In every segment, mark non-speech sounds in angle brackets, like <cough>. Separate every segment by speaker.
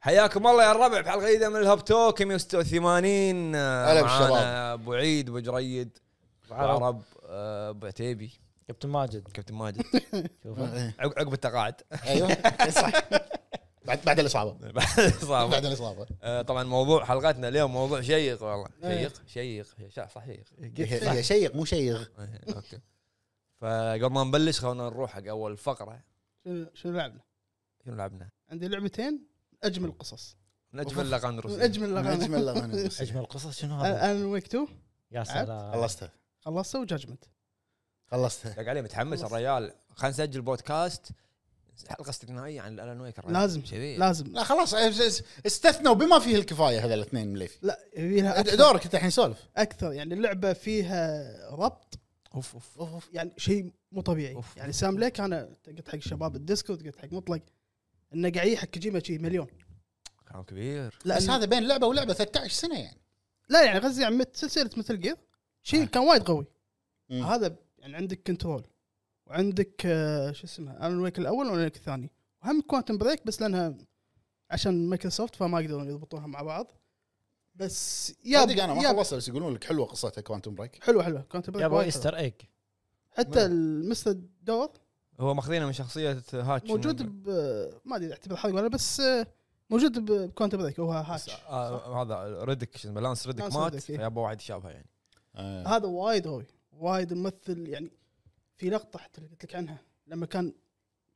Speaker 1: حياكم الله يا الربع بحلقه جديده من الهب توك 186 آه، معانا
Speaker 2: هلا بالشباب.
Speaker 1: ابو عيد ابو جريد ابو عرب آه، ابو عتيبي
Speaker 3: كابتن ماجد
Speaker 1: كابتن
Speaker 2: <laughs>
Speaker 1: ماجد
Speaker 3: شوفه
Speaker 1: عق- عقب التقاعد <laughs>
Speaker 2: ايوه صح بعد بعد الاصابه
Speaker 1: بعد
Speaker 2: <laughs>
Speaker 1: الإصابة.
Speaker 2: بعد الاصابه
Speaker 1: آه، طبعا موضوع حلقتنا اليوم موضوع شيق والله
Speaker 2: إيه.
Speaker 1: شيق شيق شا- صح شيق
Speaker 2: هي- هي شيق مو شيق
Speaker 1: إيه، اوكي فقبل ما نبلش خلونا نروح حق اول فقره
Speaker 4: شنو شنو لعبنا؟
Speaker 1: شنو لعبنا؟
Speaker 4: عندي لعبتين من اجمل القصص
Speaker 1: من اجمل الاغاني
Speaker 4: من
Speaker 1: الروسيه
Speaker 4: اجمل الاغاني
Speaker 2: نجم الله ما ننسى.
Speaker 3: اجمل قصص شنو هذا؟
Speaker 4: انا ويك 2
Speaker 3: يا سلام
Speaker 2: خلصتها
Speaker 4: خلصته وجاجمنت
Speaker 2: خلصتها
Speaker 1: دق عليه متحمس الريال خلينا نسجل بودكاست حلقه استثنائيه عن الالان ويك الريال.
Speaker 4: لازم.
Speaker 1: كذي
Speaker 4: لازم
Speaker 2: إيه. لا خلاص اس- اس- استثنوا بما فيه الكفايه هذا الاثنين مليفي
Speaker 4: لا فيها أكثر,
Speaker 2: دورك انت الحين سولف
Speaker 4: اكثر يعني اللعبه فيها ربط
Speaker 1: اوف اوف
Speaker 2: اوف
Speaker 4: يعني شيء مو طبيعي
Speaker 1: أوف.
Speaker 4: يعني سام ليك انا قلت حق شباب الديسكو قلت حق مطلق انه قاعد يحك كوجيما شي مليون
Speaker 1: كلام كبير
Speaker 4: لا
Speaker 2: بس
Speaker 4: إن-
Speaker 2: هذا بين لعبه ولعبه 13 سنه يعني
Speaker 4: لا يعني قصدي يعني مت- سلسله مثل جير شيء كان وايد قوي
Speaker 2: مم.
Speaker 4: هذا يعني عندك كنترول وعندك آه، شو اسمه الون ويك الاول والون ويك الثاني وهم كوانتم بريك بس لانها عشان مايكروسوفت فما يقدرون يضبطوها مع بعض بس يا
Speaker 2: صدق انا ما
Speaker 4: يا
Speaker 2: خلصت بس يقولون لك حلوه قصتها كوانتم بريك
Speaker 4: حلوه حلوه كوانتم بريك
Speaker 3: يا ابو
Speaker 4: وايد حلوة.
Speaker 3: ايستر ايج
Speaker 4: حتى المستر دور
Speaker 1: هو ماخذينه من شخصيه هاتش
Speaker 4: موجود
Speaker 1: من-
Speaker 4: ب ما ادري اعتبر حرق ولا بس آه، موجود بكوانتم بريك هو هاتش
Speaker 1: آه هذا ريدك شو اسمه لانس ريدك
Speaker 4: لانس
Speaker 1: مات
Speaker 4: ريدك، إيه.
Speaker 1: فيابا واحد يشابهه يعني
Speaker 2: آه.
Speaker 4: هذا وايد قوي وايد ممثل يعني في لقطه حتى اللي قلت لك عنها لما كان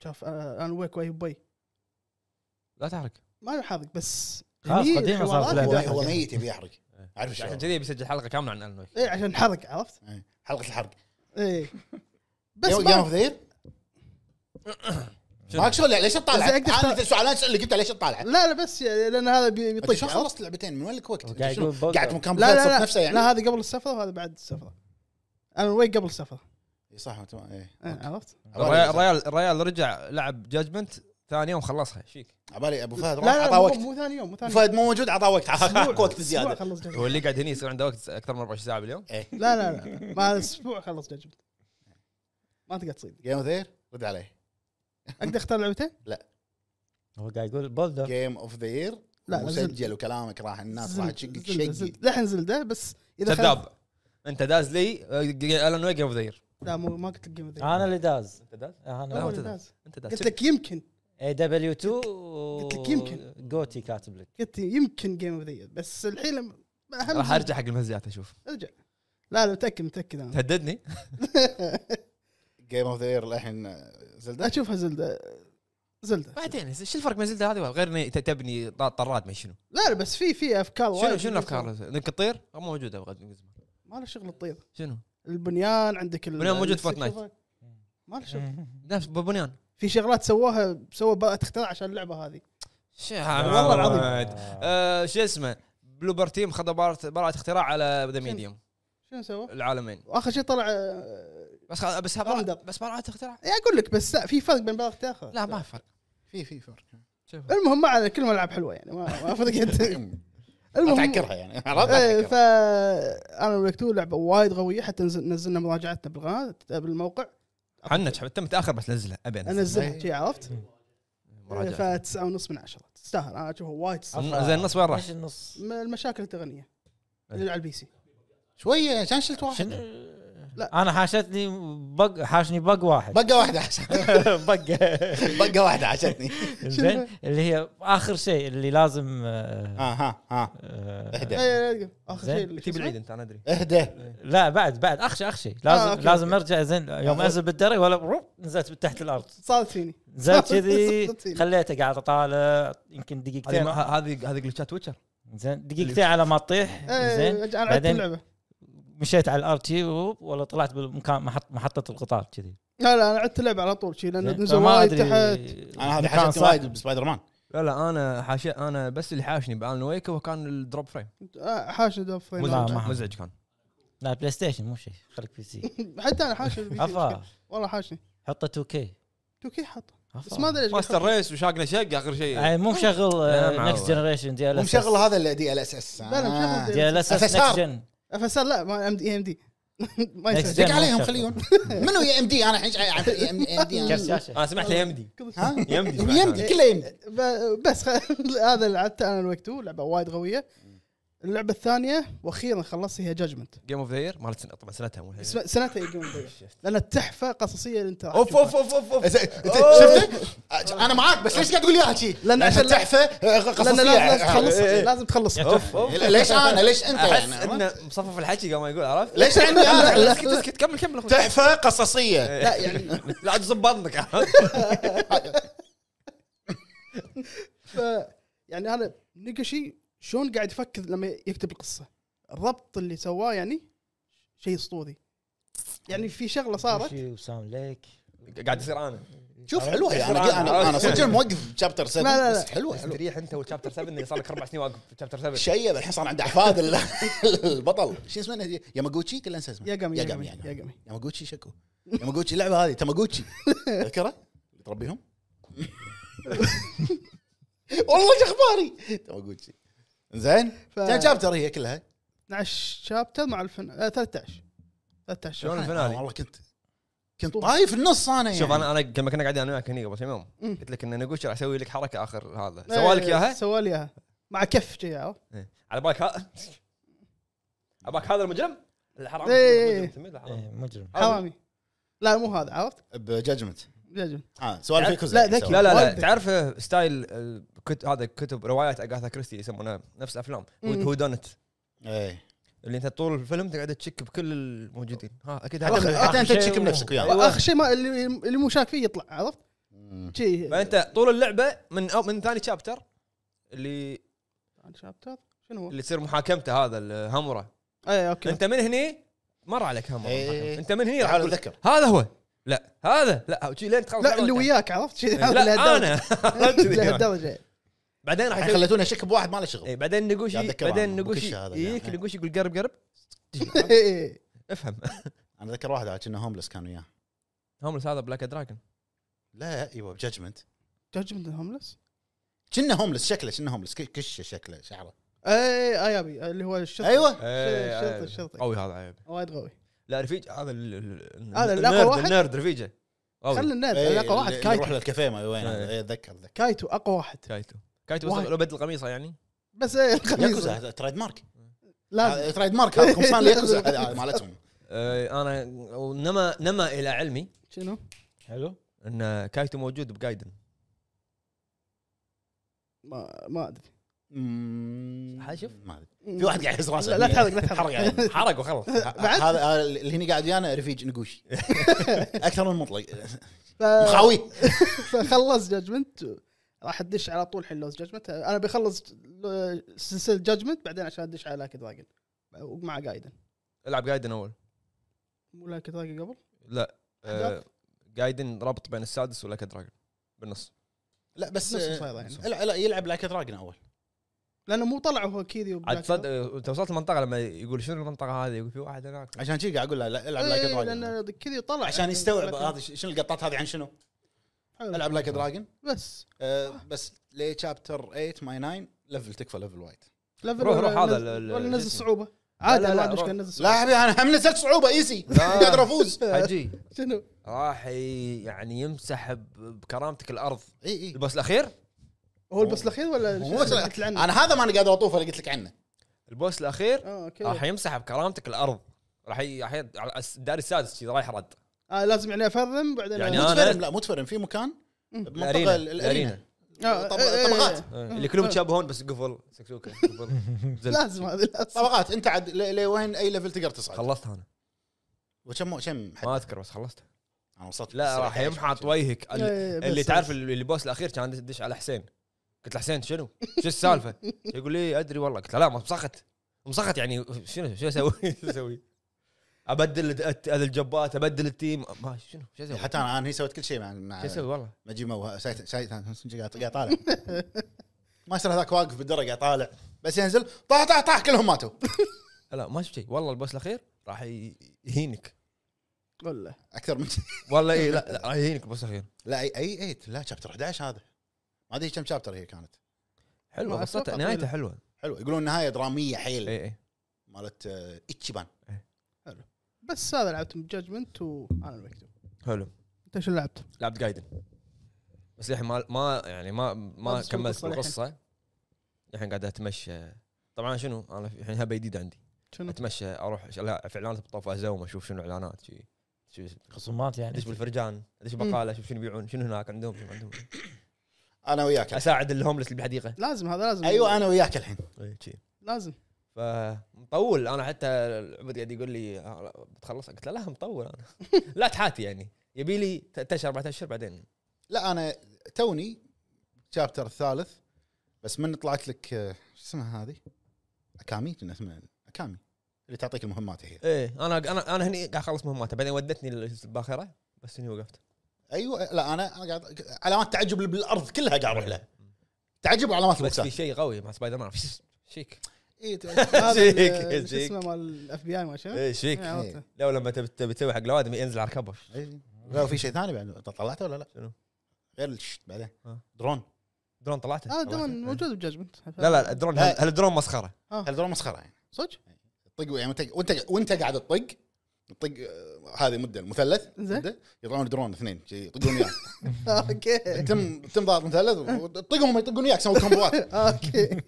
Speaker 4: شاف انا ويك واي باي
Speaker 1: لا تحرك
Speaker 4: ما حاضر بس
Speaker 3: خلاص
Speaker 4: هني
Speaker 3: قديمة صارت
Speaker 4: الحوارات
Speaker 3: لا،
Speaker 2: هو,
Speaker 3: لا.
Speaker 2: هو ميت يبي يحرق عارف شو
Speaker 1: عشان كذي بيسجل حلقه كامله عن الان ويك
Speaker 4: ايه عشان حرق عرفت؟
Speaker 2: حلقه الحرق <laughs>
Speaker 4: ايه بس
Speaker 2: بس جيم اوف
Speaker 4: ما
Speaker 2: ذير
Speaker 1: شنو؟
Speaker 2: ماك شغل ليش تطالع؟
Speaker 4: بس أقدر أطالع.
Speaker 2: انا سؤال اسالك انت ليش تطالع؟
Speaker 4: لا لا بس يعني لان هذا بي-
Speaker 2: انت
Speaker 4: بيطيح
Speaker 2: شلون
Speaker 4: عرفت؟
Speaker 2: خلصت لعبتين من وين لك وقت؟
Speaker 3: قاعد
Speaker 2: شنو؟
Speaker 3: يقول بولدر.
Speaker 2: قاعد مكان
Speaker 4: لا لا
Speaker 2: بلاد
Speaker 4: لا
Speaker 2: نفسه يعني
Speaker 4: لا هذا قبل السفره وهذا بعد السفره انا ويك قبل السفره
Speaker 2: إي صح تمام ايه
Speaker 4: إيه، عرفت؟
Speaker 2: عبالي-
Speaker 1: الريال الريال- الريال رجع لعب جاجمنت ثاني يوم خلصها ايش فيك؟
Speaker 2: عبالي ابو فهد
Speaker 4: لا
Speaker 2: راح
Speaker 4: لا
Speaker 2: اعطاه
Speaker 4: مو,
Speaker 2: وقت
Speaker 4: مو ثاني يوم
Speaker 2: <laughs>
Speaker 4: مو ثاني
Speaker 2: ابو
Speaker 4: يوم
Speaker 2: فهد مو موجود اعطاه وقت <laughs> اعطاك وقت
Speaker 4: اسبوع
Speaker 2: زياده
Speaker 4: خلص جاجمنت
Speaker 1: هو اللي قاعد هني يصير عنده وقت اكثر من ربع ساعه باليوم
Speaker 4: لا لا لا ما اسبوع خلص جاجمنت ما تقدر تصيد
Speaker 2: جيم اوف ذير رد عليه
Speaker 4: اقدر اختار لعبتين؟
Speaker 3: هو قاعد يقول بولدر
Speaker 2: جيم اوف ذير
Speaker 4: لا، لا،
Speaker 2: مسجل وكلامك راح الناس راح تشقك شقي
Speaker 4: لحن زلده بس اذا خلص-
Speaker 1: كذاب انت داز لي آه، الان ويك اوف ذير
Speaker 4: لا مو ما قلت لك جيم اوف ذا
Speaker 3: انا اللي داز أه،
Speaker 1: انت داز؟ آه، لا، هو
Speaker 3: انا
Speaker 1: تدري.
Speaker 4: يير.
Speaker 1: انت
Speaker 4: قلت
Speaker 1: داز
Speaker 4: لك يمكن
Speaker 3: اي دبليو 2
Speaker 4: قلت لك يمكن.
Speaker 3: جوتي كاتب لك
Speaker 4: قلت يمكن جيم اوف ذا يير، بس الحين لما- اهم
Speaker 1: راح
Speaker 4: زلدة.
Speaker 1: ارجع حق المهزات اشوف
Speaker 4: ارجع لا لا متاكد متاكد انا
Speaker 1: تهددني
Speaker 2: جيم اوف ذير الحين زلدة
Speaker 4: اشوفها زلده زلده
Speaker 1: بعدين شو الفرق بين زلده هذه وغير إن ت- تبني طا- طراد ما شنو
Speaker 4: لا لا بس في في افكار
Speaker 1: شنو
Speaker 4: وايد
Speaker 1: شنو الافكار انك تطير مو موجوده بغد-
Speaker 4: ما له شغل الطير
Speaker 1: شنو
Speaker 4: البنيان عندك ال-
Speaker 1: البنيان موجود في
Speaker 4: السكيفة.
Speaker 1: فورتنايت.
Speaker 4: ما له شغل
Speaker 1: نفس بنيان
Speaker 4: في شغلات سووها سوى اختراع عشان اللعبه هذه
Speaker 1: والله العظيم آه، شو اسمه بلوبر تيم خذ براءة براءة اختراع على ذا ميديوم
Speaker 4: شنو سوى؟
Speaker 1: العالمين
Speaker 4: واخر شيء طلع آه،
Speaker 1: بس خ- بس ها براءة
Speaker 4: Roundup.
Speaker 1: بس براءة اختراع
Speaker 4: إيه، اقول لك بس لا في فرق بين بلغ تاخر
Speaker 1: لا ما في فرق
Speaker 2: في في <laughs> فرق
Speaker 1: شوف
Speaker 4: المهم ما على كلهم العاب حلوه يعني ما
Speaker 3: <laughs>
Speaker 4: ما فرقت
Speaker 2: لا
Speaker 4: المهم
Speaker 2: تعكرها يعني <laughs> عرفت؟ لا
Speaker 4: ايه
Speaker 2: تعكرها.
Speaker 4: ف انا ويك تو لعبه وايد قويه حتى نزل- نزلنا مراجعتنا بالقناه بالموقع
Speaker 1: حنا تحب- تم متاخر بس نزلها ابي
Speaker 4: انزلها شي عرفت؟ إيه،
Speaker 1: مراجعة
Speaker 4: فتسعة ونص من عشرة تستاهل انا اشوفها وايد تستاهل.
Speaker 1: زين النص وين راح؟
Speaker 3: ايش النص؟
Speaker 4: م- المشاكل التقنيه
Speaker 3: إيه.
Speaker 4: اللي على البي سي
Speaker 2: شويه كان شلت واحد
Speaker 4: لا.
Speaker 3: لا انا حاشتني بق حاشني بق واحد
Speaker 2: بقه واحده عشان <laughs>
Speaker 3: <laughs> بق
Speaker 2: بقه واحده عشتني <laughs>
Speaker 3: زين اللي هي اخر شيء اللي لازم
Speaker 2: ها
Speaker 3: آه،
Speaker 2: ها ها
Speaker 3: آه،
Speaker 4: إيه،
Speaker 2: اهدى
Speaker 4: إيه، إيه، اخر
Speaker 3: زين.
Speaker 4: شيء اللي-
Speaker 1: تجيب العيد انت انا ادري
Speaker 2: اهدى
Speaker 3: لا بعد بعد اخشى اخشى
Speaker 4: آه،
Speaker 3: لازم
Speaker 4: أوكي،
Speaker 3: لازم
Speaker 4: أوكي.
Speaker 3: ارجع زين يوم انزل بالدرج ولا بروب، نزلت تحت الارض
Speaker 4: صارت فيني
Speaker 3: نزلت
Speaker 4: <laughs>
Speaker 3: كذي
Speaker 4: صدق.
Speaker 3: خليته قاعد اطالع يمكن
Speaker 1: هذه
Speaker 3: دقيقتين
Speaker 1: ما- هذه هذه جلتشات ويتشر
Speaker 3: زين دقيقتين على ما تطيح
Speaker 4: إيه،
Speaker 3: زين
Speaker 4: انا لعبت
Speaker 3: بعدين-
Speaker 4: اللعبه
Speaker 3: مشيت على الارض شي ووب، ولا طلعت بالمكان محط محطه القطار كذي
Speaker 4: لا لا انا عدت اللعبه على طول شي لان
Speaker 3: زين؟
Speaker 4: نزل
Speaker 3: فما
Speaker 4: وايد
Speaker 3: ادري
Speaker 4: تحت
Speaker 2: انا هذا
Speaker 3: مكان
Speaker 2: حشتني
Speaker 3: صعب.
Speaker 2: وايد بسبايدر مان
Speaker 1: لا لا انا حاشي انا بس اللي حاشني بالان ويك هو كان الدروب فريم
Speaker 4: آه، حاشد دوف
Speaker 3: لا، ما-
Speaker 1: مزعج كان
Speaker 3: لا بلاي ستيشن مو شيء خليك بي
Speaker 1: <laughs>
Speaker 3: سي
Speaker 4: <laughs> حتى انا حاشد البي سي
Speaker 3: افا
Speaker 4: مشكلة. والله حاشني
Speaker 3: حطه 2 كي
Speaker 1: إيه.
Speaker 4: توكي حط بس ما ادري ليش
Speaker 1: ماستر ريس وشاقنا شق اخر شيء
Speaker 3: يعني مو مشغل
Speaker 1: لا، معود.
Speaker 3: نكست جنريشن دي ال اس
Speaker 2: ومشغل هذا اللي دي ال اس اس
Speaker 4: لا، لا، مشغل
Speaker 3: دي ال اس
Speaker 2: FSR.
Speaker 3: نكست جن
Speaker 4: اف اس لا ما ام دي <laughs> ام دي ما
Speaker 3: Next
Speaker 4: يصير
Speaker 3: gen.
Speaker 2: دق عليهم خليهم <laughs> منو يا ام دي انا الحين جاي عن ام
Speaker 3: كاس
Speaker 2: دي
Speaker 3: شاشه
Speaker 1: انا سمعت يمدي
Speaker 2: ها
Speaker 1: يمدي سمعت
Speaker 2: يمدي كله
Speaker 4: إيه،
Speaker 2: يمدي
Speaker 4: ب- بس خ- <laughs> هذا اللي لعبته انا الوقت تو لعبه وايد قويه اللعبه الثانيه واخيرا خلصت هي ججمنت
Speaker 1: جيم اوف ذا يير مالت سنة- طبعا سنتها مو الحين.
Speaker 4: سنتها يقوم لانها تحفه قصصيه انت راح
Speaker 1: اوف
Speaker 4: تشوفها.
Speaker 1: اوف اوف اوف اوف
Speaker 2: إذا- إنت شفته؟ انا معاك بس ليش قاعد تقول لي شي؟
Speaker 4: لأن عشان-
Speaker 2: تحفه آه،
Speaker 4: لان
Speaker 2: قصصيه
Speaker 4: لازم
Speaker 2: آه،
Speaker 4: تخلص
Speaker 1: إيه.
Speaker 4: لازم تخلص
Speaker 1: اوف اوف
Speaker 2: ليش انا ليش انت
Speaker 1: احس
Speaker 2: يعني
Speaker 1: انه مصفف الحكي قبل ما يقول عرفت؟
Speaker 2: ليش عندي
Speaker 1: لا، لا،
Speaker 2: انا
Speaker 1: اسكت اسكت كمل كمل أخوي.
Speaker 2: تحفه قصصيه
Speaker 1: لا يعني <laughs> لا عاد صب بطنك <laughs> عرفت؟
Speaker 4: ف- يعني انا نقشي شلون قاعد يفكر لما يكتب القصه الربط اللي سواه يعني شيء اسطوري يعني في شغله صارت
Speaker 3: وشي وسام ليك
Speaker 1: قاعد يصير انا
Speaker 2: شوف حلوه يعني
Speaker 1: إيه.
Speaker 2: انا انا,
Speaker 1: <laughs>
Speaker 2: أنا صدق موقف شابتر 7
Speaker 4: لا، لا، لا.
Speaker 2: بس حلوه حلوه
Speaker 1: تريح انت والشابتر 7 اللي صار لك اربع سنين واقف في شابتر 7
Speaker 2: شيب الحين صار عنده احفاد ال- <laughs> البطل شو اسمه هذي؟ ياماغوتشي كله انسى اسمه يعني.
Speaker 4: ياقمي ياقمي
Speaker 2: ياقمي
Speaker 4: ياقمي
Speaker 2: ياماغوتشي شكو ياماغوتشي اللعبه هذه
Speaker 4: <laughs>
Speaker 2: تاماغوتشي تذكره؟ اللي تربيهم والله شو اخباري تاماغوتشي زين
Speaker 4: ف-
Speaker 2: كم شابتر هي كلها
Speaker 4: 12 شابتر مع الفن آه 13 13
Speaker 1: شلون
Speaker 2: أنا-
Speaker 1: الفينالي؟
Speaker 2: والله كنت كنت طايف النص انا يعني
Speaker 1: شوف انا انا لما كنا قاعدين انا وياك هني قبل كم يوم
Speaker 4: مم.
Speaker 1: قلت لك ان نقوش راح اسوي لك حركه اخر هذا
Speaker 4: إيه،
Speaker 1: سوالك اياها
Speaker 4: سوالي اياها مع كف شي عرفت؟
Speaker 1: إيه. على بالك ها <laughs> على بالك هذا المجرم الحرام
Speaker 4: إيه.
Speaker 1: المجرم سميه الحرام.
Speaker 3: إيه، مجرم
Speaker 4: حرامي لا مو هذا عرفت؟
Speaker 2: بججمنت
Speaker 4: لازم
Speaker 2: اه سؤال
Speaker 1: لا،
Speaker 2: في كوزا
Speaker 4: لا، ذكي.
Speaker 1: لا لا لا
Speaker 4: والدك.
Speaker 1: تعرف ستايل الكت... هذا كتب روايات اغاثا كريستي يسمونها نفس افلام
Speaker 4: مم.
Speaker 1: هو دونت
Speaker 2: ايه
Speaker 1: اللي انت طول الفيلم تقعد تشك بكل الموجودين ها اكيد
Speaker 2: أخ-
Speaker 1: هذا
Speaker 2: انت انت
Speaker 3: شيء
Speaker 2: تشك
Speaker 3: و-
Speaker 2: بنفسك وياه
Speaker 1: أيوة.
Speaker 4: واخر شيء ما اللي اللي مو شاك فيه يطلع عرفت؟
Speaker 2: أمم.
Speaker 4: شي
Speaker 1: فانت طول اللعبه من أو من ثاني شابتر اللي
Speaker 4: شابتر شنو هو؟ إيه،
Speaker 1: اللي تصير محاكمته هذا الهمره
Speaker 4: اي اوكي
Speaker 1: انت من هني مر عليك همره
Speaker 2: إيه.
Speaker 1: محاكمة. انت من هني راح
Speaker 2: تعال
Speaker 1: تقول
Speaker 2: اتذكر
Speaker 1: هذا هو لا هذا لا شي لين تخلص إيه.
Speaker 4: لا اللي وياك عرفت؟ شي
Speaker 1: لا انا
Speaker 2: <laughs>
Speaker 1: كذي.
Speaker 4: لهالدرجه
Speaker 1: بعدين راح
Speaker 2: الحين
Speaker 1: يسوي-
Speaker 2: خليتوني اشك يعني بواحد ما له شغل
Speaker 1: إيه، بعدين نقوشي
Speaker 2: قاعد أتذكر
Speaker 1: بعدين
Speaker 2: عنه.
Speaker 1: نقوشي
Speaker 2: بوكش هذا اللي
Speaker 1: يجيك
Speaker 2: عنه.
Speaker 1: نقوشي يقول قرب قرب
Speaker 4: إيه،
Speaker 1: افهم
Speaker 2: انا اتذكر واحد عاد كنا هوملس كان وياه
Speaker 1: هوملس هذا بلاك دراجون
Speaker 2: لا ايوه بججمنت
Speaker 4: جادجمنت هوملس
Speaker 2: كنا هوملس شكله كنا هوملس ك- كشه شكله شعره
Speaker 4: اي اي ابي إيه، آه، اللي هو الشرطي
Speaker 2: ايوه
Speaker 4: إيه، شرطي شرطي
Speaker 1: قوي هذا عيب
Speaker 4: وايد قوي
Speaker 1: لا رفيج هذا ال- ال- ال-
Speaker 4: هذا اللي أقوى
Speaker 1: النيرد-
Speaker 4: واحد؟
Speaker 1: النيرد رفيجه قوي.
Speaker 4: خلي النت
Speaker 2: إيه،
Speaker 4: اقوى واحد
Speaker 2: اللي- اللي يروح
Speaker 4: كايتو
Speaker 2: للكافيه ما وين
Speaker 1: إيه.
Speaker 2: إيه، اتذكر اتذكر
Speaker 4: <laughs> كايتو اقوى واحد
Speaker 1: كايتو كايتو
Speaker 4: واحد.
Speaker 1: وصل لبد القميصه يعني
Speaker 4: بس إيه، الخميس
Speaker 2: ياكوزا تريد مارك
Speaker 4: لازم
Speaker 2: هذا تريد مارك هذا قمصان
Speaker 4: <laughs>
Speaker 2: ياكوزا هذا مالتهم
Speaker 1: آه، انا ونما نما الى علمي
Speaker 4: شنو؟
Speaker 3: حلو
Speaker 1: ان كايتو موجود بجايدن
Speaker 4: ما ما ادري
Speaker 2: مم،
Speaker 1: شوف.
Speaker 2: ما أدري. في واحد قاعد يهز راسه
Speaker 4: لا لا تحرق لا
Speaker 2: حرق
Speaker 4: تحرق
Speaker 2: يعني.
Speaker 1: حرق وخلص
Speaker 4: <laughs> بعد؟
Speaker 2: هذا هذا اللي هني قاعد ويانا رفيج
Speaker 4: <laughs>
Speaker 2: نقوشي اكثر من مطلق
Speaker 4: ف-
Speaker 2: مخاوي
Speaker 4: فخلص جاجمنت راح ادش على طول حين لوز جاجمنت انا بخلص ل- سلسله جاجمنت بعدين عشان ادش على لاك دراجون ومع جايدن
Speaker 1: العب جايدن اول
Speaker 4: مو لاك دراجون قبل
Speaker 1: لا آه، جايدن ربط بين السادس ولاك دراجون بالنص
Speaker 2: لا بس
Speaker 4: نفس
Speaker 2: آه،
Speaker 4: الصيدة يعني.
Speaker 2: لا لا يلعب لايك دراجون اول
Speaker 4: لانه مو طلع هو كيري
Speaker 1: عاد
Speaker 4: وبلاك
Speaker 1: تصدق آه، انت وصلت المنطقه لما يقول شنو المنطقه هذه يقول في واحد هناك
Speaker 2: عشان كذي قاعد اقول له لا، العب
Speaker 4: دراجون.
Speaker 2: لايك
Speaker 4: إيه، يعني
Speaker 2: دراجون
Speaker 4: لان كيري طلع
Speaker 2: عشان يستوعب
Speaker 4: لكن-
Speaker 2: هذا ش- شنو القطات هذه عن شنو؟
Speaker 4: حلو.
Speaker 2: العب لايك دراجون
Speaker 4: بس
Speaker 2: آه، بس لي شابتر 8 ماي 9 ليفل تكفى ليفل وايد
Speaker 4: ليفل
Speaker 1: روح- روح
Speaker 4: ولا
Speaker 1: هذا
Speaker 4: نزل-
Speaker 1: ال-
Speaker 4: ولا
Speaker 1: ال-
Speaker 4: نزل
Speaker 1: جسم.
Speaker 4: صعوبه
Speaker 1: لا،
Speaker 4: عادي
Speaker 1: لا،
Speaker 4: ما
Speaker 1: روح.
Speaker 4: عندي مشكله نزل
Speaker 2: لا
Speaker 4: صعوبه
Speaker 2: يا حبيبي انا هم نزلت صعوبه ايزي
Speaker 1: لا.
Speaker 2: <laughs> قادر افوز
Speaker 1: حجي
Speaker 4: شنو
Speaker 1: راح ي- يعني يمسح ب- بكرامتك الارض
Speaker 2: اي اي
Speaker 1: البوس الاخير
Speaker 4: هو البس الاخير ولا
Speaker 2: مو
Speaker 4: شو- قلت له عنه؟
Speaker 2: انا هذا ما انا قادر اطوفه اللي قلت لك عنه
Speaker 1: البوس الاخير
Speaker 4: اه اوكي
Speaker 1: راح يمسح بكرامتك الارض راح ي- راح ي- على الس- الدار السادس شي رايح رد
Speaker 4: آه لازم يعني افرم بعدين
Speaker 1: يعني
Speaker 2: مو
Speaker 1: أنا-
Speaker 2: تفرم لا مو تفرم في مكان
Speaker 1: الأرينا.
Speaker 2: بمنطقه ال-
Speaker 1: الأرينا.
Speaker 2: الارينا
Speaker 4: آه،
Speaker 2: طب-
Speaker 4: إيه، إيه،
Speaker 2: طبقات.
Speaker 4: إيه.
Speaker 1: آه، اللي كلهم يتشابهون بس قفل سكسوكه قفل زل.
Speaker 4: لازم هذه لازم
Speaker 2: طبقات انت عاد لي- لي وين اي ليفل تقدر تصعد
Speaker 1: خلصت انا
Speaker 2: وكم كم حد
Speaker 1: ما اذكر بس خلصت
Speaker 2: انا وصلت
Speaker 1: لا راح يمحط وجهك ال-
Speaker 4: إيه، بس-
Speaker 1: اللي تعرف ال- اللي البوس الاخير كان يدش على حسين قلت له حسين شنو؟ شو السالفه؟ يقول لي ادري والله قلت له لا ما مسخت مسخت يعني شنو شو اسوي؟ <laughs> شو اسوي؟ ابدل الد- الت- هذا الجبات ابدل التيم ما شنو شو اسوي؟ شو
Speaker 2: حتى انا انا هي سويت كل شيء مع مع
Speaker 1: اسوي والله؟
Speaker 2: مجيمة وه- سايت سايت صدق قاعد قاعد طالع <laughs> ما يصير هذاك واقف بالدرج قاعد طالع بس ينزل طاح طاح طاح كلهم ماتوا <laughs>
Speaker 1: لا ما شفت شيء والله البوس الاخير راح ي- يهينك
Speaker 4: ولا
Speaker 2: اكثر من
Speaker 1: والله اي لا لا راح يهينك البوس الاخير
Speaker 2: لا اي اي ايت لا شابتر 11 هذا ما ادري كم شابتر هي كانت
Speaker 1: حلوه
Speaker 4: ما
Speaker 1: قصته
Speaker 4: أتوقع
Speaker 1: نهايته
Speaker 4: طويلة.
Speaker 1: حلوه إيه.
Speaker 2: حلو يقولون نهايه دراميه حيل
Speaker 1: اي اي
Speaker 2: مالت آه، اتشيبان
Speaker 4: بس هذا لعبت جادجمنت وانا ويك 2
Speaker 1: حلو
Speaker 4: انت شو لعبت؟
Speaker 1: لعبت جايدن بس للحين ما ما يعني ما ما
Speaker 4: ما تسوي
Speaker 1: كملت
Speaker 4: قصة للحين.
Speaker 1: القصه الحين قاعد اتمشى طبعا شنو انا في- الحين هبه جديده عندي
Speaker 4: شنو؟
Speaker 1: اتمشى اروح ش- لا في اعلانات بطوف ازوم اشوف شنو اعلانات شي شي-
Speaker 3: خصومات يعني
Speaker 1: ادش بالفرجان ادش بقاله اشوف شنو يبيعون شنو هناك عندهم شنو <laughs> عندهم
Speaker 2: انا وياك
Speaker 1: اساعد الهوملس اللي بالحديقه
Speaker 4: لازم هذا لازم
Speaker 1: أيوة،
Speaker 2: ايوه انا وياك الحين
Speaker 1: إيه، شي.
Speaker 4: لازم
Speaker 1: فمطول انا حتى عمر قاعد يقول لي آه، بتخلص قلت له لا مطول انا <laughs> لا تحاتي يعني يبي لي ثلاث اشهر اربع اشهر بعدين
Speaker 2: لا انا توني الشابتر الثالث بس من طلعت لك آه، شو اسمها هذه؟ اكامي كنا اسمها اكامي اللي تعطيك المهمات هي
Speaker 1: ايه انا انا انا هني قاعد اخلص مهماته بعدين ودتني الباخره بس هني وقفت
Speaker 2: ايوه لا انا انا قاعد علامات تعجب اللي بالارض كلها قاعد اروح لها تعجب وعلامات
Speaker 1: بس في
Speaker 2: الوسام
Speaker 1: شيء قوي مع سبايدر مان شيك
Speaker 2: إيه،
Speaker 4: <laughs> هذا
Speaker 1: زيك،
Speaker 4: ال- شو
Speaker 1: زيك.
Speaker 4: اسمه مال الاف بي اي ما شنو؟
Speaker 1: ايه شيك
Speaker 4: إيه، عرفته.
Speaker 1: لو لما تبي تبي تسوي حق لوادم ينزل على الكبر
Speaker 2: إيه. لا في شيء ثاني بعد أنت طلعته ولا لا؟
Speaker 1: شنو؟ آه.
Speaker 2: غير الشت بعدين
Speaker 1: ها.
Speaker 2: درون
Speaker 1: درون طلعته
Speaker 4: هذا دون آه، موجود بجاجمنت
Speaker 1: لا لا الدرون
Speaker 2: لا.
Speaker 1: هل الدرون مسخره
Speaker 2: هالدرون مسخره يعني
Speaker 4: <laughs> صدق؟
Speaker 2: طق يعني وانت وانت, وانت قاعد تطق تطق آه، هذه مده المثلث
Speaker 4: زين.
Speaker 2: مدة، يطلعون درون اثنين شي يطقون
Speaker 4: <laughs>
Speaker 2: وياك
Speaker 4: اوكي
Speaker 2: تم تم ضغط مثلث وطقهم يطقون وياك سووا
Speaker 4: <laughs>
Speaker 2: كومبوات
Speaker 4: اوكي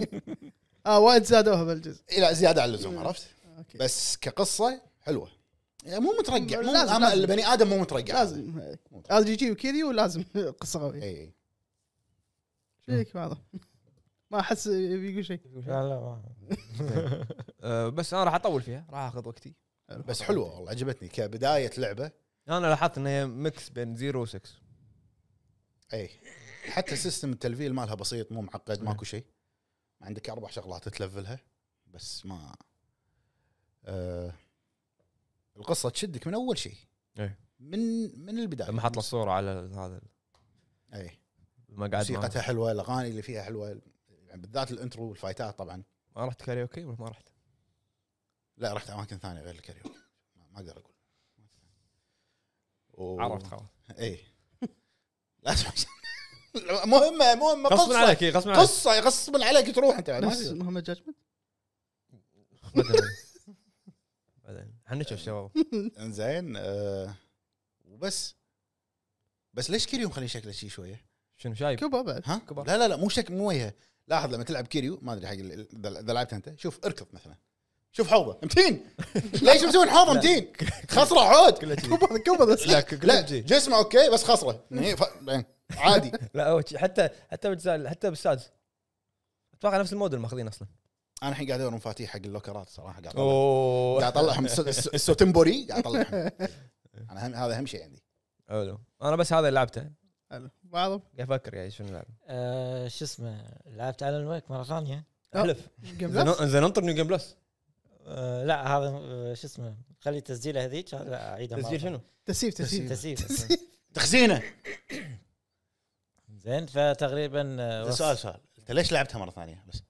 Speaker 4: اه وايد زادوها بالجزء
Speaker 2: الى زياده على
Speaker 4: <laughs>
Speaker 2: اللزوم عرفت
Speaker 4: اوكي
Speaker 2: بس كقصه حلوه يعني مو مترقع مو
Speaker 4: لازم-
Speaker 2: أما
Speaker 4: لازم.
Speaker 2: البني ادم مو مترقع
Speaker 4: لازم ار جي جي وكيريو <laughs> لازم قصه قويه
Speaker 2: اي اي
Speaker 4: شو فيك بعضه ما احس بيقول شيء
Speaker 3: لا لا ما-
Speaker 1: آه، بس انا راح اطول فيها راح اخذ وقتي
Speaker 2: بس حلوه والله عجبتني كبدايه لعبه
Speaker 1: انا لاحظت انها ميكس بين زيرو و6
Speaker 2: اي إيه. حتى سيستم التلفيل مالها بسيط مو معقد ماكو شيء عندك اربع شغلات تلفلها بس ما آه القصه تشدك من اول شيء
Speaker 1: إي.
Speaker 2: من من البدايه
Speaker 1: إيه. لما حط له الصوره على هذا
Speaker 2: اي
Speaker 1: المقعد ما
Speaker 2: موسيقتها حلوه الاغاني اللي فيها حلوه يعني بالذات الانترو والفايتات طبعا
Speaker 1: ما رحت كاريوكي ولا ما رحت؟
Speaker 2: لا رحت اماكن ثانيه غير الكاريوكي ما- ما اقدر اقول و- إيه.
Speaker 1: عرفت خلاص
Speaker 2: اي لا <laughs> مهمه مهمه
Speaker 1: غصب
Speaker 2: قصه
Speaker 1: عليك إيه، غصب عليك
Speaker 2: قصه غصب عليك تروح انت بعد ما
Speaker 4: نفس
Speaker 2: تقدر.
Speaker 4: مهمه جاجمنت
Speaker 1: <laughs> بعدين بعدين حنشوف الشباب
Speaker 2: انزين آه، وبس بس ليش كيريو مخلي شكله شي شويه؟
Speaker 1: شنو شايب
Speaker 4: كبر بعد
Speaker 2: ها؟
Speaker 1: كبر.
Speaker 2: لا لا لا مو شكل مو وجهه لاحظ لما تلعب كيريو ما ادري حق ال- ال- اذا إذا لعبتها انت شوف اركض مثلا شوف حوضه
Speaker 1: <laughs>
Speaker 2: متين ليش مسوي حوضه
Speaker 1: لا. <laughs>
Speaker 2: متين؟ خصره عود
Speaker 4: <laughs>
Speaker 1: كله كذي.
Speaker 4: كبر كبر بس
Speaker 1: لا ك-
Speaker 2: لا
Speaker 1: كله كذي.
Speaker 2: جسمه اوكي بس خصره يعني ف- يعني عادي
Speaker 1: لا هو شي- حتى حتى بالجزء حتى بالسادس اتوقع نفس الموديل ماخذين اصلا
Speaker 2: انا الحين قاعد ادور مفاتيح حق اللوكرات صراحه قاعد أطلع-
Speaker 1: اوه
Speaker 2: قاعد اطلعهم الس- الس- السوتمبوري قاعد
Speaker 1: <laughs>
Speaker 2: اطلعهم انا هم- هذا اهم شيء عندي
Speaker 1: حلو انا بس هذا اللي لعبته
Speaker 4: حلو. بعضه
Speaker 1: قاعد افكر يعني شنو لعب
Speaker 3: آه، شو اسمه لعبت الن ويك مره ثانيه
Speaker 4: لا.
Speaker 1: احلف
Speaker 4: جيم
Speaker 1: زين
Speaker 4: بلاس.
Speaker 1: زين انطر نيو جيم بلس
Speaker 3: آه، لا هذا آه، شو اسمه خلي تسجيله هذيك لا اعيدها مرة
Speaker 1: تسجيل
Speaker 3: ثانية.
Speaker 1: شنو؟
Speaker 4: تسيب تسيب <laughs>
Speaker 3: تسجيل
Speaker 4: تسيب.
Speaker 2: تخزينه
Speaker 3: زين فتقريبا آه، وص-
Speaker 2: سؤال سؤال انت ليش لعبتها مره ثانيه بس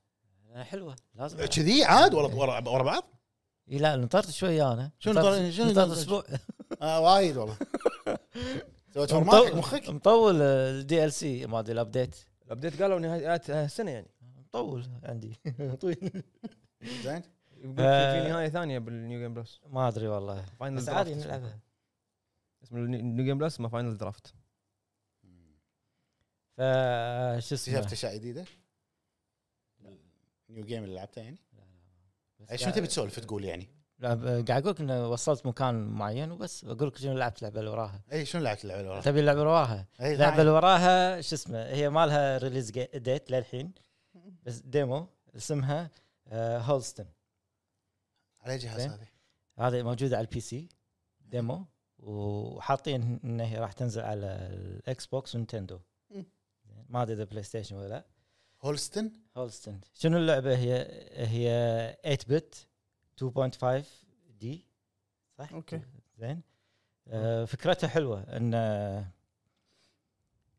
Speaker 3: آه، حلوه لازم
Speaker 2: كذي عاد ورا ورا ورا بعض
Speaker 3: إي لا نطرت شوي انا
Speaker 2: شنو
Speaker 3: نطرت-
Speaker 2: طار- شنو
Speaker 3: نطرت
Speaker 2: طار-
Speaker 3: اسبوع
Speaker 2: آه وايد <laughs> والله سويت فورمات
Speaker 3: مطول
Speaker 2: حق مخك
Speaker 3: مطول الدي ال سي ما ادري الابديت
Speaker 1: الابديت قالوا نهايه آه، السنه يعني
Speaker 3: مطول عندي طويل
Speaker 2: زين
Speaker 1: يقول
Speaker 3: آه.
Speaker 1: في في نهايه ثانيه بالنيو جيم بلس
Speaker 3: ما ادري والله
Speaker 1: فاينل
Speaker 3: بس
Speaker 1: درافت
Speaker 3: عادي
Speaker 1: اسمه.
Speaker 3: نلعبها
Speaker 1: اسم النيو جيم بلس ما فاينل درافت
Speaker 3: ف آه، شو
Speaker 2: اكتشفت
Speaker 3: اسمه
Speaker 2: اشياء جديده نيو جيم اللي لعبته يعني
Speaker 3: بس
Speaker 2: أي شنو
Speaker 3: قاعد-
Speaker 2: تبي تسولف تقول يعني
Speaker 3: لا، ب- قاعد اقول لك انه وصلت مكان معين وبس اقول لك شنو لعبت اللعبه اللي وراها
Speaker 2: اي شنو لعبت اللعبه اللي وراها؟
Speaker 3: تبي اللعبه اللي وراها
Speaker 2: أي
Speaker 3: اللعبه
Speaker 2: نعم.
Speaker 3: اللي وراها شو اسمه هي مالها ريليز ديت للحين بس ديمو اسمها آه، هولستن
Speaker 2: على جهاز
Speaker 3: زين.
Speaker 2: هذه
Speaker 3: هذه موجوده على البي سي ديمو وحاطين ان هي راح تنزل على الاكس بوكس ونتندو
Speaker 4: مم.
Speaker 3: ما ادري اذا بلاي ستيشن ولا لا
Speaker 2: هولستن
Speaker 3: هولستن شنو اللعبه هي هي 8 بت 2.5 دي صح
Speaker 4: أوكي.
Speaker 3: زين آه، فكرتها حلوه ان آه،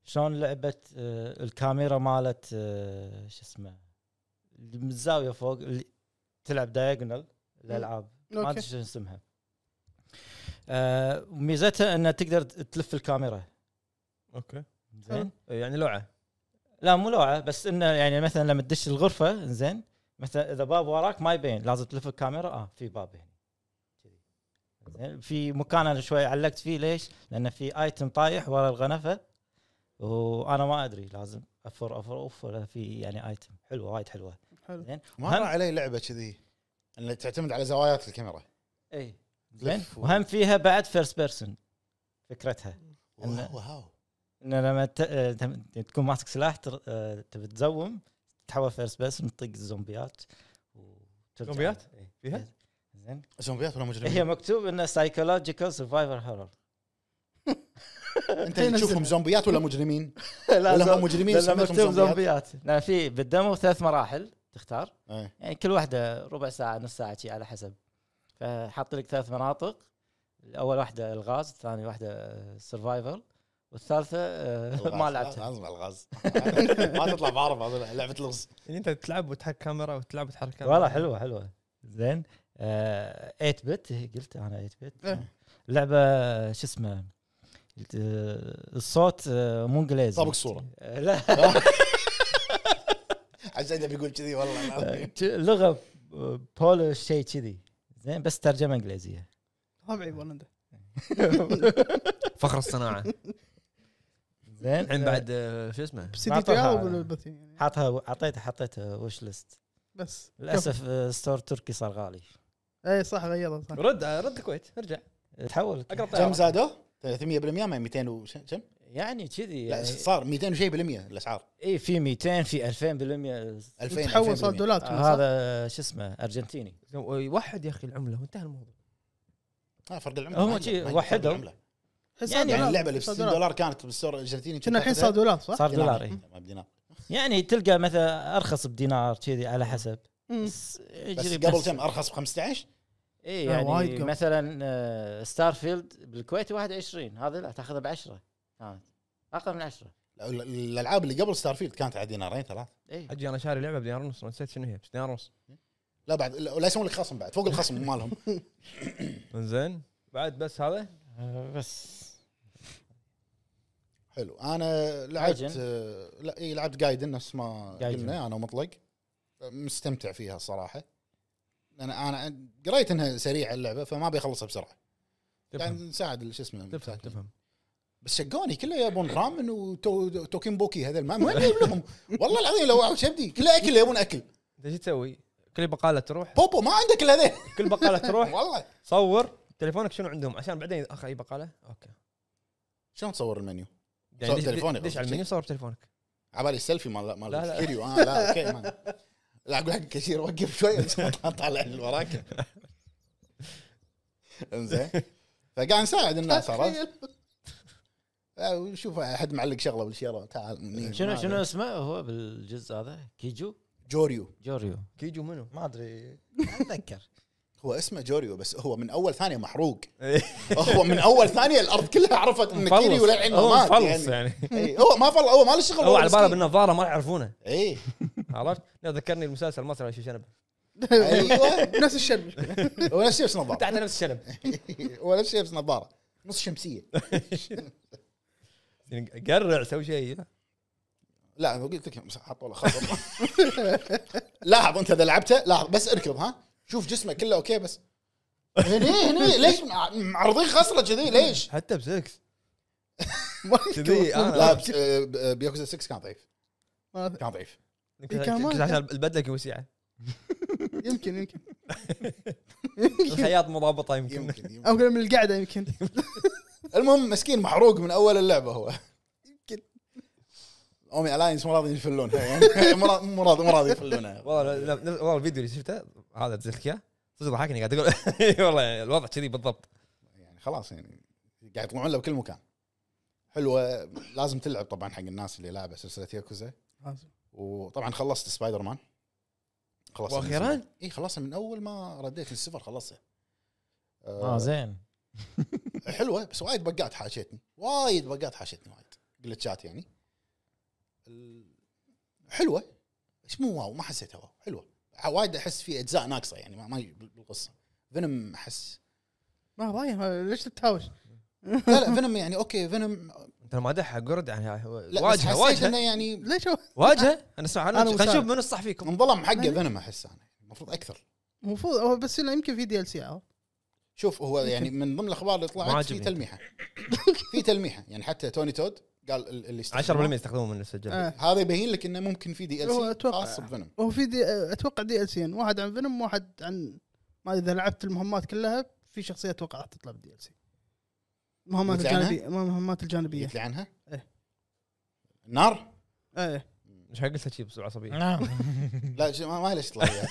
Speaker 3: شلون لعبه آه، الكاميرا مالت آه، شو اسمه من الزاويه فوق اللي تلعب دايجونال الالعاب ما ادري
Speaker 4: اوكي
Speaker 3: شنو اسمها آه، ميزتها انها تقدر تلف الكاميرا
Speaker 1: اوكي
Speaker 3: زين
Speaker 1: يعني لوعه
Speaker 3: لا مو لوعه بس انه يعني مثلا لما تدش الغرفه آه، زين مثلا اذا باب وراك ما يبين لازم تلف الكاميرا اه في باب هنا زين، في مكان انا شوي علقت فيه ليش؟ لان في ايتم طايح ورا الغنفه وانا ما ادري لازم افر افر افر في يعني ايتم حلوه وايد حلوه
Speaker 4: حلو
Speaker 3: زين
Speaker 2: ما
Speaker 3: وهم-
Speaker 2: مر علي لعبه كذي اللي تعتمد على زوايات الكاميرا
Speaker 3: اي زين
Speaker 2: لف و-
Speaker 3: إيه، وهم فيها بعد فيرست بيرسون فكرتها
Speaker 2: واو واو
Speaker 3: ان لما ت- آه، تم- تكون ماسك سلاح تر- آه، تبي تزوم تتحول فيرست بيرسون تطق الزومبيات وترجع.
Speaker 1: زومبيات؟
Speaker 3: إي.
Speaker 1: فيها؟
Speaker 3: زين
Speaker 2: زومبيات ولا
Speaker 3: هي
Speaker 2: مجرمين؟
Speaker 3: مكتوب انه سايكولوجيكال سايفايفر <laughs> هورر
Speaker 2: انت <laughs> اللي تشوفهم زومبيات ولا <laughs> مجرمين؟ ولا هم مجرمين
Speaker 3: لما
Speaker 2: سميتهم <laughs>
Speaker 3: مكتوب
Speaker 2: زومبيات؟
Speaker 3: زومبيات لان في بالدمو ثلاث مراحل تختار
Speaker 2: إيه.
Speaker 3: يعني كل واحده ربع ساعه نص ساعه شي على حسب فحط لك ثلاث مناطق اول واحده الغاز الثانيه واحده سرفايفل والثالثه آه، <laughs> ما
Speaker 2: الغاز. <laughs>
Speaker 3: لعبتها
Speaker 2: لازم الغاز ما تطلع بعرف هذول لعبه لغز
Speaker 1: يعني انت تلعب وتحرك كاميرا وتلعب وتحرك كاميرا
Speaker 3: والله حلوه حلوه زين آه 8 بت هي قلت انا 8 بت
Speaker 4: إيه.
Speaker 3: لعبه شو اسمه قلت، آه، الصوت آه، مو انجليزي
Speaker 2: طابق صورة.
Speaker 3: آه، لا
Speaker 2: <laughs> عشان بيقول كذي والله
Speaker 4: طيب.
Speaker 2: العظيم.
Speaker 3: لغه آه، بولش شيء كذي زين بس ترجمه انجليزيه
Speaker 4: طبيعي بولندا
Speaker 1: <laughs>
Speaker 3: <laughs>
Speaker 1: فخر الصناعه
Speaker 3: زين
Speaker 1: الحين بعد آه، شو اسمه
Speaker 4: بسي
Speaker 3: ما
Speaker 4: دي
Speaker 3: طلع.
Speaker 4: تي وبالبث يعني
Speaker 3: آه، حاطها اعطيته حطيته وش ليست
Speaker 4: بس
Speaker 3: للاسف آه، ستور تركي صار غالي
Speaker 4: اي صح غيرها صح
Speaker 1: رد آه، رد الكويت ارجع
Speaker 3: تحول
Speaker 1: اقرا
Speaker 2: كم
Speaker 1: طيارة.
Speaker 2: زادوا؟ 300% ما 200 وش- كم؟
Speaker 3: يعني كذي
Speaker 2: لا
Speaker 3: يعني
Speaker 2: صار 200 وشيء بالمية الاسعار
Speaker 3: اي في 200 في 2000%
Speaker 2: 2000
Speaker 4: تحول صار
Speaker 2: 2000%.
Speaker 4: دولار
Speaker 3: آه، هذا شو اسمه ارجنتيني
Speaker 1: وحد يا اخي العمله وانتهى الموضوع
Speaker 2: اه فرق العمله
Speaker 3: هم
Speaker 2: ما عندك-
Speaker 3: شي
Speaker 2: ما عندك فرق
Speaker 3: وحدهم.
Speaker 2: العملة.
Speaker 3: يعني
Speaker 2: يعني اللعبه اللي ب 60 دولار كانت بالسوق الارجنتيني
Speaker 4: كنا الحين صار دولار
Speaker 2: <laughs>
Speaker 4: صح؟
Speaker 3: صار دولار إيه. إي.
Speaker 2: ما بدينار
Speaker 3: يعني تلقى مثلا ارخص بدينار كذي على حسب بس
Speaker 2: بس
Speaker 3: يجري
Speaker 2: قبل كم ارخص ب 15
Speaker 3: اي
Speaker 4: لا، وايد
Speaker 3: يعني
Speaker 4: قبل.
Speaker 3: مثلا آه، ستار فيلد بالكويت 21 هذا لا تاخذها ب 10 كانت اقل من 10
Speaker 2: لا، ال- الالعاب اللي قبل ستار فيلد كانت على دينارين ثلاث
Speaker 3: اي
Speaker 1: اجي انا شاري لعبه بدينار ونص نسيت شنو هي بس دينار ونص
Speaker 2: لا بعد لا لا يسوون لك خصم بعد فوق الخصم مالهم
Speaker 1: زين بعد بس هذا
Speaker 3: آه، بس
Speaker 2: حلو انا لعبت
Speaker 3: Gaiden.
Speaker 2: آه، لا اي لعبت جايدن نفس ما
Speaker 3: Gaiden.
Speaker 2: قلنا انا ومطلق مستمتع فيها الصراحه انا انا قريت انها سريعه اللعبه فما ابي اخلصها بسرعه يعني
Speaker 1: تفهم
Speaker 2: نساعد شو اسمه
Speaker 1: تفهم
Speaker 2: مساكين.
Speaker 1: تفهم
Speaker 2: بس شقوني كله يبون رامن وتوكين بوكي هذول
Speaker 1: <laughs>
Speaker 2: ما ما نجيب لهم والله العظيم لو واحد شبدي كله اكل يبون اكل
Speaker 1: انت شو تسوي؟ كل بقاله تروح
Speaker 2: بوبو ما عندك الا
Speaker 1: <laughs>
Speaker 2: هذين
Speaker 1: كل بقاله
Speaker 2: <laughs>
Speaker 1: تروح
Speaker 2: والله
Speaker 1: صور تليفونك شنو عندهم عشان بعدين اخ اي بقاله اوكي
Speaker 2: شلون تصور المنيو؟
Speaker 1: يعني
Speaker 2: صور
Speaker 1: دش-
Speaker 2: تليفونك
Speaker 1: دش على المنيو صور تليفونك
Speaker 2: على بالي السيلفي مال مال
Speaker 1: لا، لا.
Speaker 2: كيريو اه لا اوكي ما- لا اقول حق كثير وقف شوي طالع اللي وراك انزين فقاعد نساعد الناس عرفت؟ آه، وشوف احد معلق شغله بالشيره تعال منين؟
Speaker 3: شنو
Speaker 2: إيه، ما
Speaker 3: شنو
Speaker 2: أدري.
Speaker 3: اسمه هو بالجزء هذا كيجو
Speaker 2: جوريو
Speaker 3: جوريو
Speaker 1: كيجو منو؟
Speaker 2: <laughs>
Speaker 3: ما ادري اتذكر
Speaker 2: هو اسمه جوريو بس هو من اول ثانيه محروق هو من اول ثانيه الارض كلها عرفت ان
Speaker 1: إيه. مفلص.
Speaker 2: كيريو للحين ما
Speaker 1: هو
Speaker 2: مات
Speaker 1: مفلص
Speaker 2: يعني
Speaker 1: يعني
Speaker 2: <laughs> إي، هو ما فل هو ما له شغل
Speaker 1: هو على باله
Speaker 2: مسكين. إيه،
Speaker 1: بالنظاره ما يعرفونه
Speaker 2: اي
Speaker 1: عرفت؟ <laughs> لا ذكرني المسلسل المصري شو شنب <laughs>
Speaker 2: ايوه
Speaker 4: نفس
Speaker 2: <laughs>
Speaker 4: الشب
Speaker 2: ولا شيء بس
Speaker 1: <laughs>
Speaker 2: نظاره
Speaker 1: تحت نفس الشنب
Speaker 2: ولا شيء بس نظاره نص شمسيه
Speaker 1: يعني قرع سوي شيء
Speaker 2: لا انا قلت لك حطوا له خبر <laughs> لاحظ انت اذا لعبته لاحظ بس اركض ها شوف جسمه كله اوكي بس هني هني ليش مع- معرضين خصله كذي ليش؟
Speaker 1: حتى بسكس
Speaker 4: ما
Speaker 1: كذي
Speaker 4: يذكر.
Speaker 2: <laughs> لا
Speaker 1: انا
Speaker 2: بس- آه، ب- بيوكوزا 6 كان ضعيف
Speaker 4: ما-
Speaker 2: كان ضعيف إيه،
Speaker 1: يمكن
Speaker 4: كمان.
Speaker 1: يمكن عشان البدله كي
Speaker 2: <laughs>
Speaker 1: وسيعه
Speaker 4: يمكن يمكن
Speaker 1: الخياط مضابطه يمكن
Speaker 2: يمكن يمكن.
Speaker 4: او أقول من القعده يمكن
Speaker 2: المهم مسكين محروق من اول اللعبه هو يمكن اومي الاينس مو راضي يفلونها <laughs> يعني مو راضي- مو راضي مو راضي يفلونها
Speaker 1: والله لا- لا- والله الفيديو اللي شفته هذا تذكره صدق ضحكني قاعد اقول <laughs> والله الوضع كذي بالضبط
Speaker 2: يعني خلاص يعني قاعد يطلعون له بكل مكان حلوه لازم تلعب طبعا حق الناس اللي لعبه سلسله ياكوزا وطبعا خلصت سبايدر مان خلصت
Speaker 1: وأخيراً؟
Speaker 2: اي خلصت من اول ما رديت من السفر خلصتها آه.
Speaker 3: اه زين
Speaker 2: حلوه بس وايد بقات حاشتني وايد بقات حاشتني وايد جلتشات يعني ال- حلوه بس مو واو ما حسيتها واو حلوه ع- وايد احس في اجزاء ناقصه يعني ما, ما ي- بالقصه فينوم احس
Speaker 4: ما رايح ليش تتهاوش؟
Speaker 2: لا لا فينوم يعني اوكي فينوم
Speaker 1: انت ما دحها قرد يعني
Speaker 2: لا بس
Speaker 1: واجهه
Speaker 2: حسيت انه
Speaker 1: واجهه
Speaker 2: يعني
Speaker 4: ليش هو
Speaker 1: واجهه انا اسمع
Speaker 4: أنا
Speaker 1: خلينا
Speaker 4: وسام.
Speaker 1: نشوف من الصح فيكم
Speaker 2: انظلم حقه
Speaker 4: لا.
Speaker 2: فينوم احس انا المفروض اكثر
Speaker 4: آه. المفروض هو بس إنه يمكن في دي ال سي
Speaker 2: شوف هو يعني من ضمن الاخبار اللي
Speaker 1: ما
Speaker 2: طلعت في
Speaker 1: عجبني.
Speaker 2: تلميحه في تلميحه يعني حتى توني تود قال ال- اللي
Speaker 1: 10%
Speaker 2: يستخدموه-
Speaker 1: يستخدمون من السجل
Speaker 4: آه.
Speaker 2: هذا يبين لك انه ممكن في دي
Speaker 4: هو
Speaker 2: ال سي
Speaker 4: أتوقع.
Speaker 2: خاص بفينوم
Speaker 4: وهو في دي اتوقع دي ال سين واحد عن فينوم واحد عن ما أدري اذا لعبت المهمات كلها في شخصيه اتوقع راح تطلع بدي ال سي المهمات
Speaker 2: يطلع عنها؟
Speaker 4: الجانبيه المهمات الجانبيه
Speaker 2: قلت لي عنها
Speaker 4: إيه.
Speaker 2: نار
Speaker 4: ايه
Speaker 1: مش قلت شيء بسرعه
Speaker 2: إيه.
Speaker 1: عصبيه
Speaker 2: <laughs>
Speaker 3: نعم
Speaker 2: لا شي- ما ما ليش تطلع وياك.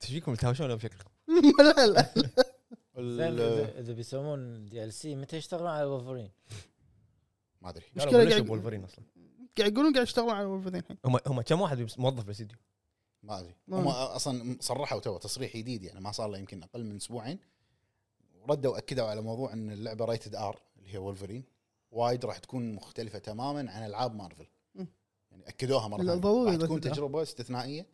Speaker 1: ايش فيكم تهاوشون ولا بشكل
Speaker 4: <laughs> لا لا
Speaker 3: زين،
Speaker 2: ال-
Speaker 3: اذا إذا بيسوون دي ال سي متى يشتغلون على وولفرين؟
Speaker 2: ما ادري
Speaker 4: مشكلة
Speaker 1: مشكله
Speaker 4: قاعد-
Speaker 1: قاعد وولفرين اصلا
Speaker 4: قاعد يقولون قاعد يشتغلون على وولفرين الحين
Speaker 1: هم هم كم واحد بس- موظف بالاستديو
Speaker 2: ما ادري
Speaker 4: ما
Speaker 2: هم
Speaker 4: أدري.
Speaker 2: اصلا صرحوا تو تصريح جديد يعني ما صار له يمكن اقل من اسبوعين وردوا اكدوا على موضوع ان اللعبه ريتد ار اللي هي وولفرين وايد راح تكون مختلفه تماما عن العاب مارفل
Speaker 4: مم.
Speaker 2: يعني اكدوها مره
Speaker 4: لا،
Speaker 2: ثانيه
Speaker 4: ضروري
Speaker 2: راح تكون
Speaker 4: ريتد آر.
Speaker 2: تجربه استثنائيه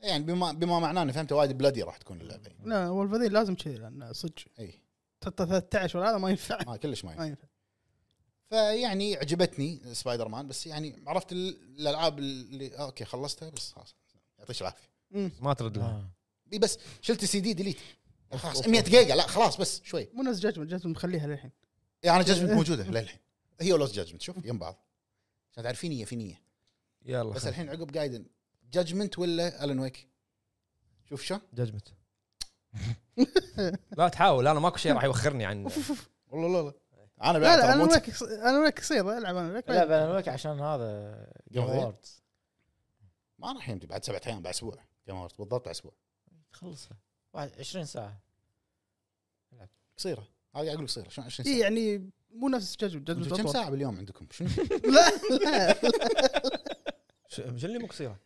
Speaker 2: يعني بما بما معناه اني فهمت وايد بلادي راح تكون اللعبه يعني.
Speaker 4: لا وولفرين لازم كذي لان صدق
Speaker 2: اي
Speaker 4: تحطه 13 ولا هذا ما ينفع
Speaker 2: ما كلش ما ينفع.
Speaker 4: ما ينفع
Speaker 2: فيعني عجبتني سبايدر مان بس يعني عرفت ال- الالعاب اللي اوكي خلصتها بس خلاص يعطيك العافيه
Speaker 4: أمم.
Speaker 1: ما ترد لها
Speaker 3: آه.
Speaker 2: إي بس شلت السي دي ديليت خلاص 100 جيجا لا خلاص بس شوي
Speaker 4: مو نفس جاجمنت جاجمنت مخليها للحين
Speaker 2: يعني
Speaker 4: إيه.
Speaker 2: انا جاجمنت موجوده للحين هي ولوس جاجمنت شوف يم بعض عشان تعرفين هي في نيه
Speaker 1: يلا
Speaker 2: بس
Speaker 1: بس
Speaker 2: الحين عقب قايدن جاجمنت ولا الن ويك شوف شو
Speaker 1: ججمت لا تحاول انا ماكو شيء راح يوخرني عن
Speaker 2: والله لا لا انا
Speaker 4: لا
Speaker 2: بعد
Speaker 4: لا
Speaker 2: ترى
Speaker 4: انا
Speaker 2: مو-
Speaker 4: وياك انا وياك قصير العب انا وياك
Speaker 3: لا بأنا ويك عشان هذا جيم
Speaker 2: Game of the Year.
Speaker 3: اووردز
Speaker 2: ما راح يمدي بعد سبعة ايام بعد اسبوع كم هورت بالضبط بعد اسبوع
Speaker 3: خلصها واحد- 20 ساعه
Speaker 2: قصيره هذه اقول قصيره شلون 20
Speaker 4: إيه
Speaker 2: ساعه
Speaker 4: يعني مو نفس جاجمنت جاجمنت
Speaker 2: أنتوا كم
Speaker 4: أطول.
Speaker 2: ساعه باليوم عندكم شنو
Speaker 4: <laughs>
Speaker 2: <laughs>
Speaker 4: لا لا
Speaker 1: ش- شو اللي مو قصيره؟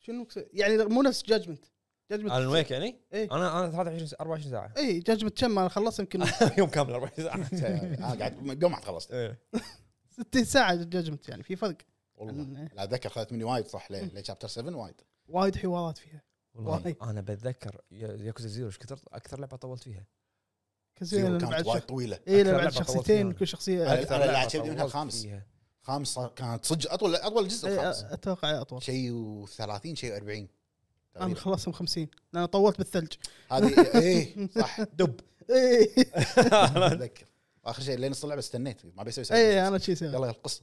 Speaker 4: شنو قصير؟ يعني مو نفس جاجمنت جاجمنت
Speaker 1: الان ويك يعني؟
Speaker 4: إيه.
Speaker 1: انا انا 23 ساعة- 24
Speaker 4: <laughs>
Speaker 1: ساعه
Speaker 4: اي جاجمنت إيه، كم انا
Speaker 2: <laughs>
Speaker 4: خلصت يمكن
Speaker 1: يوم كامل 24 <laughs> ساعه
Speaker 2: انا قاعد قمعت خلصت
Speaker 1: إيه.
Speaker 4: 60 ساعه جاجمنت يعني في فرق
Speaker 2: والله لا اتذكر خذت مني وايد صح ليه؟ ليه شابتر 7 وايد
Speaker 4: وايد حوارات فيها
Speaker 1: والله
Speaker 4: وايد.
Speaker 1: انا بتذكر ياكوزا زيرو ايش كثر اكثر لعبه طولت فيها
Speaker 4: كازويا
Speaker 2: زيرو
Speaker 4: لأن بعد
Speaker 2: كانت وايد
Speaker 4: شخ...
Speaker 2: طويله
Speaker 4: اي
Speaker 1: أكثر
Speaker 4: لأن بعد
Speaker 1: لعبة طولت
Speaker 4: شخصيتين
Speaker 1: فيها.
Speaker 4: كل شخصيه
Speaker 2: أنا-
Speaker 1: أكثر
Speaker 2: أنا
Speaker 1: لعبة
Speaker 2: لعبت شيء منها
Speaker 1: طولت
Speaker 2: الخامس.
Speaker 1: فيها.
Speaker 2: خامس صار- كانت صدق اطول اطول جزء
Speaker 4: إيه،
Speaker 2: الخامس
Speaker 4: أ- اتوقع اطول
Speaker 2: شيء و30 شيء 40
Speaker 4: انا خلصتهم 50 لان طولت بالثلج <laughs> إيه،
Speaker 2: هذه ايه صح دب
Speaker 4: اي <laughs>
Speaker 2: اتذكر اخر شيء لين نص اللعبه استنيت ما بيسوي سايد
Speaker 4: اي
Speaker 2: كويست.
Speaker 4: انا إيه، شي سويت
Speaker 2: يلا القصه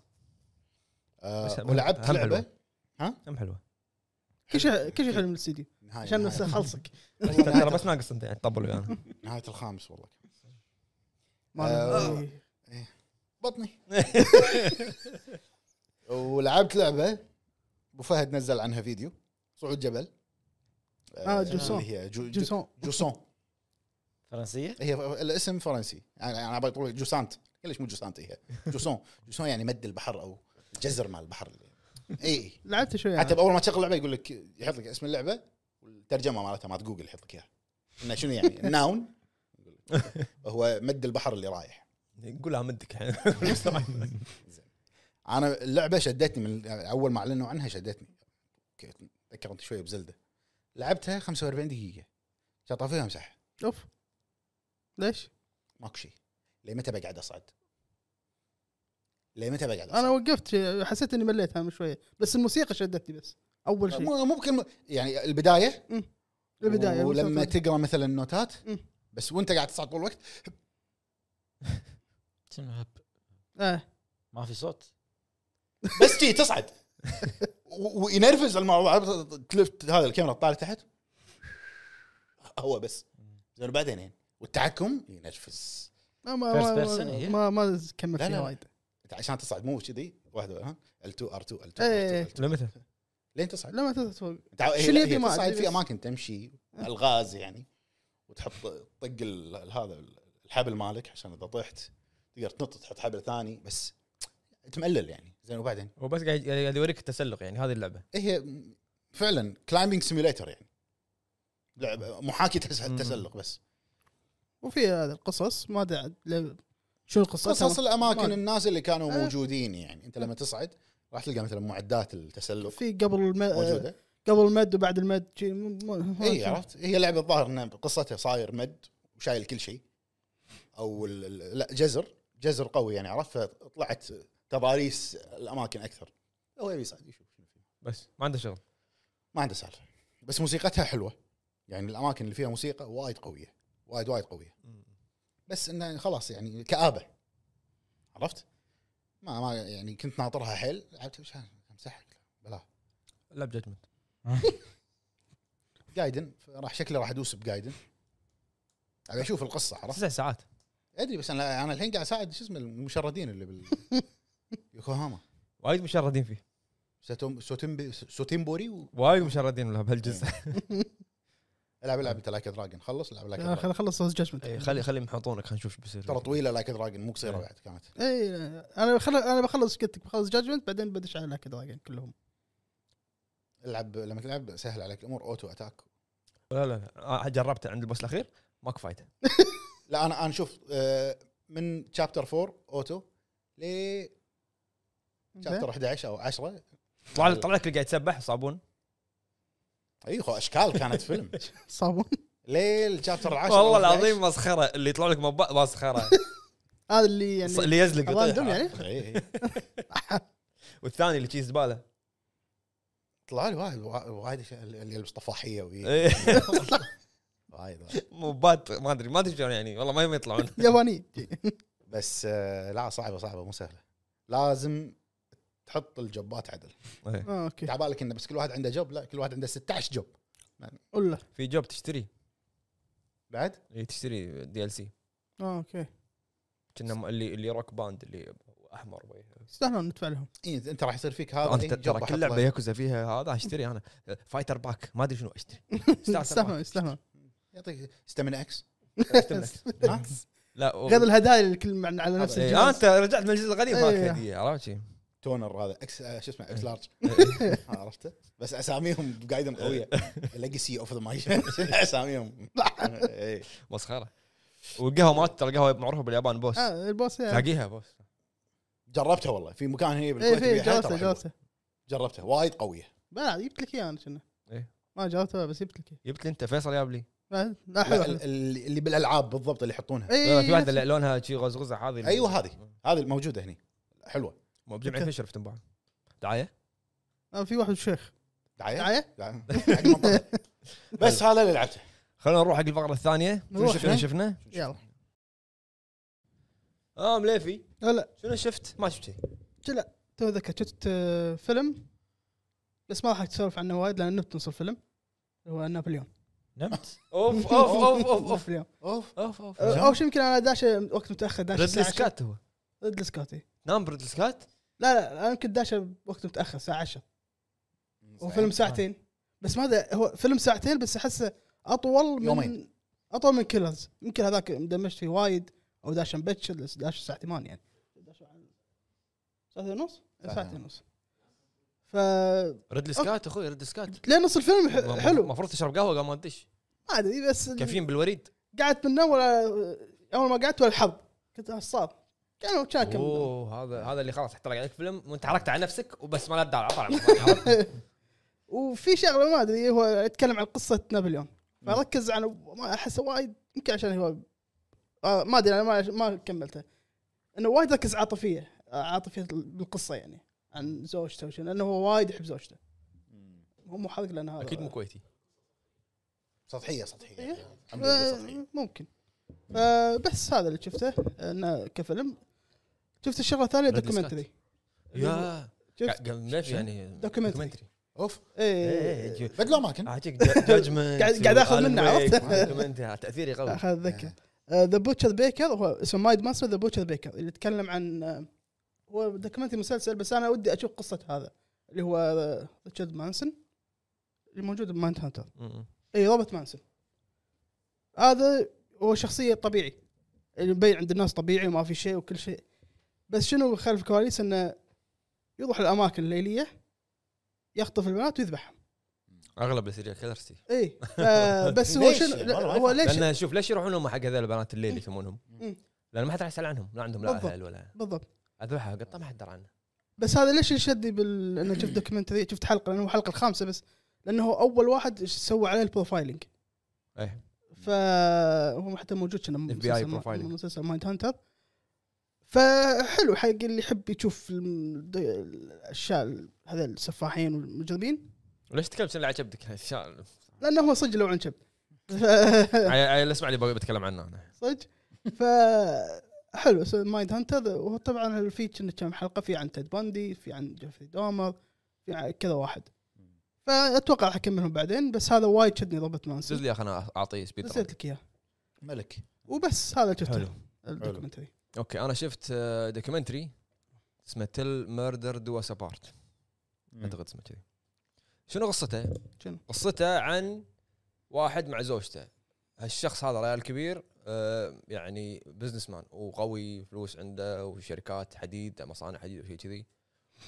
Speaker 2: آه،
Speaker 1: بس-
Speaker 2: ولعبت
Speaker 1: هم
Speaker 2: لعبه
Speaker 1: حلوة.
Speaker 2: ها؟
Speaker 1: هم حلوه
Speaker 4: كل شيء كل شيء حلو من السي دي
Speaker 2: نهاية-
Speaker 4: عشان
Speaker 2: نهاية- <laughs>
Speaker 4: بس اخلصك
Speaker 1: بس ترى بس ناقص انت يعني <laughs> تطبل ويانا
Speaker 2: نهايه الخامس والله
Speaker 4: ما
Speaker 2: آه.
Speaker 4: أنا- <laughs>
Speaker 2: بطني ولعبت لعبه ابو فهد نزل عنها فيديو صعود جبل
Speaker 4: آه، جوسون.
Speaker 2: اللي هي جو- جو-
Speaker 4: جوسون
Speaker 2: جوسون
Speaker 3: فرنسيه؟
Speaker 2: هي الاسم فرنسي يعني انا بقول جوسانت ليش مو جوسانت هي جوسون جوسون يعني مد البحر او الجزر مال البحر إيه. اللي- اي إي.
Speaker 4: لعبت <laughs> شوي
Speaker 2: حتى
Speaker 4: أنا.
Speaker 2: اول ما تشغل اللعبه يقول لك يحط لك اسم اللعبه والترجمه مالتها مالت جوجل يحط لك اياها انه شنو
Speaker 4: <laughs>
Speaker 2: يعني ناون هو مد البحر اللي رايح
Speaker 1: قولها مدك يعني <laughs>
Speaker 2: انا اللعبه شدتني من اول ما اعلنوا عنها شدتني اوكي تذكرت شويه بزلده لعبتها 45 دقيقه شطف فيها مساحه
Speaker 4: اوف ليش؟
Speaker 2: ماكو شيء ليه متى بقعد اصعد؟ ليه متى بقعد اصعد؟
Speaker 4: انا وقفت شي- حسيت اني مليت انا من شويه بس الموسيقى شدتني بس اول شيء
Speaker 2: مو ممكن يعني البدايه
Speaker 4: البدايه
Speaker 2: ولما
Speaker 4: الموسيقى.
Speaker 2: تقرا مثلا النوتات
Speaker 4: مم.
Speaker 2: بس وانت قاعد تصعد طول الوقت
Speaker 3: شنو هب؟
Speaker 4: آه.
Speaker 3: ما في صوت
Speaker 2: بس تي تصعد و- وينرفز الموضوع تلفت هذا الكاميرا تطالع تحت هو بس زين بعدين يعني والتحكم ينرفز
Speaker 4: ما ما
Speaker 3: First
Speaker 4: ما-
Speaker 3: person إيه؟ هي؟
Speaker 4: ما ما كملت
Speaker 2: لا، لا،
Speaker 4: فيها
Speaker 2: لا.
Speaker 4: وايد
Speaker 2: انت عشان تصعد مو كذي واحده ها L2 R2 L2
Speaker 4: إيه.
Speaker 2: R2
Speaker 1: لمتى؟
Speaker 2: لين تصعد
Speaker 4: لما تتفوق
Speaker 2: انت عا- هي-
Speaker 4: شنو
Speaker 2: لا،
Speaker 4: يدي
Speaker 2: هي
Speaker 4: ما
Speaker 2: تصعد
Speaker 4: أدري
Speaker 2: في
Speaker 4: بس.
Speaker 2: اماكن تمشي الغاز يعني وتحط طق ال- ال- هذا الحبل مالك عشان اذا طحت تقدر تنط تحط حبل ثاني بس تملل يعني زين وبعدين
Speaker 1: هو بس قاعد قاعد يوريك التسلق يعني هذه اللعبه
Speaker 2: إيه هي فعلا كلايمبنج سيميليتر يعني لعبه محاكي تس-
Speaker 1: مم.
Speaker 2: التسلق بس
Speaker 4: وفي هذا القصص ما ادري عاد ل- شنو القصه
Speaker 2: قصص الاماكن
Speaker 4: ما-
Speaker 2: الناس اللي كانوا
Speaker 4: آه.
Speaker 2: موجودين يعني انت لما تصعد راح تلقى مثلا معدات التسلق
Speaker 4: في آه، قبل الم...
Speaker 2: موجوده
Speaker 4: قبل المد وبعد المد شي م- م- ما
Speaker 1: إيه،
Speaker 2: اي
Speaker 4: شنو.
Speaker 2: إيه، عرفت هي لعبه الظاهر انها قصتها صاير مد وشايل كل شيء او ال- ال- لا جزر جزر قوي يعني عرفت فطلعت تضاريس الاماكن اكثر هو يبي يصعد يشوف شنو فيه.
Speaker 1: بس ما عنده شغل
Speaker 2: ما عنده سالفه بس موسيقتها حلوه يعني الاماكن اللي فيها موسيقى وايد قويه وايد وايد قويه بس انه خلاص يعني كابه عرفت؟ ما ما يعني كنت ناطرها حيل لعبت وش هذا؟ امسحك بلا
Speaker 1: لعب جادجمنت
Speaker 2: جايدن راح شكله راح ادوس بجايدن ابي اشوف القصه عرفت؟
Speaker 1: تسع ساعات
Speaker 2: ادري بس انا انا الحين قاعد اساعد شو اسمه المشردين اللي بال <laughs> يوكوهاما
Speaker 1: وايد مشردين فيه
Speaker 2: سوتم- سوتمبي سوتيمبوري و...
Speaker 1: وايد مشردين له بهالجزء
Speaker 2: العب العب انت لايك دراجون خلص العب لايك
Speaker 4: خل
Speaker 2: دراجون
Speaker 4: اخلص سوس
Speaker 1: <laughs>
Speaker 4: جاجمنت
Speaker 1: إيه، خلي خليهم يحطونك خلينا نشوف ايش بيصير
Speaker 2: ترى طويله لايك دراجون مو قصيره
Speaker 1: إيه.
Speaker 2: بعد كانت
Speaker 4: اي انا بخل... انا بخلص قلت بخلص جاجمنت بعدين بدش على لاك دراجون كلهم
Speaker 2: العب لما تلعب سهل عليك الامور اوتو اتاك
Speaker 1: لا لا لا آه، جربته عند البوس الاخير ماكو فايده
Speaker 2: لا انا انا شوف آه، من شابتر 4 اوتو ل
Speaker 4: إيه،
Speaker 2: شابتر 11 او 10
Speaker 1: طلع
Speaker 2: طيب.
Speaker 1: لك طلع لك اللي قاعد يتسبح صابون
Speaker 2: اي خو اشكال كانت فيلم
Speaker 4: صابون <laughs>
Speaker 2: ليل شابتر 10
Speaker 1: والله العظيم مسخره اللي يطلع لك مب- <laughs> مسخره
Speaker 4: هذا اللي
Speaker 1: ص-
Speaker 4: <laughs> يعني
Speaker 1: اللي يزلق
Speaker 4: راندوم
Speaker 1: يطيح
Speaker 4: يعني
Speaker 1: والثاني اللي شي زباله
Speaker 2: طلع لي واحد وا- وايد ش- اللي يلبس طفاحيه وي
Speaker 1: إيه. <laughs>
Speaker 2: وايد وايد.
Speaker 1: موبات ما ادري ما ادري شلون يعني والله ما يبي يطلعون <laughs>
Speaker 4: ياباني
Speaker 2: بس آه، لا صعبه صعبه مو سهله لازم تحط الجوبات عدل
Speaker 1: <laughs> إيه.
Speaker 4: آه، اوكي
Speaker 2: عبالك انه بس كل واحد عنده جوب لا كل واحد عنده 16 جوب
Speaker 4: قول له
Speaker 1: في جوب تشتري
Speaker 2: بعد
Speaker 1: إيه، تشتري دي ال سي
Speaker 4: اه اوكي
Speaker 1: كنا م- اللي اللي روك باند اللي احمر وي.
Speaker 4: يستاهلون ندفع لهم
Speaker 2: إيه انت راح يصير فيك
Speaker 1: انا
Speaker 2: هذا إيه،
Speaker 1: ت-
Speaker 2: جوب
Speaker 1: ترى
Speaker 2: أحطه.
Speaker 1: كل لعبه ياكوزا فيها هذا اشتري انا فايتر باك ما ادري شنو اشتري
Speaker 4: <laughs>
Speaker 1: ستارتر
Speaker 4: يستاهلون
Speaker 1: باك.
Speaker 4: يستاهلون
Speaker 2: يعطيك ستامين
Speaker 1: <laughs>
Speaker 2: اكس
Speaker 1: اشتري.
Speaker 2: <laughs> ها؟
Speaker 1: لا و-
Speaker 4: <laughs> غير الهدايا اللي كل من على نفس
Speaker 1: إيه،
Speaker 4: الجهاز
Speaker 1: آه، انت رجعت من الجزء القديم
Speaker 4: إيه.
Speaker 1: مالك هديه عرفت شي؟
Speaker 2: تونر هذا اكس آه، شو اسمه اكس
Speaker 1: إيه.
Speaker 2: لارج <laughs> عرفته بس اساميهم قايدن قويه ليجسي اوف ذا مايش <laughs> اساميهم إيه.
Speaker 1: مسخره والقهوه مالت ترى القهوه معروفه باليابان بوس
Speaker 4: آه، البوس يعني.
Speaker 1: تلاقيها بوس
Speaker 2: جربتها والله في مكان هنا
Speaker 4: اي
Speaker 2: بالكويت
Speaker 4: إيه، في
Speaker 2: يبيعها،
Speaker 4: جوسه
Speaker 2: ترى حلوة.
Speaker 4: جوسه
Speaker 2: جربتها وايد قويه
Speaker 4: بلا جبت لك اياه انا كنا
Speaker 1: إيه.
Speaker 4: ما جاوبته بس جبت لك اياه
Speaker 1: جبت لي انت فيصل جاب لي
Speaker 4: بعد؟ لا
Speaker 2: لا،
Speaker 4: حلو إيه،
Speaker 2: ال- ال- اللي بالالعاب بالضبط اللي يحطونها
Speaker 1: لا،
Speaker 4: اي
Speaker 1: في واحده اللي لونها شي غزغزه هذه اللي-
Speaker 2: ايوه هذه هذه الموجوده هنا حلوه
Speaker 1: مو بجمعيه فشر في تنباع دعايه
Speaker 4: آه، في واحد شيخ
Speaker 1: إيه؟
Speaker 2: دعايه
Speaker 4: دعايه
Speaker 2: دعاية. <laughs> حق منطقة. بس هذا اللي لعبته
Speaker 1: خلونا نروح حق الفقره الثانيه شنو
Speaker 4: نروح،
Speaker 1: شفنا
Speaker 4: ها؟
Speaker 1: شفنا
Speaker 4: يلا
Speaker 1: اه مليفي
Speaker 4: لا
Speaker 1: شنو شفت ما شفت شيء
Speaker 4: تو ذكر شفت آه، فيلم بس ما راح تسولف عنه وايد لان نمت نص الفيلم هو نابليون
Speaker 3: نمت
Speaker 1: اوف اوف
Speaker 4: <laughs>
Speaker 1: اوف اوف اوف
Speaker 4: نابليون
Speaker 2: اوف
Speaker 1: اوف اوف
Speaker 4: آه، او شيء يمكن انا داش وقت متاخر داش
Speaker 1: ريدلي سكات هو
Speaker 4: ريدلي سكوت إي.
Speaker 1: نام بريدلي سكات
Speaker 4: لا لا انا يمكن داش وقت متاخر الساعه 10 هو
Speaker 2: آه.
Speaker 4: فيلم ساعتين بس ما أدري، هو فيلم ساعتين بس احسه اطول من
Speaker 2: يومين.
Speaker 4: اطول من كيلرز يمكن هذاك مدمجت فيه وايد او داش مبكر بس داش الساعه 8 يعني داش ساعتين ونص
Speaker 2: ساعتين.
Speaker 4: ساعتين ونص ف
Speaker 1: ريدلي سكات اخوي ريدلي سكات
Speaker 4: لين نص الفيلم ح- حلو ما
Speaker 1: المفروض تشرب قهوه قبل ما تدش
Speaker 4: ادري بس
Speaker 1: كافيين بالوريد
Speaker 4: قعدت من اول اول ما قعدت ولا الحظ كنت اعصاب كان كان كم
Speaker 1: اوه هذا هذا اللي خلاص احترق عليك فيلم وانت حركت على نفسك وبس ما لا تدار عطر
Speaker 4: <laughs> وفي شغله ما ادري هو يتكلم عن قصه نابليون فركز على ما احسه وايد يمكن عشان هو آه، ما ادري انا ما ما كملته انه وايد ركز عاطفيه آه، عاطفيه بالقصه يعني عن زوجته وشنو لانه هو وايد يحب زوجته هو مو حرق لان هذا
Speaker 1: اكيد مو كويتي
Speaker 2: سطحيه سطحيه
Speaker 4: إيه.
Speaker 2: الحمد لله سطحية.
Speaker 4: ممكن آه، بس هذا اللي شفته انه كفيلم شفت الشغله الثانيه
Speaker 1: ريدلي سكوت.
Speaker 4: دوكيومنتري
Speaker 1: يا
Speaker 4: شفت
Speaker 1: قا- مليفي يعني
Speaker 4: دوكيومنتري.
Speaker 1: دوكيومنتري.
Speaker 2: اوف
Speaker 4: ايه
Speaker 1: إيه، إيه،
Speaker 2: بدل اماكن
Speaker 1: اعطيك
Speaker 4: <laughs>
Speaker 1: جادجمنت
Speaker 4: قاعد- قاعد آخذ منه، عرفت؟
Speaker 1: <laughs>
Speaker 4: آه.
Speaker 1: تاثيري قوي
Speaker 4: اخذ
Speaker 2: إيه.
Speaker 4: ذكر آه، ذا بوتشر بيكر هو اسمه مايد ماستر ذا بوتشر بيكر اللي يتكلم عن آه، هو دوكيومنتري مسلسل بس انا ودي اشوف قصه هذا اللي هو آه، ريتشارد مانسون اللي موجود بمايند هانتر
Speaker 1: م-م.
Speaker 4: اي روبرت مانسون هذا هو شخصيه طبيعي اللي مبين عند الناس طبيعي وما في شيء وكل شيء بس شنو خلف الكواليس انه يروح الاماكن الليليه يخطف البنات ويذبحهم
Speaker 1: اغلب السيريال كيلرز
Speaker 2: <laughs>
Speaker 4: اي آه، بس هو
Speaker 2: ليش؟
Speaker 4: شنو
Speaker 2: والله ما
Speaker 4: هو ليش
Speaker 1: لان شوف ليش يروحون هم حق هذول البنات الليل يسمونهم؟
Speaker 4: مم.
Speaker 1: لان ما حد راح يسال عنهم لا عندهم لا
Speaker 4: بالضبط.
Speaker 1: اهل ولا
Speaker 4: بالضبط
Speaker 1: اذبحها قطه ما حد درى عنه
Speaker 4: بس هذا ليش اللي شدني بال انه
Speaker 1: <clears throat>
Speaker 4: شفت دوكيومنتري شفت حلقه لانه هو الحلقه الخامسه بس لانه هو اول واحد سوى عليه البروفايلنج
Speaker 1: إيه.
Speaker 4: فهو حتى موجود كنا
Speaker 1: FBI
Speaker 4: مسلسل-
Speaker 1: profiling.
Speaker 4: مسلسل مايند هانتر فحلو حق اللي يحب يشوف الم- د- الاشياء هذا السفاحين والمجرمين
Speaker 1: <laughs> وليش تكلم على كبدك؟ إن شاء الله.
Speaker 4: لانه هو صدق لو عن شب
Speaker 1: <laughs>
Speaker 4: <laughs> ف-
Speaker 1: يعني- يعني اسمع اللي بتكلم عنه انا
Speaker 4: صدق ف حلو مايند هانتر وهو طبعا في كنا كم حلقه في عن تيد باندي في عن جيفري دومر في عن كذا واحد فاتوقع راح اكملهم بعدين بس هذا وايد شدني ضبط
Speaker 1: دز
Speaker 4: مانسون
Speaker 1: لي يا اخي انا اعطيه سبيد رن.
Speaker 4: نسيت لك اياه
Speaker 2: ملك
Speaker 4: وبس هذا
Speaker 3: حلو.
Speaker 4: شفته الدوكيومنتري
Speaker 1: اوكي انا شفت آه، دوكيومنتري اسمه تل ميردر دو اس ابارت اعتقد اسمه كذي شنو قصته؟
Speaker 4: شنو؟
Speaker 1: قصته عن واحد مع زوجته هالشخص هذا ريال كبير آه، يعني بزنس مان وقوي فلوس عنده وشركات حديد مصانع حديد وشيء كذي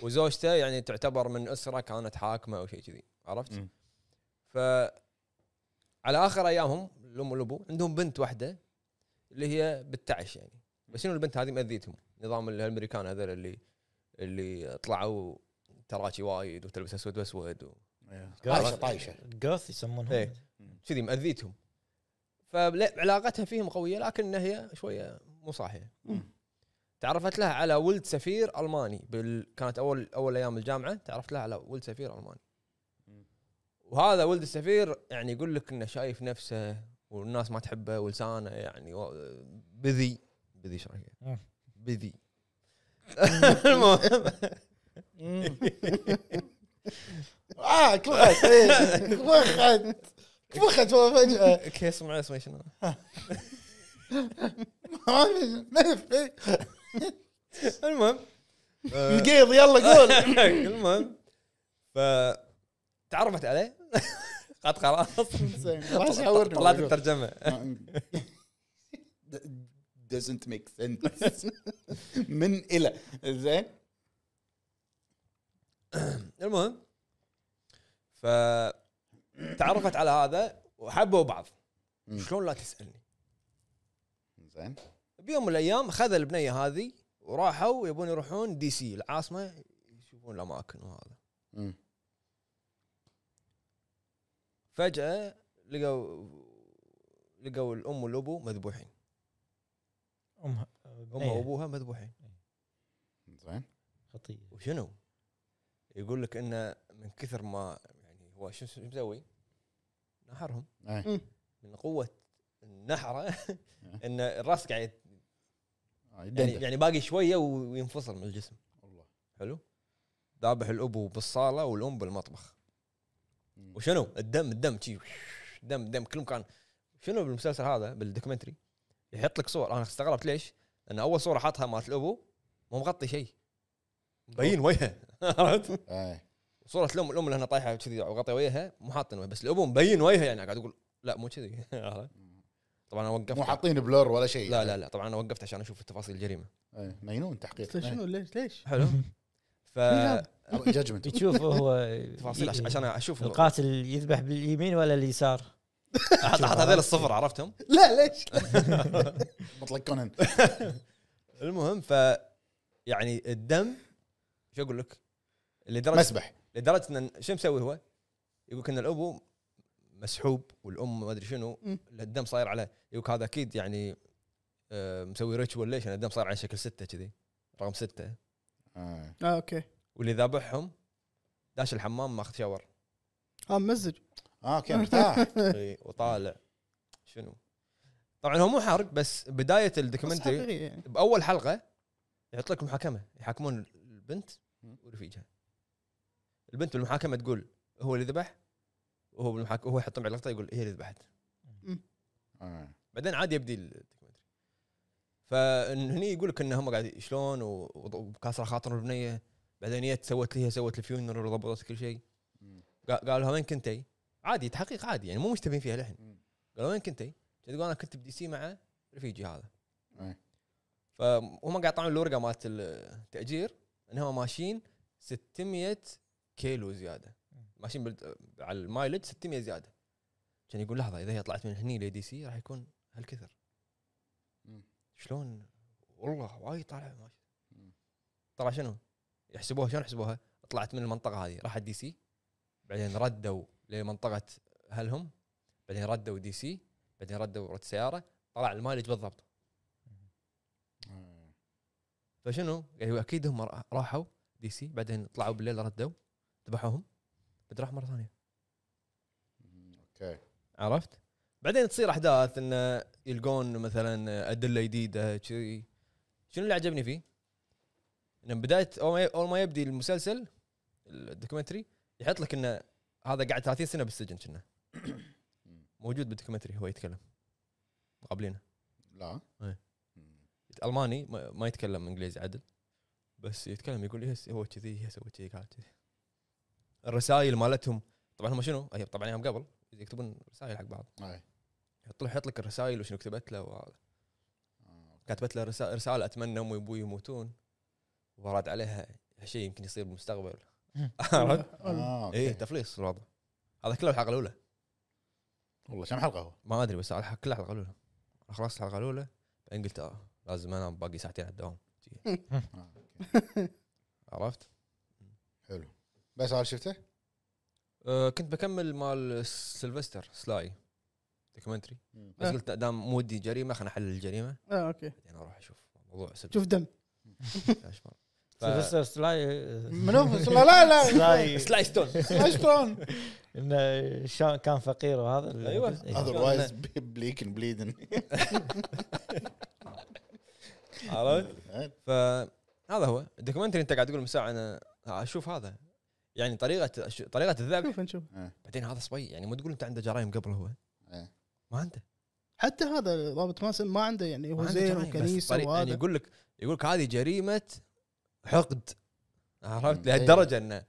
Speaker 1: وزوجته يعني تعتبر من اسره كانت حاكمه او شيء كذي عرفت؟
Speaker 2: مم.
Speaker 1: ف على اخر ايامهم الام والابو عندهم بنت واحده اللي هي بتعش يعني بس شنو البنت هذه مأذيتهم نظام الامريكان هذول اللي اللي طلعوا تراكي وايد وتلبس اسود واسود و...
Speaker 2: إيه.
Speaker 1: طايشة-
Speaker 2: طايشه طايشه
Speaker 3: جوث يسمونهم
Speaker 1: إيه. كذي مأذيتهم فعلاقتها فيهم قويه لكن هي شويه مو صاحيه
Speaker 4: مم.
Speaker 1: تعرفت لها على ولد سفير الماني بال... كانت اول اول ايام الجامعه تعرفت لها على ولد سفير الماني
Speaker 2: مم.
Speaker 1: وهذا ولد السفير يعني يقول لك انه شايف نفسه والناس ما تحبه ولسانه يعني و... بذي بذي ايش
Speaker 3: مم.
Speaker 1: رايك؟ بذي <laughs> المهم
Speaker 2: اه كبخت إيه. كبخت كبخت والله فجاه
Speaker 1: كيس مع اسمه شنو؟
Speaker 2: ما في- ما في
Speaker 1: المهم <laughs> آه،
Speaker 2: القيض يلا <laughs> قول
Speaker 1: <laughs> المهم ف تعرفت عليه <laughs> قد خلاص
Speaker 2: زين، راح
Speaker 1: <laughs>
Speaker 2: يعورني
Speaker 1: طلعت
Speaker 2: <laughs>
Speaker 1: الترجمه
Speaker 2: doesn't make sense <laughs> من الى زين
Speaker 1: المهم ف تعرفت على هذا وحبوا بعض
Speaker 2: مم.
Speaker 1: شلون لا تسالني
Speaker 2: زين
Speaker 1: بيوم من الايام خذ البنيه هذه وراحوا يبون يروحون دي سي العاصمه يشوفون الاماكن وهذا
Speaker 2: مم.
Speaker 1: فجاه لقوا لقوا الام والابو مذبوحين
Speaker 3: امها إيه.
Speaker 1: امها وابوها مذبوحين
Speaker 2: زين
Speaker 3: خطيه
Speaker 1: وشنو؟ يقول لك انه من كثر ما يعني هو شو شو مسوي؟ نحرهم
Speaker 2: إيه.
Speaker 1: من قوه <laughs> النحره ان الراس قاعد يت-
Speaker 2: آه،
Speaker 1: يعني,
Speaker 2: يدندن.
Speaker 1: يعني باقي شويه وينفصل من الجسم
Speaker 2: والله.
Speaker 1: حلو؟ ذابح الابو بالصاله والام بالمطبخ
Speaker 2: مم.
Speaker 1: وشنو؟ الدم الدم شي دم دم كل مكان شنو بالمسلسل هذا بالدوكيومنتري يحط لك صور انا استغربت ليش؟ لان اول صوره حاطها مالت الابو مو مغطي شيء مبين وجهه <laughs> عرفت؟
Speaker 2: إيه.
Speaker 1: صوره الام الام اللي هنا طايحه كذي وغطي وجهها مو حاطين وجه بس الابو مبين وجهه يعني قاعد يقول لا مو كذي <laughs> طبعا انا وقفت
Speaker 2: مو حاطين بلور ولا شيء
Speaker 1: لا لا لا طبعا انا وقفت عشان اشوف تفاصيل الجريمه
Speaker 2: إيه. مجنون تحقيق <laughs>
Speaker 4: بس طيب، شنو
Speaker 1: <laughs>
Speaker 4: ليش ليش؟
Speaker 1: حلو ف
Speaker 2: جاجمنت
Speaker 1: <laughs>
Speaker 3: تشوف هو
Speaker 1: تفاصيل عش- عشان اشوف
Speaker 3: القاتل يذبح باليمين ولا
Speaker 1: <laughs>
Speaker 3: اليسار
Speaker 1: حط حط هذول الصفر عرفتهم
Speaker 4: لا ليش؟
Speaker 2: مطلق <laughs> كونان
Speaker 1: المهم ف يعني الدم شو اقول لك لدرجه
Speaker 2: مسبح
Speaker 1: لدرجه ان شو مسوي هو؟ يقول لك ان الابو مسحوب والام ما ادري شنو
Speaker 4: مم.
Speaker 1: الدم صاير على يقول لك هذا اكيد يعني آه، مسوي ريتشوال ليش؟ لأن الدم صاير على شكل سته كذي رقم سته
Speaker 2: إيه.
Speaker 4: اه اوكي
Speaker 1: واللي ذابحهم داش الحمام ماخذ شاور
Speaker 4: اه ممزج
Speaker 2: اه اوكي <laughs> مرتاح
Speaker 1: إي، وطالع شنو طبعا هو مو حرق بس بدايه
Speaker 4: بس
Speaker 1: الدوكيومنتري
Speaker 4: حقيقي يعني
Speaker 1: باول حلقه يحط لك محاكمه يحاكمون البنت ورفيجها البنت بالمحاكمه تقول هو اللي ذبح وهو بالمحاكمه هو يحطهم على لقطه يقول هي اللي ذبحت
Speaker 2: إيه.
Speaker 1: بعدين عادي يبدي الدوكيومنتري فهني يقول لك ان هم قاعد شلون و- وض- وكاسره خاطر البنيه بعدين جت سوت لي هي سوت الفيونر وضبطت كل شيء
Speaker 2: مم.
Speaker 1: قا- قالوا لها وين كنتي؟ عادي تحقيق عادي يعني مو مشتبهين فيها للحين
Speaker 2: مم.
Speaker 1: قالوا وين كنتي؟ تقول انا كنت بدي سي مع رفيجي هذا
Speaker 2: إيه.
Speaker 1: فهم قاعد يطلعون الورقه مالت التاجير انهم ماشيين 600 كيلو زياده ماشيين بال- على المايلج 600 زياده كان يقول لحظه اذا هي طلعت من هني لدي سي راح يكون هالكثر
Speaker 2: مم.
Speaker 1: شلون والله وايد طالع ماشي
Speaker 2: مم.
Speaker 1: طلع شنو؟ يحسبوها شلون يحسبوها؟ طلعت من المنطقه هذه راحت دي سي بعدين ردوا لمنطقه اهلهم بعدين ردوا دي سي بعدين ردوا رد سياره طلع المايلج بالضبط
Speaker 2: إيه.
Speaker 1: فشنو؟ يعني اكيد هم را- راحوا دي سي بعدين طلعوا بالليل ردوا
Speaker 2: Mm,
Speaker 1: ذبحوهم بعد راحوا مره ثانيه
Speaker 2: اوكي
Speaker 1: عرفت؟ بعدين تصير احداث انه يلقون مثلا ادله جديده شيء شنو اللي عجبني فيه؟ انه من بدايه أول ما- اول ما يبدي المسلسل الدوكيومنتري يحط لك انه هذا قاعد 30 سنه بالسجن كنا موجود بالدوكيومنتري هو يتكلم قابلينه
Speaker 2: لا Mm.
Speaker 1: إيه. الماني ما ما يتكلم انجليزي عدل بس يتكلم يقول يس هو كذي يس هو كذي قاعد كذي الرسائل مالتهم طبعا هم شنو؟ أي- طبعا ايام قبل يكتبون رسائل حق بعض
Speaker 2: إيه.
Speaker 1: يحط له يحط لك الرسائل وشنو كتبت له وهذا
Speaker 2: آه.
Speaker 1: كتبت له رسا- رساله اتمنى امي وابوي يموتون ورد عليها شيء يمكن يصير بالمستقبل <laughs> عرفت؟
Speaker 2: آه،
Speaker 1: ايه
Speaker 2: أوكي.
Speaker 1: تفليص الوضع هذا كله الحلقه الاولى
Speaker 2: والله كم حلقه هو؟
Speaker 1: ما ادري بس الحق كلها الحلقه الاولى خلاص الحلقه الاولى بعدين قلت اه لازم انام باقي ساعتين على الدوام <laughs>
Speaker 2: آه، أوكي.
Speaker 1: عرفت؟
Speaker 2: حلو بس هذا شفته؟
Speaker 1: أه كنت بكمل مال سيلفستر سلاي دوكيومنتري
Speaker 2: مم.
Speaker 1: بس
Speaker 4: آه.
Speaker 1: قلت لا، دام مودي جريمه خلينا نحلل الجريمه
Speaker 4: اه اوكي
Speaker 1: بعدين اروح اشوف موضوع سبت
Speaker 4: شوف دم
Speaker 1: ف-
Speaker 3: سيلفستر سلاي
Speaker 2: منو؟ لا <laughs>
Speaker 3: <laughs>
Speaker 2: لا
Speaker 3: سلاي
Speaker 1: سلاي ستون
Speaker 3: <laughs>
Speaker 2: شلون؟
Speaker 3: انه شلون كان فقير وهذا ال-
Speaker 1: أيوة.
Speaker 3: إيه.
Speaker 2: اذروايز بليكن بليدن
Speaker 1: عرفت؟ فهذا هو الدوكيومنتري انت قاعد تقول من ساعه انا اشوف هذا يعني طريقه أش- طريقه الذبح
Speaker 4: شوف نشوف
Speaker 1: بعدين هذا صبي يعني مو تقول انت عنده جرائم قبل هو
Speaker 2: إيه.
Speaker 1: ما عنده
Speaker 4: حتى هذا ضابط ماسن ما عنده يعني
Speaker 1: ما
Speaker 4: هو
Speaker 1: عنده
Speaker 4: زين
Speaker 1: جرائم، بس
Speaker 4: وكنيسه
Speaker 1: طريق- يعني
Speaker 4: وهذا
Speaker 1: يقول لك يقول لك هذه جريمه حقد عرفت
Speaker 2: مم.
Speaker 1: لهالدرجه انه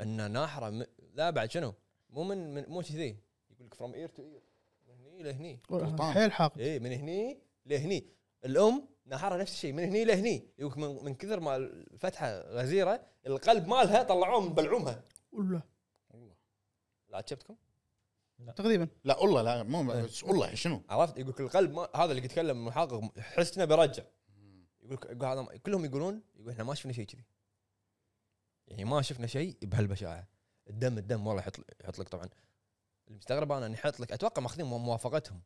Speaker 1: انه ناحره م... لا بعد شنو مو من, من مو كذي يقول لك فروم اير تو اير من هني لهني
Speaker 2: غلطان.
Speaker 4: حيل حاقد
Speaker 1: اي من هني لهني الام ناحرها نفس الشيء من هني لهني يقول من, من كثر ما الفتحه غزيره القلب مالها طلعوه مبلعومها
Speaker 4: والله
Speaker 1: لا عجبتكم
Speaker 4: تقريبا
Speaker 2: لا والله لا مو
Speaker 1: إيه.
Speaker 2: بس والله شنو؟
Speaker 1: عرفت يقول لك القلب ما... هذا اللي يتكلم المحقق حسنا برجع يقول لك- يقول هذا كلهم يقولون يقول احنا ما شفنا شيء كذي يعني ما شفنا شيء بهالبشاعه الدم الدم والله يحط يحط لك طبعا المستغرب انا اني يحط لك اتوقع ماخذين مو- موافقتهم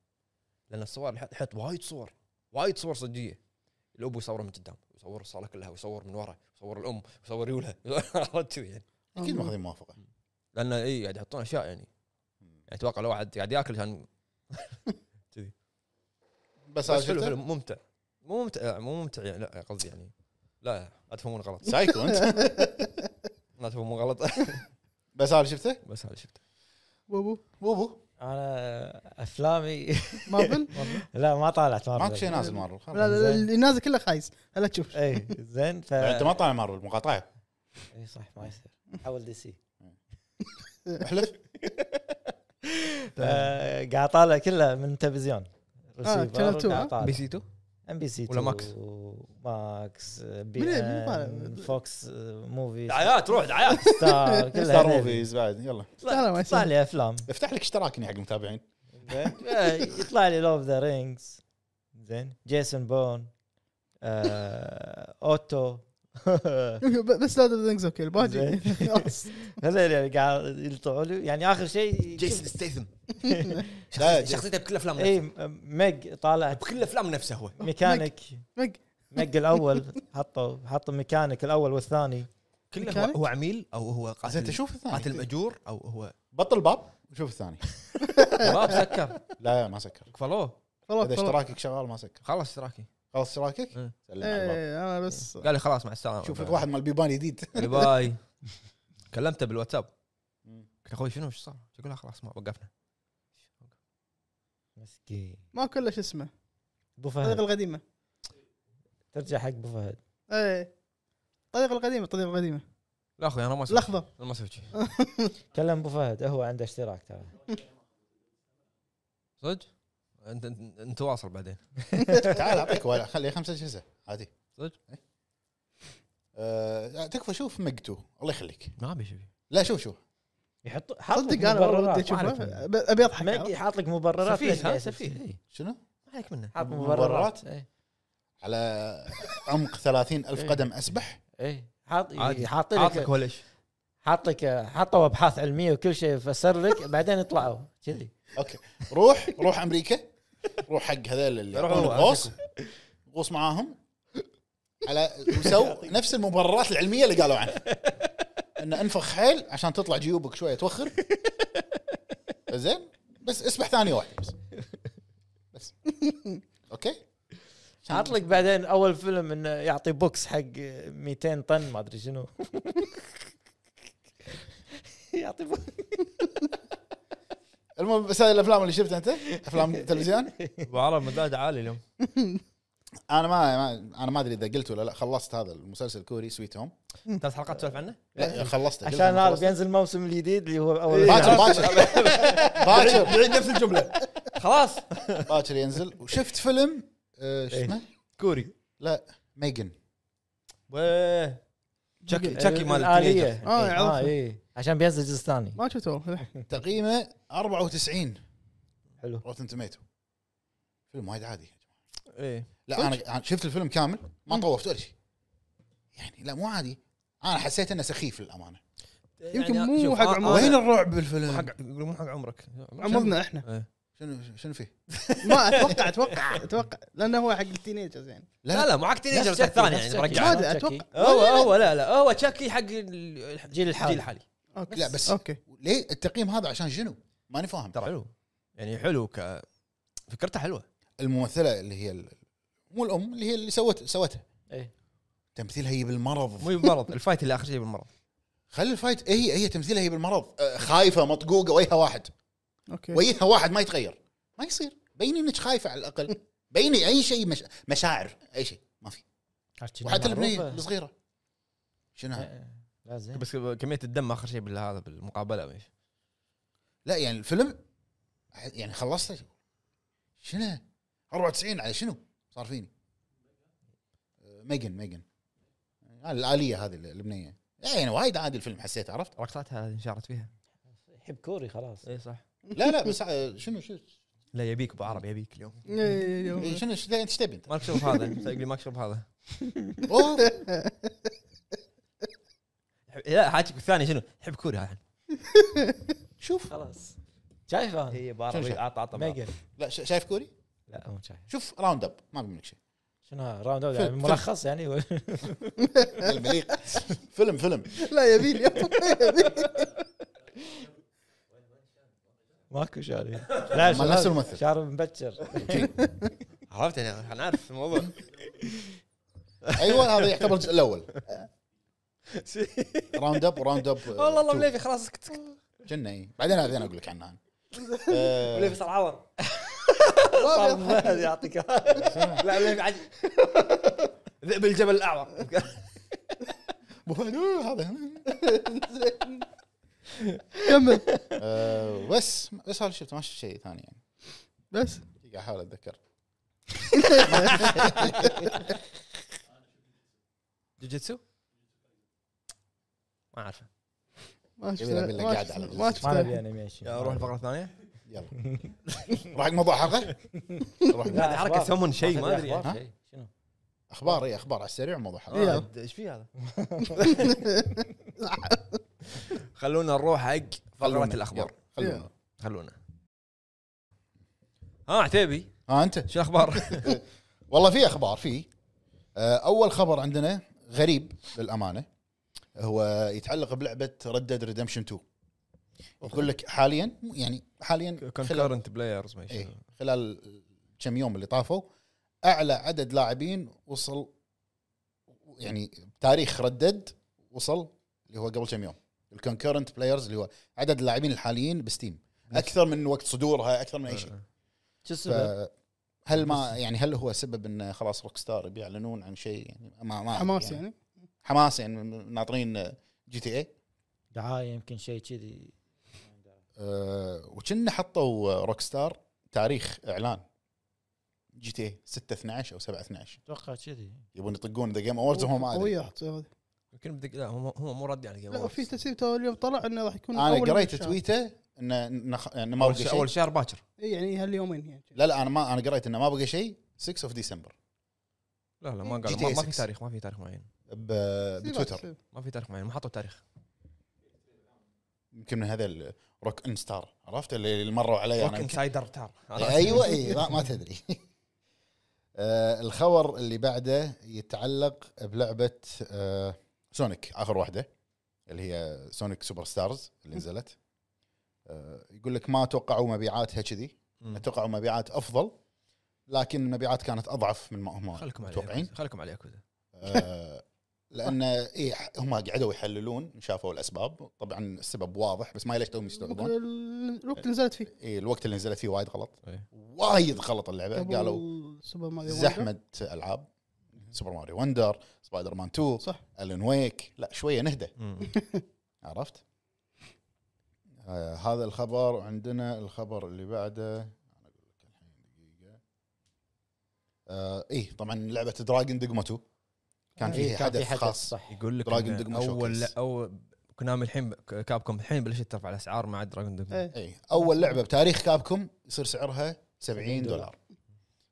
Speaker 1: لان الصور اللي يحط- يحط وايد صور وايد صور صجيه الابو يصوره من قدام يصور الصاله كلها ويصور من ورا يصور الام يصور ريولها <laughs> عرفت كذي يعني
Speaker 2: اكيد ماخذين موافقه
Speaker 1: لان اي قاعد يحطون اشياء يعني يعني اتوقع لو واحد قاعد ياكل كان
Speaker 2: بس هذا
Speaker 1: بس حلو حلو
Speaker 2: شفته؟
Speaker 1: ممتع مو ممتع مو ممتع يعني لا قصدي يعني لا لا تفهمون غلط
Speaker 2: سايكو انت
Speaker 1: لا تفهمون غلط <laughs>
Speaker 2: بس هذا شفته؟
Speaker 1: بس هذا شفته
Speaker 4: بوبو
Speaker 2: بوبو
Speaker 3: انا افلامي
Speaker 4: مارفل
Speaker 3: <laughs> لا ما طالعت مارفل
Speaker 2: ماكو شيء نازل مارفل
Speaker 4: لا
Speaker 2: خلاص.
Speaker 4: لا لا اللي نازل كله خايس لا تشوف <laughs>
Speaker 3: اي إيه، زين
Speaker 2: انت
Speaker 3: ف
Speaker 2: إيه، ما طالع مارفل مقاطعه
Speaker 3: اي صح ما يصير حول دي سي
Speaker 2: <laughs> احلف
Speaker 3: ف- قاعد طالع كله من التلفزيون
Speaker 4: Channel 2 ها؟
Speaker 1: بي سي 2
Speaker 3: ام بي سي
Speaker 1: ولا ماكس؟
Speaker 3: ماكس بي
Speaker 4: من- من طالع؟
Speaker 3: إن، فوكس موفي
Speaker 1: دعايات روح
Speaker 3: <laughs>
Speaker 1: دعايات
Speaker 2: <laughs>
Speaker 3: ستار كلها
Speaker 2: ستار
Speaker 3: هذي.
Speaker 2: موفيز بعد يلا
Speaker 4: لا لا ما
Speaker 3: يطلع
Speaker 4: يصير
Speaker 3: لي افلام
Speaker 2: افتح لك اشتراك هنا حق المتابعين
Speaker 3: زين يطلع لي لوف ذا رينجز زين جيسون بون آه، اوتو
Speaker 4: ب- بس لا ذا اوكي الباقي <laughs>
Speaker 3: زين.
Speaker 4: خلاص.
Speaker 3: هذول يعني قاعد يطلعوا لي يعني اخر شيء <laughs>
Speaker 1: جيسون ستيثم
Speaker 2: لا، جيسون.
Speaker 1: شخصيته بكل افلام
Speaker 3: اي
Speaker 1: نفسه
Speaker 3: ميج طالعت
Speaker 1: بكل افلام نفسه هو
Speaker 3: ميكانيك
Speaker 4: مق
Speaker 3: ميج الاول حطوا حطوا ميكانيك الاول والثاني
Speaker 1: كله هو,
Speaker 4: ميكانيك؟
Speaker 1: هو عميل او هو
Speaker 2: زين يعني؟ انت
Speaker 1: قاتل
Speaker 2: شوف
Speaker 1: قاتل
Speaker 2: الثاني
Speaker 1: ماجور او هو
Speaker 2: بطل باب وشوف الثاني
Speaker 1: باب سكر
Speaker 2: لا ما سكر
Speaker 1: قفلوه
Speaker 4: خلاص
Speaker 2: اذا
Speaker 4: خلاص
Speaker 2: اشتراكك شغال ما سكر
Speaker 1: خلص اشتراكي
Speaker 2: خلص اشتراكك
Speaker 1: إيه.
Speaker 2: سلم على الباب
Speaker 4: ايه انا بس
Speaker 1: قال لي خلاص مع السلامه
Speaker 2: شوف لك واحد مال بيبان جديد <laughs>
Speaker 4: <laughs>
Speaker 1: باي باي كلمته بالواتساب قلت اخوي شنو ايش صار؟ يقول لا خلاص ما وقفنا
Speaker 3: مسكين
Speaker 4: ما كله شو اسمه
Speaker 3: ابو
Speaker 4: الطريقه
Speaker 3: فهد
Speaker 4: القديمه
Speaker 3: ترجع حق ابو فهد
Speaker 4: ايه الطريقه القديمه الطريقه القديمه
Speaker 1: لا اخوي انا ما اسوي
Speaker 4: الاخضر
Speaker 1: انا ما اسوي شيء
Speaker 3: كلم ابو فهد هو عنده اشتراك ترى
Speaker 1: صدق؟ انت أنت- انت واصل بعدين
Speaker 2: تعال اعطيك ولا خلي خمسة اجهزه عادي
Speaker 1: صدق؟
Speaker 2: إيه. آه، تكفى شوف ميج 2 الله يخليك
Speaker 1: ما ابي شيء
Speaker 2: لا شوف شوف
Speaker 3: يحط حط لك
Speaker 4: صدق انا والله
Speaker 3: مبررات،
Speaker 4: ودي
Speaker 3: ما أعرف
Speaker 4: اشوفه
Speaker 3: يعني.
Speaker 4: ب- ابي اضحك
Speaker 3: ميج
Speaker 4: عرفت؟
Speaker 3: يحط لك مبررات ليش
Speaker 1: سفيه ها
Speaker 3: قاعد
Speaker 1: سفيه إي.
Speaker 2: شنو؟
Speaker 1: ما عليك منه
Speaker 3: حاط
Speaker 2: مبررات؟
Speaker 3: مبررات إيه. اي
Speaker 2: على عمق 30 ألف
Speaker 3: إيه.
Speaker 2: قدم أسبح
Speaker 3: اي حاط إيه،
Speaker 1: عادي.
Speaker 3: حاط
Speaker 1: عاطلك
Speaker 3: لك
Speaker 1: ولا ايش؟
Speaker 3: حاط لك حطوا ابحاث علميه وكل شيء فسر لك بعدين يطلعوا كذي
Speaker 2: أوكي روح روح أمريكا روح حق هذول اللي
Speaker 1: روح
Speaker 2: يعطون
Speaker 1: هو،
Speaker 2: غوص غوص معاهم على وسو نفس المبررات العلمية اللي قالوا عنها أن أنفخ حيل عشان تطلع جيوبك شوية توخر زين بس اسبح ثانية واحدة بس اوكي
Speaker 3: عطلك بعدين اول فيلم انه يعطي بوكس حق 200 طن ما ادري شنو يعطي بوكس
Speaker 2: المهم بس هذه الافلام اللي شفتها انت افلام تلفزيون
Speaker 1: ابو عرب مداد عالي اليوم
Speaker 2: انا ما, ما انا ما ادري اذا قلت ولا لا خلصت هذا المسلسل الكوري سويت هوم
Speaker 1: ثلاث حلقات تسولف عنه
Speaker 2: لا، خلصته
Speaker 3: <laughs> عشان نعرف
Speaker 2: باكر
Speaker 3: ينزل الموسم الجديد اللي هو اول
Speaker 2: إيه. باكر باكر
Speaker 1: بعيد نفس الجمله خلاص
Speaker 2: باكر ينزل وشفت فيلم آه، شو
Speaker 3: إيه.
Speaker 2: اسمه
Speaker 1: كوري
Speaker 2: لا ميجن
Speaker 1: ويه. تشكي تشكي مال
Speaker 3: الآلية
Speaker 1: التينيجر.
Speaker 4: آه،
Speaker 3: إيه،
Speaker 4: عرفت.
Speaker 3: إيه. عشان بينزل جزء ثاني
Speaker 4: ما شفته والله.
Speaker 2: تقييمه 94
Speaker 3: حلو
Speaker 2: روتن توميتو فيلم وايد عادي
Speaker 1: ايه
Speaker 2: لا انا أنا شفت الفيلم كامل ما طوفت ولا شيء يعني لا مو عادي انا حسيت انه سخيف للامانه
Speaker 4: يمكن
Speaker 1: يعني
Speaker 4: مو
Speaker 1: شوف،
Speaker 4: حق
Speaker 1: أنا-
Speaker 4: عمر.
Speaker 2: وين
Speaker 1: أنا-
Speaker 2: الرعب
Speaker 1: مو
Speaker 2: بالفيلم؟
Speaker 1: حق يقولون مو حق عمرك
Speaker 4: عمرنا احنا
Speaker 2: شنو شنو فيه؟
Speaker 4: ما اتوقع اتوقع اتوقع لانه هو حق التينيجرز يعني
Speaker 1: لا لا مو حق
Speaker 3: نفس
Speaker 1: تينيجرز
Speaker 3: شكلي،
Speaker 1: الثاني يعني
Speaker 3: نفس شكلي.
Speaker 1: برجع
Speaker 4: ما ادري اتوقع
Speaker 1: هو هو لا لا هو تشكي حق ال-
Speaker 3: الجيل الحالي.
Speaker 1: الجيل الحالي
Speaker 4: أوكي.
Speaker 2: لا، بس-
Speaker 4: اوكي
Speaker 2: ليه التقييم هذا عشان شنو؟ ماني فاهم
Speaker 1: ترى حلو يعني حلو ك فكرته حلوه
Speaker 2: الممثله اللي هي ال- مو الام اللي هي اللي سوت سوتها
Speaker 3: إيه.
Speaker 2: تمثيلها هي بالمرض
Speaker 1: مو بالمرض الفايت اللي اخر شيء بالمرض
Speaker 2: خلي الفايت إيه، هي هي تمثيلها هي بالمرض آه، خايفه مطقوقه وجهها واحد
Speaker 4: اوكي
Speaker 2: وجهها واحد ما يتغير ما يصير بيني انك خايفه على
Speaker 3: <laughs>
Speaker 2: الاقل بيني اي شيء مش... مشاعر اي شيء ما في وحتى البنيه
Speaker 3: معروفة.
Speaker 2: الصغيره شنو هاي؟
Speaker 3: إيه، لا زين
Speaker 1: بس كميه الدم اخر شيء بالهذا بالمقابله أو إيش.
Speaker 2: لا يعني الفيلم يعني خلصته شنو 94 على شنو صار فيني ميجن ميجن هاي آه، الآلية هذه اللبنية يعني وايد عادي الفيلم حسيت عرفت
Speaker 1: رقصتها هذه انشهرت فيها
Speaker 3: يحب كوري خلاص
Speaker 1: اي إيه، صح
Speaker 2: لا لا بس ع- شنو شنو
Speaker 1: لا يبيك ابو عرب يبيك اليوم
Speaker 4: إيه، إيه، إيه،
Speaker 2: إيه،
Speaker 4: إيه.
Speaker 2: شنو شنو- انت ايش
Speaker 3: <laughs>
Speaker 2: تبي انت؟
Speaker 1: ماك شرب هذا <laughs> سايق لي ماك شرب هذا
Speaker 2: أوه،
Speaker 1: لا حاجك الثاني شنو يحب كوري هذا
Speaker 2: شوف
Speaker 3: خلاص شايف انا
Speaker 1: اي ابو
Speaker 2: شنو
Speaker 1: عرب
Speaker 2: شايف؟
Speaker 1: عطى عطى
Speaker 3: ميجن
Speaker 2: لا ش- شايف كوري؟
Speaker 3: إيه، لا مو شايف
Speaker 2: شوف راوند اب ما بيملك
Speaker 3: <laughs>
Speaker 2: شيء
Speaker 3: شنو ها، راوند أول
Speaker 2: فيلم،
Speaker 3: يعني ملخص يعني ولا-
Speaker 2: المليق فيلم فيلم
Speaker 4: لا يبي لي
Speaker 3: ماكو شاري لا
Speaker 2: مال نفس الممثل.
Speaker 3: شعر مبكر
Speaker 1: عرفت يعني احنا نعرف الموضوع
Speaker 2: ايوه هذا يعتبر الجزء
Speaker 1: <laughs>
Speaker 2: الاول راوند اب وراوند اب
Speaker 1: والله الله مليفي خلاص اسكت
Speaker 2: كنا إيه. بعدين بعدين اقول لك
Speaker 1: <laughs>
Speaker 2: آه، عنها أنا.
Speaker 1: مليفي صار <laughs> عور
Speaker 3: صار مهد يعطيك
Speaker 1: لا مليفي عجيب ذئب الجبل الاعور
Speaker 2: أبو فهد، أوه، هذا
Speaker 4: <laughs> كمل
Speaker 2: آه، بس بس هذا شفته ما شفت شيء ثاني يعني
Speaker 4: بس
Speaker 2: قاعد احاول اتذكر
Speaker 1: جوجيتسو ما اعرفه
Speaker 4: ما شفت
Speaker 2: يبي- يبي له
Speaker 4: ما
Speaker 2: قاعد على
Speaker 4: شفت-
Speaker 2: الجزء.
Speaker 4: ما
Speaker 3: ما
Speaker 4: شفت
Speaker 3: نبي يعني انيميشن
Speaker 1: يا اروح الفقره الثانيه
Speaker 2: يلا نروح حق موضوع
Speaker 1: <laughs>
Speaker 2: الحلقه نروح حق-
Speaker 3: لا،
Speaker 1: هذه حركه
Speaker 3: أخبار.
Speaker 1: سمون شيء ما ادري
Speaker 3: أخبار.
Speaker 1: يعني.
Speaker 2: ها؟
Speaker 3: شيء. شنو
Speaker 2: اخبار اي اخبار إيه، على السريع موضوع الحلقه
Speaker 4: يلا.
Speaker 1: آه، ايش في هذا <laughs> خلونا نروح حق
Speaker 2: خلونا.
Speaker 1: فقره الاخبار
Speaker 2: يلا، خلونا
Speaker 1: خلونا ها عتيبي
Speaker 2: ها انت
Speaker 1: شو <laughs> الاخبار؟
Speaker 2: والله في اخبار في آه، اول خبر عندنا غريب للامانه هو يتعلق بلعبه ردد ريدمشن 2 يقول لك حاليا يعني حاليا خلال
Speaker 1: كونكرنت بلايرز ما
Speaker 2: إيه. خلال كم يوم اللي طافوا اعلى عدد لاعبين وصل يعني تاريخ ردد وصل اللي هو قبل كم يوم الكونكرنت بلايرز اللي هو عدد اللاعبين الحاليين بستيم اكثر من وقت صدورها اكثر
Speaker 1: آه.
Speaker 2: من اي شيء
Speaker 3: شو السبب؟
Speaker 2: ف- هل ما يعني هل هو سبب ان خلاص روك ستار بيعلنون عن شيء يعني ما ما
Speaker 4: حماس يعني
Speaker 2: حماس يعني ناطرين جي تي إيه. اي
Speaker 3: دعايه يمكن شيء كذي
Speaker 2: أه، وكنا حطوا روك ستار تاريخ اعلان جي تي إيه اي 6 12 او 7 12
Speaker 3: اتوقع كذي
Speaker 2: يبون يطقون ذا جيم اووردز وهم ما ادري
Speaker 4: قوية هذه.
Speaker 1: يمكن بدك لا هم هم مو رد يعني، على جيم
Speaker 4: لا
Speaker 1: أووردز.
Speaker 4: في تسريب تو اليوم طلع انه راح يكون
Speaker 2: انا
Speaker 4: أول
Speaker 2: قريت
Speaker 4: من الشهر.
Speaker 2: تويته انه نخ... انه ما
Speaker 1: اول
Speaker 2: بقى
Speaker 1: شيء
Speaker 2: شيء
Speaker 1: اول شهر باكر
Speaker 4: إيه، يعني هاليومين يعني
Speaker 2: لا لا انا ما انا قريت انه ما بقى شيء 6 اوف ديسمبر
Speaker 1: لا لا ما
Speaker 2: جي
Speaker 1: قال
Speaker 2: تي
Speaker 1: ما,
Speaker 2: إي
Speaker 1: ما في
Speaker 2: 6.
Speaker 1: تاريخ ما في تاريخ معين
Speaker 2: بتويتر
Speaker 4: سيبك-
Speaker 1: ما في تاريخ معين ما حطوا تاريخ
Speaker 2: يمكن من هذا روك ان ستار عرفت اللي اللي مروا علي
Speaker 1: روك
Speaker 2: أنا يمكن.
Speaker 1: انسايدر تار
Speaker 2: ايوه اي ما, ما تدري <laughs> آه، الخبر اللي بعده يتعلق بلعبه آه، سونيك اخر واحده اللي هي سونيك سوبر ستارز اللي نزلت آه، يقول لك ما توقعوا مبيعاتها كذي
Speaker 1: مم.
Speaker 2: توقعوا مبيعات افضل لكن المبيعات كانت اضعف من ما هم
Speaker 1: خلكم على
Speaker 2: متوقعين
Speaker 1: ياكوزا. خلكم على ياكوزا
Speaker 2: آه، لان إيه هم قعدوا يحللون شافوا الاسباب طبعا السبب واضح بس ما ليش توهم
Speaker 4: الوقت
Speaker 2: يستوعبون
Speaker 4: الوقت اللي نزلت فيه
Speaker 2: إيه الوقت اللي نزلت فيه وايد غلط
Speaker 1: إيه.
Speaker 2: وايد غلط اللعبه
Speaker 4: قبل
Speaker 2: قالوا
Speaker 4: سوبر ماريو وندر.
Speaker 2: زحمه العاب سوبر ماريو وندر سبايدر مان 2
Speaker 4: صح.
Speaker 2: الين ويك لا شويه نهدى
Speaker 1: مم.
Speaker 2: عرفت آه هذا الخبر عندنا الخبر اللي بعده انا اقول لك الحين دقيقه آه ايه طبعا لعبه دراجون دقمة 2 كان
Speaker 3: إيه،
Speaker 2: فيه حدث خاص
Speaker 3: صح
Speaker 1: <laughs> يقول لك
Speaker 2: دراجون
Speaker 1: إن
Speaker 2: دوغما
Speaker 1: اول
Speaker 2: شوكيس.
Speaker 1: اول كونامي الحين كاب كوم الحين بلشت ترفع الاسعار مع دراجون دوغما
Speaker 4: إيه.
Speaker 2: اي اول لعبه بتاريخ كابكم يصير سعرها 70 دولار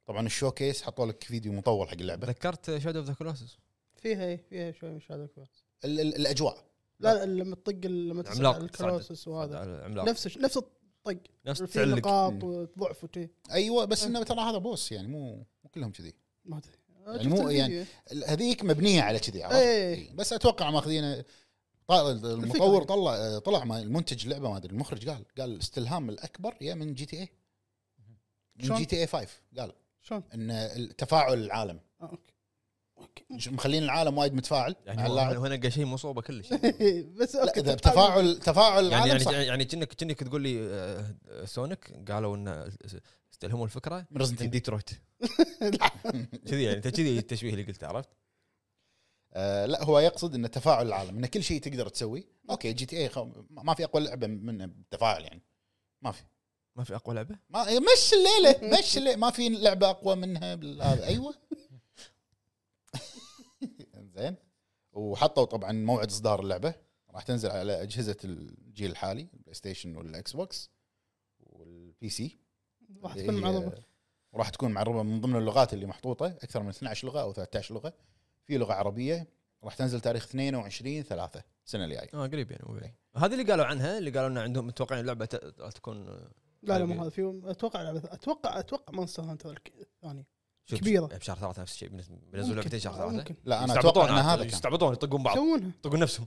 Speaker 2: طبعا الشوكيس حطوا لك فيديو مطول حق اللعبه
Speaker 1: تذكرت شادو اوف ذا كلوسس
Speaker 4: فيها إيه، فيها شوي من شادو كبار
Speaker 2: ال- ال- الاجواء
Speaker 4: لا لا، لما تطق ال- لما تسحب
Speaker 1: عملاق
Speaker 4: على الكروسس وهذا
Speaker 1: العملاق
Speaker 4: نفس نفس الطق
Speaker 1: نفس
Speaker 4: في
Speaker 1: تعلق
Speaker 4: نقاط
Speaker 2: مم.
Speaker 4: وضعف وشي
Speaker 2: ايوه بس انه ترى هذا بوس يعني مو مو كلهم كذي
Speaker 4: ما ادري
Speaker 2: يعني مو- يعني
Speaker 4: إيه،
Speaker 2: ال- هذيك مبنيه على كذي عرفت
Speaker 4: اي
Speaker 2: إي، بس اتوقع ماخذين المطور طلع آه، طلع ما المنتج اللعبه ما ادري المخرج قال قال الاستلهام الاكبر يا من جي تي اي من
Speaker 4: شلون؟
Speaker 2: جي تي اي 5 قال
Speaker 4: شلون؟
Speaker 2: ان تفاعل العالم
Speaker 4: آه، اوكي اوكي
Speaker 2: مش- مخلين العالم وايد متفاعل
Speaker 1: يعني
Speaker 2: على
Speaker 1: هو-
Speaker 2: اللاعب
Speaker 1: هو نقى شيء مصوبه كلش
Speaker 4: <laughs> بس
Speaker 2: لا
Speaker 4: اوكي
Speaker 2: اذا بتفاعل تفاعل
Speaker 1: يعني
Speaker 2: العالم
Speaker 1: يعني
Speaker 2: صح
Speaker 1: يعني كأنك كأنك تقول لي آه، آه، سونيك قالوا ان استلهموا الفكره
Speaker 2: من Resident
Speaker 1: من
Speaker 2: Evil.
Speaker 1: ديترويت
Speaker 2: <laughs>
Speaker 1: كذي يعني انت كذي التشبيه اللي قلته عرفت؟
Speaker 2: آه، لا هو يقصد ان تفاعل العالم ان كل شيء تقدر تسوي اوكي جي تي اي ما في اقوى لعبه منه بالتفاعل يعني ما في
Speaker 1: ما في اقوى لعبه؟
Speaker 2: ما إيه، مش الليله مش الليلة. ما في لعبه اقوى منها بال- هذا <laughs> ايوه زين وحطوا طبعا موعد اصدار اللعبه راح تنزل على اجهزه الجيل الحالي البلاي ستيشن والاكس بوكس والبي سي
Speaker 4: راح تكون
Speaker 2: إيه.
Speaker 4: معرضه
Speaker 2: وراح تكون معربه من ضمن اللغات اللي محطوطه اكثر من 12 لغه او 13 لغه في لغه عربيه راح تنزل تاريخ 22 3 السنه الجايه
Speaker 1: اه قريب يعني مو بعيد. هذه اللي قالوا عنها اللي قالوا ان عندهم متوقعين اللعبه ت- تكون آه،
Speaker 4: لا
Speaker 2: طيب.
Speaker 4: لا مو هذا في اتوقع لعبة- اتوقع اتوقع مونستر هانتر الك- الثاني
Speaker 1: شوف
Speaker 4: كبيرة.
Speaker 1: بشهر ثلاثه نفس الشيء بالنسبة- بينزلوا لعبتين شهر
Speaker 4: آه،
Speaker 1: ثلاثه
Speaker 4: يعني ممكن
Speaker 2: لا انا
Speaker 1: يستعبطون
Speaker 2: اتوقع ان
Speaker 1: عاد،
Speaker 2: هذا كان
Speaker 1: يستعبطون يطقون بعض
Speaker 4: يسوونها <laughs>
Speaker 1: يطقون نفسهم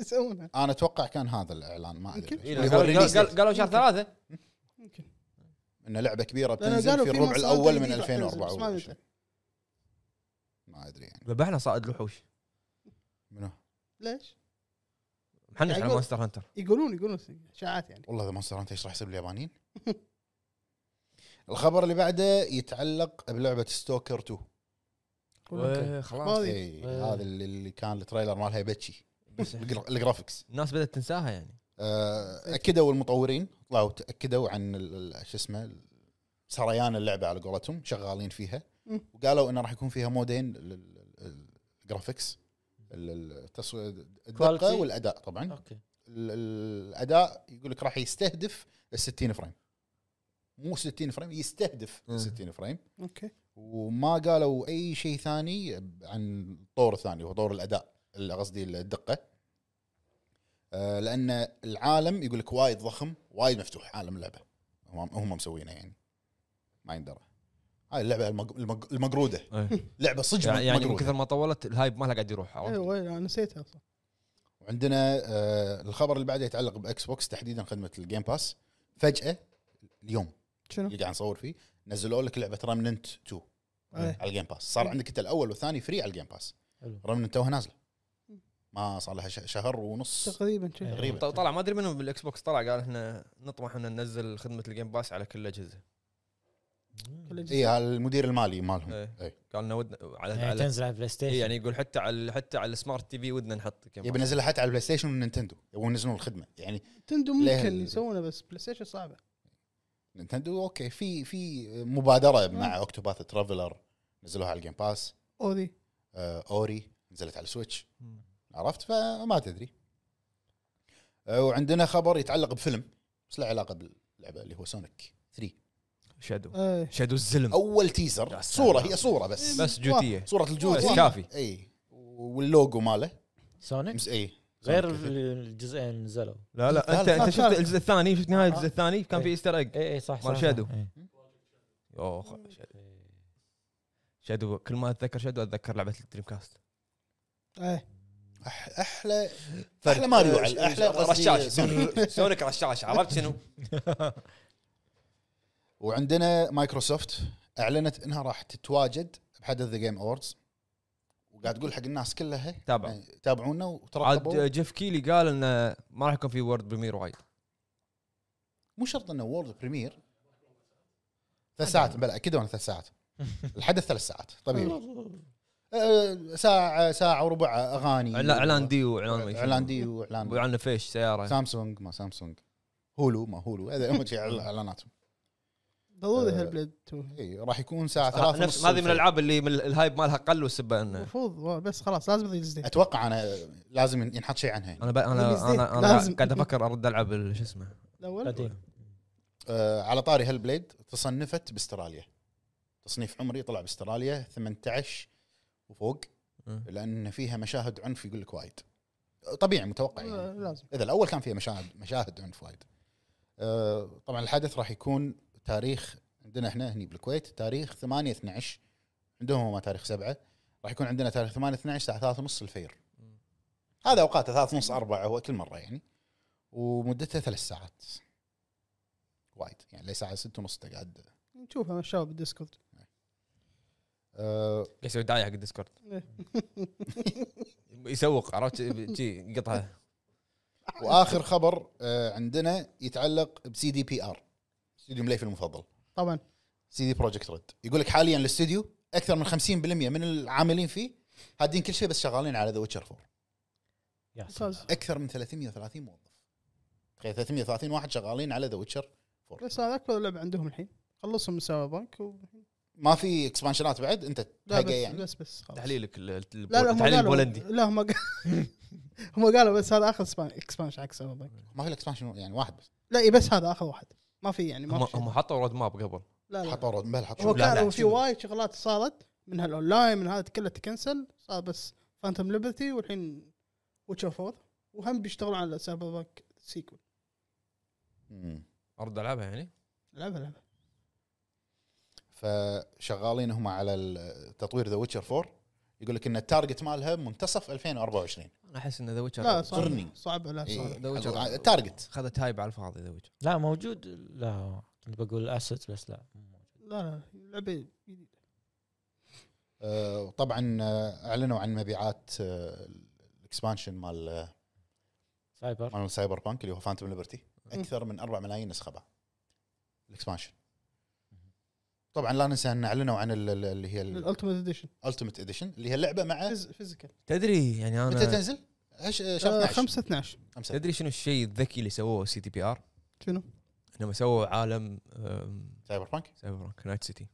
Speaker 4: يسوونها
Speaker 2: انا اتوقع كان هذا الاعلان ما ادري
Speaker 4: يمكن.
Speaker 1: إيه،
Speaker 2: اللي هو
Speaker 1: قال-
Speaker 2: الريليز
Speaker 1: قال- قالوا شهر
Speaker 4: ممكن.
Speaker 1: ثلاثه
Speaker 4: ممكن
Speaker 2: ان لعبه كبيره
Speaker 4: لأنه
Speaker 2: بتنزل
Speaker 4: قالوا
Speaker 2: في
Speaker 4: في
Speaker 2: الربع
Speaker 4: مصادر
Speaker 2: الاول من
Speaker 4: جديدة راح تنزل، بس ما
Speaker 2: 2004
Speaker 4: ندري.
Speaker 2: ما ادري يعني
Speaker 1: ذبحنا صائد الوحوش
Speaker 2: منو
Speaker 4: ليش؟
Speaker 1: محنش على
Speaker 4: يعقوب.
Speaker 1: مونستر هانتر يقولون
Speaker 4: يقولون يقولون اشاعات يعني
Speaker 2: والله اذا مونستر هانتر ايش راح يصير باليابانيين <laughs> الخبر اللي بعده يتعلق بلعبه ستوكر 2
Speaker 4: أوكي.
Speaker 1: خلاص
Speaker 4: طيب.
Speaker 2: إي،
Speaker 3: آه.
Speaker 2: هذا اللي اللي كان التريلر مالها يبكي
Speaker 1: بس
Speaker 2: الجرا- الجرافكس
Speaker 1: الناس بدات تنساها يعني
Speaker 2: آه، اكدوا المطورين طلعوا تاكدوا عن ال- ال- شو اسمه سريان اللعبه على قولتهم شغالين فيها
Speaker 4: مم.
Speaker 2: وقالوا انه راح يكون فيها مودين لل- ال- الجرافكس ال- ال- التصوير الدقه
Speaker 3: Quality.
Speaker 2: والاداء طبعا
Speaker 3: اوكي
Speaker 2: ال- ال- الاداء يقول لك راح يستهدف ال 60 فريم مو 60 فريم يستهدف
Speaker 1: مم.
Speaker 2: ال 60 فريم
Speaker 4: اوكي
Speaker 2: وما قالوا اي شيء ثاني عن الطور الثاني هو طور الاداء ال- قصدي الدقه آه، لان العالم يقول لك وايد ضخم وايد مفتوح عالم اللعبه هم هم مسوينه يعني ما يندرى هاي اللعبه المق- المق- المقروده
Speaker 1: إيه.
Speaker 2: لعبه صدق
Speaker 1: يعني من
Speaker 2: مقروده
Speaker 1: كثر ما طولت الهايب مالها قاعد يروح عرفت؟
Speaker 4: ايوه انا نسيتها اصلا
Speaker 2: وعندنا آه، الخبر اللي بعده يتعلق باكس بوكس تحديدا خدمه الجيم باس فجاه اليوم
Speaker 4: شنو؟
Speaker 2: اللي قاعد نصور فيه نزلوا لك لعبه رمننت 2
Speaker 4: إيه.
Speaker 2: على الجيم باس صار عندك انت الاول والثاني فري على الجيم باس
Speaker 3: حلو.
Speaker 2: رمننت توها نازله ما صار لها ش- شهر ونص
Speaker 4: تقريبا شيء
Speaker 3: إيه.
Speaker 2: تقريبا
Speaker 1: ط- طلع ما ادري منهم بالاكس بوكس طلع قال احنا نطمح ان ننزل خدمه الجيم باس على كل الاجهزه
Speaker 2: اي هذا المدير إيه، المالي مالهم
Speaker 1: إيه.
Speaker 2: إيه.
Speaker 1: قال إنه ودنا على
Speaker 3: يعني
Speaker 1: على
Speaker 3: تنزل على البلاي
Speaker 1: إيه،
Speaker 3: ستيشن
Speaker 1: يعني يقول حتى على حتى على السمارت تي في ودنا نحط Game
Speaker 2: يبي
Speaker 1: Pass.
Speaker 2: ينزلها حتى على البلاي ستيشن والنينتندو يبون ينزلون الخدمه يعني
Speaker 4: تندو
Speaker 2: ليه
Speaker 4: ممكن
Speaker 2: ال-
Speaker 4: يسوونه بس بلاي ستيشن صعبه
Speaker 2: نينتندو اوكي في في مبادره مع
Speaker 4: إيه.
Speaker 2: اوكتوباث ترافلر نزلوها على الجيم باس
Speaker 4: اوذي
Speaker 2: آه، اوري نزلت على السويتش
Speaker 1: مم.
Speaker 2: عرفت فما تدري آه، وعندنا خبر يتعلق بفيلم بس له علاقه باللعبه اللي هو سونيك 3
Speaker 1: شادو
Speaker 4: ايه
Speaker 1: شادو الزلم
Speaker 2: اول
Speaker 1: يا
Speaker 2: تيزر
Speaker 1: سلام.
Speaker 2: صوره هي صوره بس
Speaker 1: بس جوتيه
Speaker 2: صوره
Speaker 1: بس
Speaker 2: الجوتي
Speaker 1: كافي
Speaker 2: اي واللوجو ماله
Speaker 3: سونيك
Speaker 2: مس اي
Speaker 3: غير
Speaker 2: سونيك الفيلم.
Speaker 3: الجزئين اللي نزلوا
Speaker 1: لا لا انت انت
Speaker 4: ثالث.
Speaker 1: شفت الجزء الثاني شفت نهايه الجزء
Speaker 3: آه.
Speaker 1: الثاني
Speaker 2: إيه.
Speaker 1: كان في ايستر ايج
Speaker 3: اي اي صح صح
Speaker 1: مال
Speaker 3: صح.
Speaker 1: شادو.
Speaker 3: إيه.
Speaker 1: اوه خ- شادو. شادو كل ما اتذكر شادو اتذكر لعبه الدريم كاست
Speaker 4: ايه
Speaker 2: أح- احلى احلى ماريو على- احلى قصدي <laughs>
Speaker 1: رشاش
Speaker 2: سونيك.
Speaker 1: سونيك- سونيك رشاش عرفت شنو؟
Speaker 2: <laughs> وعندنا مايكروسوفت اعلنت انها راح تتواجد بحدث ذا جيم اووردز وقاعد تقول حق الناس كلها
Speaker 1: تابع.
Speaker 2: يعني تابعونا وترقبوا
Speaker 1: عاد جيف كيلي قال انه ما راح يكون في وورد بريمير وايد
Speaker 2: مو شرط انه وورلد بريمير ثلاث ساعات بلا اكيد انا ثلاث ساعات الحدث ثلاث ساعات طبيعي أه، ساعه ساعه وربع اغاني
Speaker 1: إعلا- اعلان دي واعلان ما يشوف.
Speaker 2: اعلان دي واعلان
Speaker 1: ويعلن فيش سياره
Speaker 2: سامسونج ما سامسونج هولو ما هولو هذا اهم شيء على اعلاناتهم
Speaker 4: ضروري
Speaker 2: آه.
Speaker 4: هالبليد 2
Speaker 2: اي راح يكون ساعه
Speaker 1: ها-
Speaker 2: ثلاثة
Speaker 1: آه، نفس
Speaker 2: ونص
Speaker 1: هذه من
Speaker 2: الفجر.
Speaker 1: الالعاب اللي من الهايب مالها قل والسبه انه
Speaker 4: المفروض بس خلاص لازم يضيف جديد
Speaker 2: اتوقع انا لازم ينحط شيء عنها
Speaker 1: انا ب... انا
Speaker 4: بالزيت،
Speaker 1: انا, أنا
Speaker 4: إيه، لازم.
Speaker 1: قاعد افكر ارد العب ال- شو اسمه
Speaker 4: الاول
Speaker 3: قديم
Speaker 2: آه، على طاري هالبليد تصنفت باستراليا تصنيف عمري طلع باستراليا 18 وفوق
Speaker 1: أه.
Speaker 2: لان فيها مشاهد عنف يقول لك وايد طبيعي متوقع
Speaker 4: آه،
Speaker 2: يعني
Speaker 4: لازم
Speaker 2: اذا الاول كان فيها مشاهد مشاهد عنف وايد آه، طبعا الحدث راح يكون تاريخ عندنا احنا هني بالكويت تاريخ 8 12 عندهم هم تاريخ 7 راح يكون عندنا تاريخ 8 12 الساعه 3:30 الفير هذا اوقاته 3:30 4 هو كل مره يعني ومدتها ثلاث ساعات وايد يعني لساعه 6:30 تقعد
Speaker 4: نشوفها مع الشباب
Speaker 2: <laughs>
Speaker 4: بالديسكورد
Speaker 2: آه،
Speaker 1: قاعد يسوي دعايه حق الديسكورد
Speaker 4: إيه.
Speaker 1: يسوق عرفت جي
Speaker 4: <laughs>
Speaker 1: قطعه
Speaker 2: واخر خبر آه، عندنا يتعلق بسي دي بي ار استوديو مليفي المفضل
Speaker 4: طبعا
Speaker 2: سي دي بروجكت ريد يقول لك حاليا الاستوديو اكثر من 50% من العاملين فيه هادين كل شيء بس شغالين على ذا ويتشر 4
Speaker 3: يا سلام.
Speaker 4: ممتاز
Speaker 2: اكثر من 330 موظف تخيل 330 واحد شغالين على ذا ويتشر
Speaker 4: بس هذا اكبر لعبه عندهم الحين خلصهم من سايبر بانك و...
Speaker 2: ما في اكسبانشنات بعد انت
Speaker 4: لا
Speaker 2: تلقى
Speaker 4: بس,
Speaker 2: يعني
Speaker 4: بس بس خلاص
Speaker 1: تحليلك ال- ال-
Speaker 4: لا لا هم
Speaker 1: التحليل
Speaker 4: قالوا
Speaker 1: البولندي
Speaker 4: لا هم قالوا <laughs> هم قالوا بس هذا اخر سبان- اكسبانشن حق سايبر بانك
Speaker 2: ما في الاكسبانشن يعني واحد بس
Speaker 4: لا إيه، بس هذا اخر واحد ما في يعني
Speaker 1: هم
Speaker 4: ما في شيء.
Speaker 1: هم حطوا رود ماب قبل
Speaker 4: لا لا
Speaker 2: حطوا رود بل
Speaker 4: هو
Speaker 2: حطوا
Speaker 1: لا، لا،
Speaker 4: كان في
Speaker 1: شوف.
Speaker 4: وايد شغلات صارت من هالاونلاين من هذا كله تكنسل صار بس فانتوم ليبرتي والحين ويتشر 4 وهم بيشتغلوا على سايبر بانك سيكول
Speaker 2: مم.
Speaker 1: ارد العبها يعني
Speaker 4: لعبها لعبها
Speaker 2: فشغالين هم على ال- تطوير ذا ويتشر 4 يقول لك ان التارجت مالها منتصف 2024
Speaker 1: انا احس ان ذا
Speaker 4: لا
Speaker 1: ويتشر
Speaker 2: قرني.
Speaker 4: صعب صعب لا صعب
Speaker 1: The Witcher.
Speaker 2: إيه، التارجت
Speaker 1: اخذت هايب على الفاضي ذا ويتشر
Speaker 3: لا موجود لا كنت بقول اسيت بس لا
Speaker 4: لا لا لعبه جديدة.
Speaker 2: آه، طبعا آه، اعلنوا عن مبيعات آه، الاكسبانشن مال آه،
Speaker 3: سايبر
Speaker 2: مال سايبر بانك اللي هو فانتوم ليبرتي اكثر من 4 ملايين نسخه باع الاكسبانشن طبعا لا ننسى ان اعلنوا عن ال- ال- اللي هي
Speaker 4: الالتيميت اديشن
Speaker 2: الالتيميت اديشن اللي هي اللعبه مع
Speaker 4: فيزيكال
Speaker 1: تدري يعني
Speaker 2: متى
Speaker 1: انا
Speaker 2: تنزل؟ هش-
Speaker 4: آه،
Speaker 2: شهر 12
Speaker 4: 5 12
Speaker 2: 5
Speaker 1: تدري شنو الشيء الذكي اللي سووه سي تي بي ار؟
Speaker 4: شنو؟
Speaker 1: انهم سووا عالم أم،
Speaker 2: سايبر بانك
Speaker 1: سايبر بانك نايت سيتي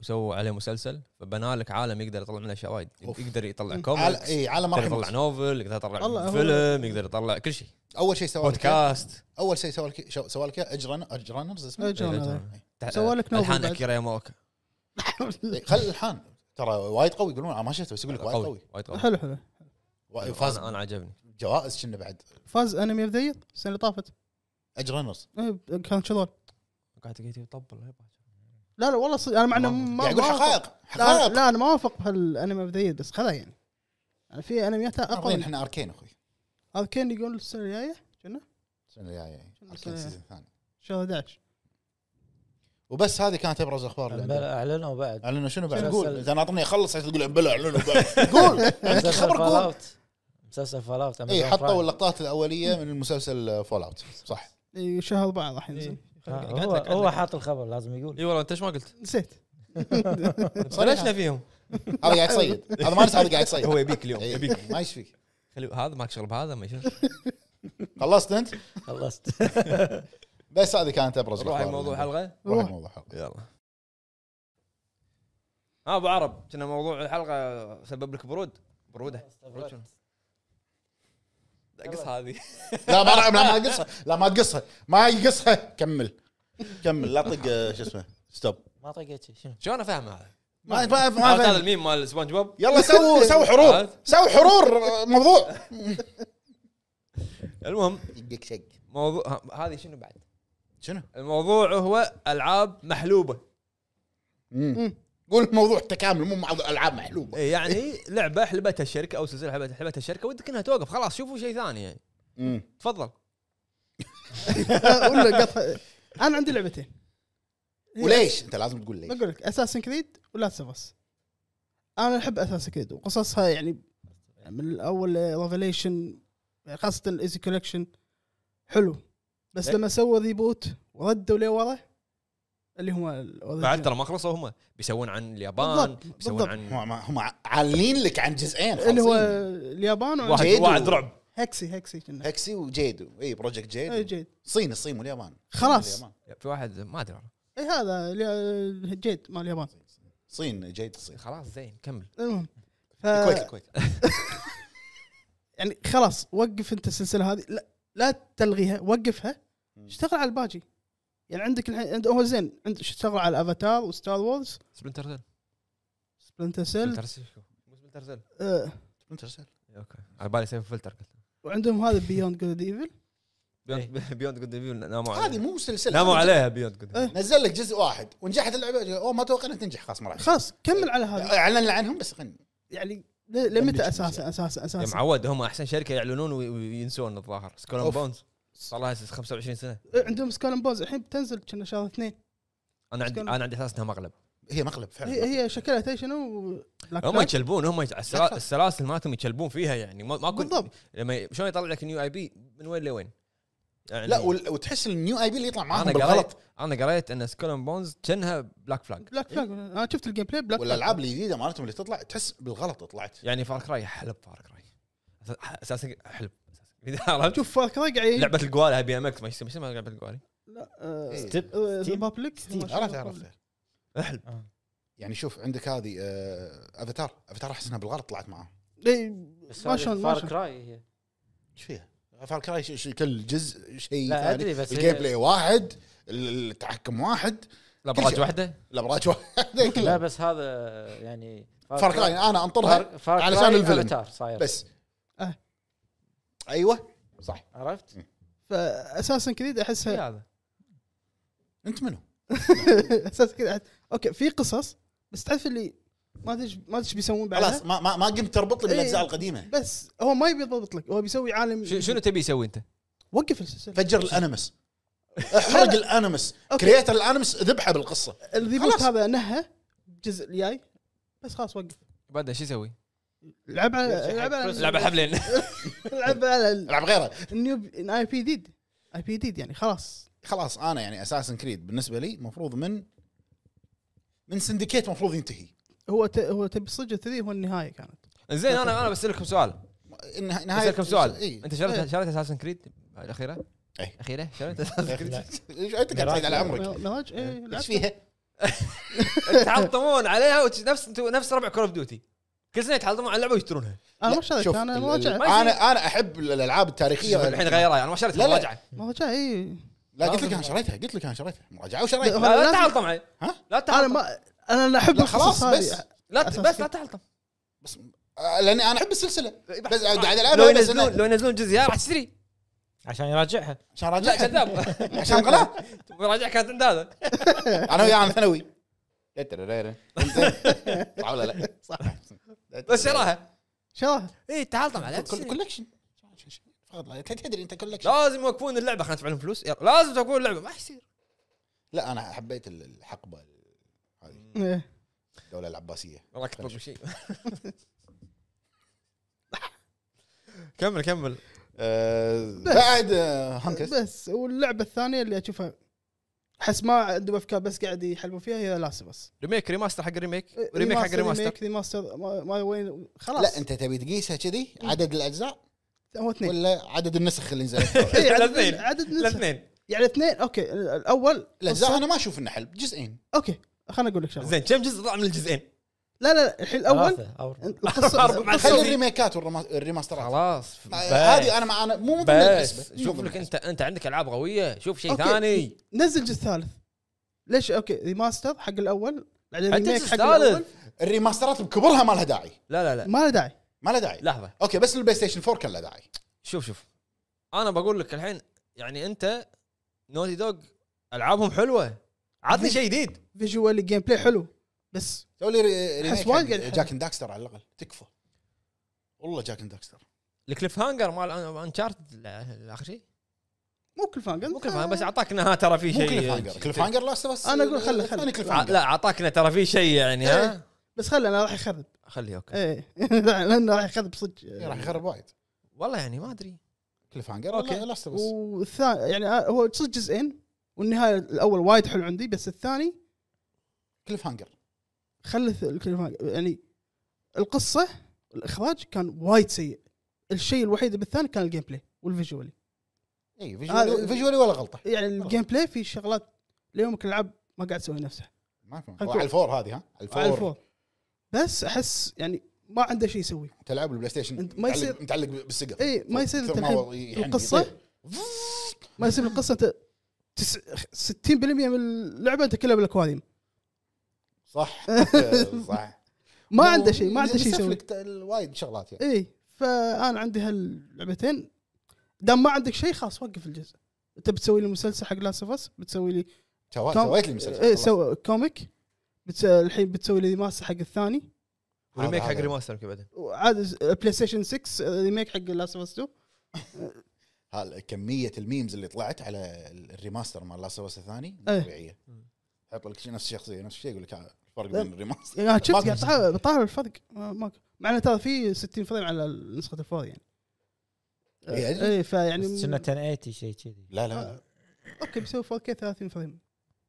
Speaker 1: سووا عليه مسلسل فبنى لك عالم يقدر يطلع منه اشياء وايد
Speaker 2: أوف.
Speaker 1: يقدر يطلع
Speaker 4: مم. إيه،
Speaker 2: عال-
Speaker 1: كوميكس
Speaker 2: اي عالم
Speaker 1: يقدر
Speaker 2: راح
Speaker 1: يطلع
Speaker 2: يموت.
Speaker 1: نوفل يقدر يطلع
Speaker 4: الله، هو-
Speaker 1: فيلم يقدر يطلع كل شيء
Speaker 2: اول شيء سوى لك إياه-
Speaker 1: بودكاست
Speaker 2: اول شيء سوى لك شو- سوى لك إياه اجرن اجرانرز اسمه
Speaker 4: إيه، جون هذا.
Speaker 1: تح-
Speaker 4: سوى لك نوفل
Speaker 1: الحان
Speaker 4: بعد.
Speaker 1: اكيرا ياماوكا
Speaker 2: إيه، <laughs> خل الحان ترى وايد قوي يقولون انا ما شفته بس يقول لك وايد قوي
Speaker 1: وايد قوي
Speaker 4: حلو حلو
Speaker 2: وا-
Speaker 1: فاز
Speaker 2: فاز
Speaker 1: انا عجبني
Speaker 2: جوائز كنا بعد
Speaker 4: فاز انمي اوف ذا يير السنه اللي طافت
Speaker 2: اجرانرز
Speaker 4: إيه، كان شغل
Speaker 1: قاعد تقعد يطبل
Speaker 4: لا لا والله صدق انا مع انه
Speaker 1: والله.
Speaker 4: ما
Speaker 2: يعني يقول
Speaker 4: ما-
Speaker 2: حقائق
Speaker 4: لا,
Speaker 2: حقائق
Speaker 4: لا انا ما اوافق بهالانمي اوف ذا يير بس خذها يعني يعني في انميات
Speaker 2: أرضين،
Speaker 4: اقل
Speaker 2: احنا اركين اخوي
Speaker 4: هذا كان يقول السنه الجايه
Speaker 2: السنه الجايه
Speaker 4: السنة
Speaker 2: اركين
Speaker 4: الجاية.
Speaker 2: سيزون ثاني
Speaker 4: شهر 11
Speaker 2: وبس هذه كانت ابرز اخبار اللي عندنا.
Speaker 3: بلى اعلنوا بعد
Speaker 2: اعلنوا شنو بعد
Speaker 3: شنو
Speaker 2: قول
Speaker 3: أسأل؟
Speaker 2: اذا ناطرني اخلص عشان تقول بلا اعلنوا بعد قول
Speaker 4: <laughs>
Speaker 2: عندك
Speaker 3: مسلسل
Speaker 2: <laughs> خبر إيه،
Speaker 3: فال
Speaker 2: قول
Speaker 3: اوت مسلسل فال اوت
Speaker 2: اي حطوا اللقطات الاوليه من المسلسل فول اوت صح
Speaker 4: إي، إيه، شهر 4 راح
Speaker 2: إيه.
Speaker 4: ينزل
Speaker 3: آه، هو هو حاط الخبر لازم
Speaker 1: <laughs>
Speaker 3: يقول
Speaker 1: اي والله انت ايش ما
Speaker 4: <laughs>
Speaker 1: قلت؟
Speaker 4: نسيت
Speaker 1: صلحنا فيهم
Speaker 2: هذا قاعد يصيد هذا ما نسى هذا قاعد يصيد
Speaker 1: هو يبيك اليوم
Speaker 2: إي،
Speaker 1: يبيك
Speaker 2: ما يشفيك
Speaker 1: خلي هذا ماك شغل بهذا ما شنو
Speaker 2: خلصت انت
Speaker 3: خلصت
Speaker 2: بس هذه كانت ابرز
Speaker 1: نروح
Speaker 2: الأخبار
Speaker 1: على موضوع
Speaker 2: اللي عندنا.
Speaker 1: الحلقه
Speaker 4: <laughs>
Speaker 2: روح موضوع حلقه
Speaker 1: يلا ها ابو عرب كنا موضوع الحلقه سبب لك برود بروده برود شنو؟ قص هذه
Speaker 2: لا ما راح- لا ما تقصها لا ما تقصها ما يقصها كمل كمل لا طق آه، شو اسمه ستوب
Speaker 3: ما طقيت شيء شنو
Speaker 1: شو انا فاهم هذا؟
Speaker 2: ما ما
Speaker 1: عرفت هذا
Speaker 2: ما
Speaker 1: الميم مال سبونج بوب
Speaker 2: يلا
Speaker 1: <laughs>
Speaker 2: سووا سووا حرور
Speaker 1: عرفت؟
Speaker 2: سووا حرور آه، موضوع
Speaker 1: المهم
Speaker 2: يديك شق
Speaker 1: موضوع ها- هذه شنو بعد؟
Speaker 2: شنو؟
Speaker 1: الموضوع هو العاب محلوبه
Speaker 4: مم.
Speaker 2: قول موضوع تكامل مو موضوع العاب محلوبه
Speaker 1: إيه يعني لعبه حلبتها الشركه او سلسله حلبتها حلبتها الشركه ودك انها توقف خلاص شوفوا شيء ثاني يعني
Speaker 2: مم.
Speaker 1: تفضل
Speaker 4: أه، ولا قطع انا عندي لعبتين
Speaker 2: وليش انت لازم تقول ليش
Speaker 4: بقول لك اساسن كريد ولا تسفس انا احب اساسن كريد وقصصها يعني من الاول ريفليشن خاصه الايزي كولكشن حلو بس
Speaker 1: إيه.
Speaker 4: لما سووا ريبوت وردوا لورا اللي هم ال-
Speaker 1: بعد ترى ما خلصوا هم بيسوون عن اليابان
Speaker 4: بالضبط،
Speaker 1: بيسوون
Speaker 4: بالضبط.
Speaker 1: عن
Speaker 2: هم هم عالين لك عن جزئين
Speaker 4: اللي هو
Speaker 2: خالصين.
Speaker 4: اليابان وعن-
Speaker 1: واحد
Speaker 2: جيد
Speaker 1: واحد
Speaker 2: و-
Speaker 1: رعب
Speaker 4: هكسي هكسي كنا
Speaker 2: هكسي وجيدو اي بروجكت
Speaker 4: إيه،
Speaker 2: جيد
Speaker 4: جيد
Speaker 2: الصين الصين واليابان الصين
Speaker 4: خلاص.
Speaker 2: واليابان.
Speaker 1: في واحد ما ادري والله.
Speaker 4: اي إيه، هذا اللي- جيد مال اليابان
Speaker 2: الصين جيد الصين
Speaker 1: طيب، خلاص زين كمل
Speaker 4: المهم ف...
Speaker 2: الكويت الكويت
Speaker 4: يعني خلاص وقف انت السلسله هذه لا, لا تلغيها وقفها
Speaker 2: مم.
Speaker 4: اشتغل على الباقي يعني عندك الحين عند هو زين عند اشتغل على افاتار وستار وورز
Speaker 1: سبلنتر سيل
Speaker 4: سبلنتر سيل
Speaker 1: سبلنتر سيل مو سبلنتر سيل
Speaker 4: آه
Speaker 2: Splinter Cell.
Speaker 1: اوكي على بالي سيف فلتر قلت
Speaker 4: وعندهم هذا بيوند جود ايفل
Speaker 1: <laughs> بيوند جود ناموا
Speaker 2: هذه
Speaker 1: عليها
Speaker 2: مو سلسله
Speaker 1: ناموا عليها بيوند جود
Speaker 4: إيه.
Speaker 2: نزل لك جزء واحد ونجحت اللعبه اوه ما توقعنا تنجح خلاص ما راح
Speaker 4: خلاص كمل على هذا
Speaker 2: اعلن عنهم بس خلينا يعني
Speaker 4: ل- لمتى
Speaker 2: ليش
Speaker 4: اساسا اساسا
Speaker 1: يا
Speaker 4: اساسا
Speaker 1: معود هم احسن شركه يعلنون وي- وينسون الظاهر سكول
Speaker 2: أوف.
Speaker 1: بونز صار لها 25 سنه
Speaker 4: آه، عندهم سكالن بوز الحين بتنزل كنا شهر اثنين
Speaker 1: انا عندي
Speaker 4: Skull-
Speaker 1: انا عندي احساس انها مغلب
Speaker 2: هي مقلب فعلا
Speaker 4: هي, هي شكلها تدري شنو بلاك
Speaker 1: هم
Speaker 4: فلاج.
Speaker 1: يكلبون هم يت- السلا-
Speaker 2: أكثر.
Speaker 1: السلاسل مالتهم يكلبون فيها يعني ما ما كنت
Speaker 4: بالضبط
Speaker 1: لما ي- شلون يطلع لك نيو اي بي من وين لوين يعني
Speaker 2: لا وال- وتحس النيو اي بي اللي يطلع معاهم
Speaker 1: انا
Speaker 2: بالغلط
Speaker 1: قريت انا قريت ان سكول اند بونز كانها بلاك فلاج
Speaker 4: بلاك فلاج انا شفت الجيم بلاي بلاك
Speaker 2: والالعاب الجديده مالتهم اللي تطلع تحس بالغلط طلعت
Speaker 1: يعني فار كراي حلب فار كراي اساسا حلب <laughs> إذا عرفت
Speaker 4: شوف فار كراي
Speaker 2: إيه.
Speaker 4: قاعد
Speaker 1: لعبه القوالي بي ام اكس ما يسمى- يسمى لعبه القوالي
Speaker 4: لا آه،
Speaker 2: ستيب-
Speaker 3: ستيب-
Speaker 4: ريبابليك
Speaker 3: ستيب.
Speaker 2: عرفت عرفت
Speaker 1: احلب
Speaker 3: آه.
Speaker 2: يعني شوف عندك هذه آه، افاتار افاتار احس انها بالغلط طلعت معاهم
Speaker 3: بس
Speaker 4: إيه، ما شلون-
Speaker 3: هذه
Speaker 4: ما
Speaker 3: فار
Speaker 4: شلون.
Speaker 3: كراي هي
Speaker 2: ايش فيها؟ فار كراي ش- ش- كل جزء شيء
Speaker 3: لا
Speaker 2: ثاني
Speaker 3: ادري بس هي-
Speaker 2: الجيم بلاي واحد ال- التحكم واحد
Speaker 1: لا
Speaker 2: كل
Speaker 1: براج
Speaker 2: شيء. إيه.
Speaker 1: واحده
Speaker 2: الابراج واحد
Speaker 3: لا
Speaker 2: كلها
Speaker 3: بس هذا يعني
Speaker 2: فار كراي انا انطرها
Speaker 3: فار- فار
Speaker 2: علشان
Speaker 3: كراي
Speaker 2: الفيلم.
Speaker 3: أفاتار صاير
Speaker 2: بس
Speaker 4: آه.
Speaker 2: ايوه صح
Speaker 3: عرفت؟
Speaker 4: فاساسا كريد احسها
Speaker 1: إيه هذا
Speaker 2: انت منو؟
Speaker 4: اساس كذا أحس- اوكي في قصص بس تعرف اللي ما ادري إيش- ما ادري ايش بيسوون بعدها
Speaker 2: خلاص ما ما ما قمت تربط لي
Speaker 4: إيه.
Speaker 2: بالاجزاء القديمه
Speaker 4: بس هو ما يبي يضبط لك هو بيسوي عالم
Speaker 1: ش- شنو تبي يسوي انت؟
Speaker 4: وقف السلسله
Speaker 2: فجر الانمس احرق الانمس
Speaker 4: أوكي.
Speaker 2: كرييتر الانمس ذبحه بالقصه
Speaker 4: الريبوت
Speaker 2: خلاص.
Speaker 4: هذا نهى الجزء الجاي بس خلاص وقف
Speaker 1: بعدها شو يسوي؟
Speaker 4: لعب
Speaker 2: إيه،
Speaker 4: على
Speaker 3: يرجع
Speaker 4: لعب على
Speaker 1: لعبه
Speaker 2: <laughs>
Speaker 1: حبلين
Speaker 4: <laughs> لعب على
Speaker 2: العب غيره
Speaker 4: النيو اي بي ديد اي بي ديد يعني خلاص
Speaker 2: خلاص انا يعني اساسن كريد بالنسبه لي مفروض من من سندكيت مفروض ينتهي
Speaker 4: هو ت... هو تبي صدق 3 هو النهايه كانت
Speaker 1: زين انا انا بسالكم سؤال
Speaker 2: النها- نهايه
Speaker 1: بسالكم سؤال
Speaker 2: اي
Speaker 1: انت شريت
Speaker 4: إيه.
Speaker 1: شريت اساسن كريد الاخيره؟
Speaker 2: إيه.
Speaker 1: اخيره شريت
Speaker 2: <laughs>
Speaker 1: اساسن كريد؟
Speaker 2: إيش- انت قاعد تعيد على عمرك
Speaker 4: مراج اي إيه، لعبت.
Speaker 2: ايش فيها؟
Speaker 1: يتحطمون عليها وتش- نفس انتو- نفس ربع كول اوف ديوتي كل سنه يتحطمون على اللعبه ويشترونها
Speaker 4: انا
Speaker 2: لا،
Speaker 4: ما شريت
Speaker 2: شوف،
Speaker 4: انا
Speaker 2: ال-
Speaker 4: ما
Speaker 2: ال-
Speaker 4: رجعت
Speaker 1: ما يصير.
Speaker 2: انا انا احب الالعاب التاريخيه
Speaker 1: الحين آه. غيرها انا ما شريتها
Speaker 2: لا، لا.
Speaker 1: مراجعه
Speaker 4: ما إيه. رجعت اي
Speaker 2: لا قلت لك انا شريتها قلت لك انا شريتها مراجعه وشريتها
Speaker 1: لا لا
Speaker 4: لازم-
Speaker 1: تحلطم علي
Speaker 2: ها؟
Speaker 1: لا
Speaker 4: انا
Speaker 1: تحلطم
Speaker 4: ما انا احب
Speaker 2: لا خلاص
Speaker 4: القصص
Speaker 2: بس
Speaker 4: هذه.
Speaker 1: لا ت-
Speaker 4: أساس
Speaker 1: بس
Speaker 4: كريد.
Speaker 1: لا تحلطم
Speaker 2: بس آه، لاني انا احب السلسله بس قاعد
Speaker 1: لو
Speaker 2: العبها بس
Speaker 1: ينزلون
Speaker 2: أنا-
Speaker 1: لو ينزلون جزء راح تشتري
Speaker 3: عشان يراجعها
Speaker 2: عشان
Speaker 1: لا
Speaker 2: راجعها
Speaker 1: كذاب
Speaker 2: <laughs>
Speaker 1: <laughs>
Speaker 2: عشان غلط
Speaker 1: مراجعه كانت عند هذا
Speaker 2: انا وياه عن ثانوي صح ولا لا؟ صح
Speaker 1: بس شراها
Speaker 4: شراها
Speaker 1: اي تحلطم عليها
Speaker 2: كل-
Speaker 1: تشتري.
Speaker 2: كولكشن فقط لا، تدري انت كولكشن
Speaker 1: لازم يوقفون اللعبه خلينا ندفع لهم فلوس يلا، لازم توقفون اللعبه ما يصير
Speaker 2: لا انا حبيت ال- الحقبه هذه
Speaker 4: إيه.
Speaker 2: الدوله العباسيه
Speaker 1: والله كنت بقول شيء <laughs> كمل كمل
Speaker 2: آه،
Speaker 4: بس.
Speaker 2: بعد آه، هانكس
Speaker 4: بس واللعبه الثانيه اللي اشوفها احس ما عندهم افكار بس قاعد يحلبوا فيها هي لاست بس
Speaker 1: ريميك ريماستر حق ريميك
Speaker 2: إيه،
Speaker 1: ريميك حق ريماستر
Speaker 4: ريماستر ما ما وين خلاص
Speaker 2: لا انت تبي تقيسها كذي عدد الاجزاء
Speaker 4: هو اثنين
Speaker 2: ولا عدد النسخ اللي نزلت
Speaker 4: إيه، عدد-
Speaker 1: الاثنين.
Speaker 4: عدد نسخ
Speaker 1: الاثنين
Speaker 4: يعني اثنين اوكي الاول
Speaker 2: الاجزاء
Speaker 4: قصة-
Speaker 2: انا ما اشوف انه حلب جزئين
Speaker 4: اوكي خليني اقول لك شغله
Speaker 1: زين كم جزء طلع من الجزئين؟
Speaker 4: لا لا لا، الحين الاول
Speaker 3: ثلاثة أو أربعة.
Speaker 1: <laughs>
Speaker 4: القصه
Speaker 1: أربعة مع
Speaker 2: خلي
Speaker 1: السعودية.
Speaker 2: الريميكات والرما- والريماسترات
Speaker 1: خلاص
Speaker 2: آه، هذه انا معانا مو ضمن
Speaker 1: بس
Speaker 2: الحسبه
Speaker 1: شوف لك انت انت عندك العاب قويه شوف شيء
Speaker 4: أوكي.
Speaker 1: ثاني
Speaker 4: نزل الجزء الثالث ليش اوكي ريماستر حق الاول بعدين
Speaker 1: حتى
Speaker 4: ريميك
Speaker 1: الجزء
Speaker 4: حق الاول
Speaker 1: الثالث.
Speaker 2: الريماسترات بكبرها ما لها داعي
Speaker 1: لا لا لا
Speaker 4: ما له داعي
Speaker 2: ما لها داعي
Speaker 1: لحظه
Speaker 2: اوكي بس البلاي ستيشن 4 كان له داعي
Speaker 1: شوف شوف انا بقول لك الحين يعني انت نوتي دوغ العابهم حلوه عطني شيء جديد
Speaker 4: فيجوال جيم بلاي حلو بس
Speaker 2: سوي لي ري- ريميك
Speaker 4: أحس وايد قاعد
Speaker 2: حق
Speaker 4: يحب.
Speaker 2: جاك اند داكستر على الاقل تكفى والله جاك اند داكستر
Speaker 1: الكليف هانجر مال انشارتد اخر شيء
Speaker 4: مو كل فانجر
Speaker 1: مو كل فاهم بس اعطاك انها ترى في
Speaker 2: آه، مو
Speaker 1: شيء
Speaker 2: كليف هانجر كليف هانجر لاست بس
Speaker 4: أنا أقول خله- خله.
Speaker 2: كليف
Speaker 1: ع-
Speaker 2: هانجر
Speaker 1: لا اعطاك انه ترى في شيء يعني
Speaker 2: إيه.
Speaker 1: ها
Speaker 4: بس خلي انا راح يخرب
Speaker 1: خليه اوكي
Speaker 4: ايه لانه <laughs> راح يخرب صدق
Speaker 2: راح يخرب وايد
Speaker 1: والله يعني ما ادري
Speaker 2: كليف هانجر
Speaker 1: أوكي.
Speaker 2: اوكي لاست بس
Speaker 4: والثاني يعني هو صدق جزئين والنهايه الاول وايد حلو عندي بس الثاني
Speaker 2: كليف هانجر
Speaker 4: خلى الث- الكلمة- يعني القصه الاخراج كان وايد سيء الشيء الوحيد بالثاني كان الجيم بلاي والفيجوالي
Speaker 2: اي
Speaker 4: هذا-
Speaker 2: فيجولي فيجولي ولا غلطه
Speaker 4: يعني الجيم بلاي في شغلات ليومك الالعاب ما قاعد تسوي نفسها
Speaker 2: ما يفهم
Speaker 4: خلنا
Speaker 2: هو
Speaker 4: نقول.
Speaker 2: على الفور هذه ها على الفور
Speaker 4: على الفور بس احس يعني ما عنده شيء يسوي
Speaker 2: تلعب البلاي ستيشن
Speaker 4: أنت ما
Speaker 2: متعلق-
Speaker 4: يصير-
Speaker 2: متعلق بالسقف
Speaker 4: إي، ما يصير أنت
Speaker 2: كثر
Speaker 4: الحين
Speaker 2: هو يعني
Speaker 4: القصة.
Speaker 2: يطير.
Speaker 4: ما يصير القصه انت تس- 60% من اللعبه انت كلها بالاكواريوم <laughs>
Speaker 2: صح صح
Speaker 4: ما عنده شيء ما عنده شيء
Speaker 2: يسف
Speaker 4: يسوي إيه.
Speaker 2: لك ت- وايد شغلات يعني
Speaker 4: اي فانا عندي هاللعبتين دام ما عندك شيء خلاص وقف الجزء انت بتسوي لي مسلسل حق لاست اوف بتسوي لي
Speaker 2: سوا-
Speaker 4: كم-
Speaker 2: سويت لي مسلسل
Speaker 4: اي
Speaker 2: خلاص.
Speaker 4: سو كوميك بتس... الحين بتسوي لي ريماستر حق الثاني
Speaker 2: هذا-
Speaker 1: ريميك حق
Speaker 2: هذا.
Speaker 1: ريماستر يمكن بعدين
Speaker 4: وعاد بلاي ستيشن 6 ريميك حق لاست اوف 2
Speaker 2: هال- كميه الميمز اللي طلعت على ال- الريماستر مال لاست اوف الثاني
Speaker 4: إيه.
Speaker 2: طبيعيه يحط لك شي- نفس الشخصيه نفس الشيء يقول لك ها، الفرق بين الريماستر
Speaker 4: يعني انا شفت
Speaker 2: ما
Speaker 4: قاعد طالع- بطالع الفرق ما ما- مع انه ترى في 60 فريم على نسخه الفور يعني
Speaker 2: إي، أدري.
Speaker 4: اي فيعني
Speaker 3: بس كنا 1080 شيء كذي
Speaker 2: لا لا
Speaker 4: اوكي بيسوي 4K 30 فريم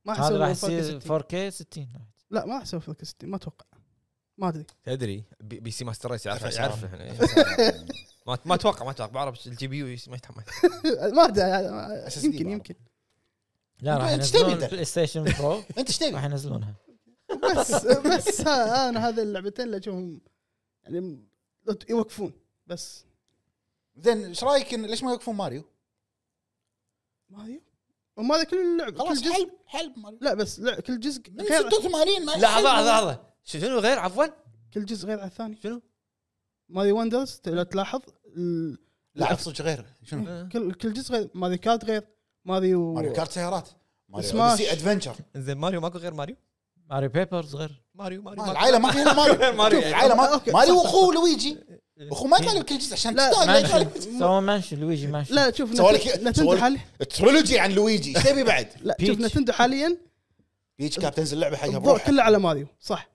Speaker 4: ما
Speaker 3: هذا راح
Speaker 4: يسوي 4K
Speaker 3: يصير
Speaker 4: 60.
Speaker 3: 4K 60
Speaker 4: لا ما راح يسوي 4K 60 ما اتوقع ما ادري
Speaker 1: تدري بي, بي سي ماستر ريس يعرف
Speaker 2: FSR.
Speaker 1: يعرف يعني. إحنا.
Speaker 2: <laughs> FSR.
Speaker 1: ما ما اتوقع ما اتوقع بعرف الجي بي يو يس- ما يتحمل
Speaker 4: <laughs> ما ادري
Speaker 2: SSD
Speaker 4: يمكن
Speaker 2: بعرف.
Speaker 4: يمكن
Speaker 3: لا راح
Speaker 2: أنت إيش تبي
Speaker 3: ينزلون
Speaker 2: أنت؟
Speaker 3: بلاي ستيشن برو
Speaker 2: <laughs> انت ايش تبي؟
Speaker 3: راح ينزلونها
Speaker 4: بس بس ها انا هذه اللعبتين اللي اشوفهم يعني م- يوقفون بس
Speaker 2: زين ايش رايك إن- ليش ما يوقفون ماريو؟
Speaker 4: ماريو وما هذا كل اللعب كل
Speaker 2: خلاص
Speaker 4: جزء
Speaker 2: حلب حلب ماريو
Speaker 4: لا بس لا كل جزء
Speaker 2: من
Speaker 4: غير
Speaker 2: 86 ما
Speaker 1: لحظه لحظه لحظه شنو غير عفوا
Speaker 4: كل جزء غير على الثاني
Speaker 1: شنو؟
Speaker 4: ماريو وندرز ت- لو تلاحظ ال-
Speaker 2: لا عرفت صدق غير شنو؟
Speaker 4: كل كل جزء غير ماريو كارت غير ماريو
Speaker 2: ماريو كارت سيارات ماريو
Speaker 4: سماش.
Speaker 2: أوديسي <laughs> ادفنشر
Speaker 1: زين ماريو ماكو غير ماريو
Speaker 3: ماريو بيبرز غير
Speaker 1: ماريو ماريو ماريو.
Speaker 2: العائله ما فيها <laughs> ماريو
Speaker 1: ماريو.
Speaker 2: ماريو العائله ما
Speaker 4: أوكي،
Speaker 2: ماريو
Speaker 4: صح،
Speaker 2: <laughs>
Speaker 4: صح،
Speaker 2: واخوه لويجي اخوه ما يطلع لك كل جزء عشان
Speaker 4: لا،
Speaker 2: تستاهل، لا يطلع لك-
Speaker 3: مانشن سووا مانشن لويجي مانشن
Speaker 4: لا شوف
Speaker 2: سوالك-
Speaker 4: نت- نتندو
Speaker 2: سوالك-
Speaker 4: حاليا
Speaker 2: ترولوجي عن لويجي ايش تبي بعد؟
Speaker 4: لا
Speaker 3: بيتش.
Speaker 4: شوف نتندو حاليا
Speaker 2: <laughs> بيتش كاب تنزل لعبه حقها
Speaker 4: الضوء
Speaker 2: بروحها
Speaker 4: كله على ماريو صح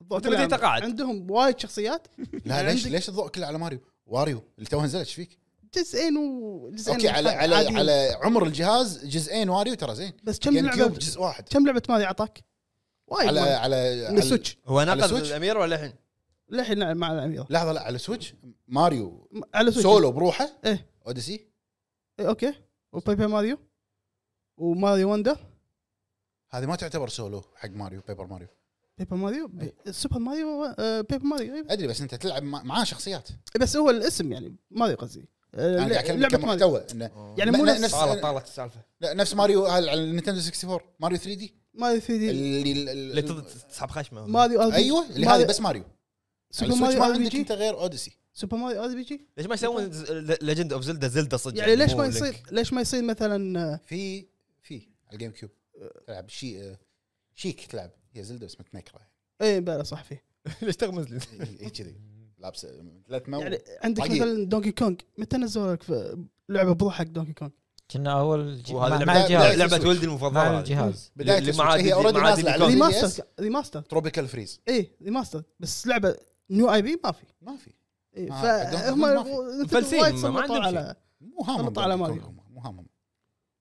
Speaker 4: الضوء
Speaker 1: أنت
Speaker 4: كله على
Speaker 1: بديت
Speaker 4: ماريو.
Speaker 1: أقعد.
Speaker 4: عندهم وايد شخصيات
Speaker 2: لا ليش
Speaker 4: عندك-
Speaker 2: ليش الضوء كله على ماريو؟ واريو اللي توها نزلت ايش فيك؟
Speaker 4: جزئين وجزئين
Speaker 2: اوكي على على
Speaker 4: عاديين.
Speaker 2: على عمر الجهاز جزئين واريو ترى زين
Speaker 4: بس كم
Speaker 2: جيم كيوب
Speaker 4: لعبه
Speaker 2: جزء واحد
Speaker 4: كم لعبه ماريو اعطاك؟ وايد
Speaker 2: على
Speaker 4: وايد.
Speaker 2: على
Speaker 4: من
Speaker 2: طيب، على-
Speaker 4: السويتش
Speaker 1: هو
Speaker 2: على
Speaker 1: ناقد
Speaker 2: سويتش؟
Speaker 1: الامير ولا الحين؟
Speaker 4: للحين نلعب مع الاميره
Speaker 2: لحظه لا على سويتش ماريو
Speaker 4: م- على سويتش
Speaker 2: سولو بروحه
Speaker 4: إيه.
Speaker 2: اوديسي
Speaker 4: إيه، اوكي وبيبر ماريو وماريو وندر
Speaker 2: هذه ما تعتبر سولو حق ماريو بيبر ماريو
Speaker 4: بيبر ماريو ب-
Speaker 2: إيه.
Speaker 4: سوبر ماريو آه، بيبر ماريو إيه.
Speaker 2: ادري بس انت تلعب مع- معاه شخصيات
Speaker 4: بس هو الاسم يعني ماريو قصدي آه،
Speaker 2: انا قاعد اكلمك
Speaker 4: لعبة ماريو.
Speaker 2: كمحتوى انه
Speaker 4: يعني
Speaker 2: لا-
Speaker 4: مو
Speaker 2: لا،
Speaker 4: نفس
Speaker 2: نفس-
Speaker 1: طالت طالت السالفه
Speaker 2: لا، نفس ماريو هال- على النينتندو 64 ماريو 3 دي
Speaker 4: ماريو 3 دي
Speaker 2: اللي اللي-
Speaker 1: اللي تض- تسحب خشمه
Speaker 4: ماريو RPG.
Speaker 2: ايوه اللي
Speaker 4: ماريو-
Speaker 2: هذه بس ماريو
Speaker 4: سوبر
Speaker 2: سوبر ماريو ما
Speaker 4: ماريو ار بي
Speaker 2: عندك انت
Speaker 4: جي
Speaker 2: غير اوديسي
Speaker 4: سوبر ماريو ار بي جي
Speaker 1: ليش ما يسوون ليجند اوف زلدا زلدا صدق
Speaker 4: يعني ليش
Speaker 1: مو
Speaker 4: ما
Speaker 1: لينك.
Speaker 4: <laughs> يصير ليش ما يصير مثلا آه،
Speaker 2: في في على الجيم كيوب تلعب شي شيك تلعب هي زلده بس متنكره
Speaker 4: ايه بلا صح فيه
Speaker 1: ليش تغمز لي؟
Speaker 2: هي كذي لابسه ثلاث مو
Speaker 4: يعني عندك
Speaker 2: طيب.
Speaker 4: مثلا دونكي كونغ متى نزلوا لك ف- لعبه بروح حق دونكي كونغ
Speaker 3: كنا اول
Speaker 1: <laughs>
Speaker 3: جي-
Speaker 1: وهذا
Speaker 3: مع-
Speaker 1: لعبة-
Speaker 3: مع
Speaker 1: لعبة
Speaker 3: الجهاز
Speaker 1: لعبة ولدي
Speaker 3: مع
Speaker 1: المفضلة هذه.
Speaker 3: الجهاز
Speaker 2: بدايه
Speaker 1: اللي
Speaker 2: السويتش.
Speaker 1: معاه
Speaker 2: هي
Speaker 1: دي-
Speaker 2: اوريدي
Speaker 1: معاه
Speaker 2: نازله
Speaker 1: دي
Speaker 2: على
Speaker 1: كونغ.
Speaker 2: الدي
Speaker 4: ريماستر ريماستر
Speaker 2: تروبيكال فريز
Speaker 4: ايه ريماستر بس لعبه نيو اي بي ما في
Speaker 2: ما في
Speaker 4: إيه،
Speaker 2: آه،
Speaker 4: فهم
Speaker 2: ما في.
Speaker 4: نتندو
Speaker 1: مفلسين،
Speaker 4: وايد
Speaker 1: ما- ما
Speaker 4: سلطوا
Speaker 1: عندهم
Speaker 4: على
Speaker 2: مو هامم
Speaker 4: خلط على
Speaker 2: Donkey
Speaker 4: ماريو.
Speaker 2: Kong هم، مو هامم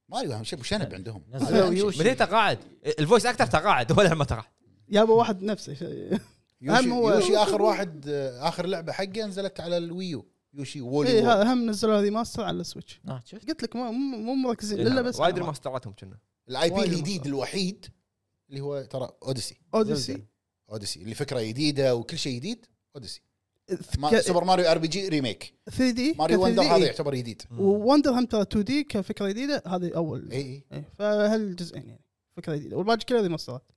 Speaker 2: ماريو اهم شيء ابو شنب عندهم
Speaker 3: نزلوا
Speaker 2: أهم شيء.
Speaker 3: يوشي.
Speaker 1: بديت تقاعد الفويس اكتر تقاعد ولا ما تقاعد
Speaker 4: جابوا واحد نفسه شيء.
Speaker 2: يوشي,
Speaker 4: أهم هو-
Speaker 2: يوشي اخر واحد آه، اخر لعبه حقه نزلت على الويو يوشي وولي
Speaker 4: ايه
Speaker 2: وول.
Speaker 4: ها- هم نزلوا ريماستر على السويتش
Speaker 3: آه، شفت
Speaker 4: قلت لك ما- مو مو مركزين الا بس
Speaker 1: إيه، وايد ريماستراتهم كنا
Speaker 2: الاي بي
Speaker 4: وايد
Speaker 2: الجديد
Speaker 4: مختلف.
Speaker 2: الوحيد اللي هو ترى اوديسي
Speaker 4: اوديسي
Speaker 2: اوديسي اللي فكره جديده وكل شيء جديد اوديسي ما
Speaker 4: ك- إيه.
Speaker 2: سوبر ماريو ار بي جي ريميك
Speaker 4: 3 دي
Speaker 2: ماريو وندر هذا يعتبر جديد
Speaker 4: ووندر هم ترى 2 دي كفكره جديده هذه اول
Speaker 2: اي اي
Speaker 4: إيه، فهالجزئين يعني فكره جديده والباقي كله ريماسترات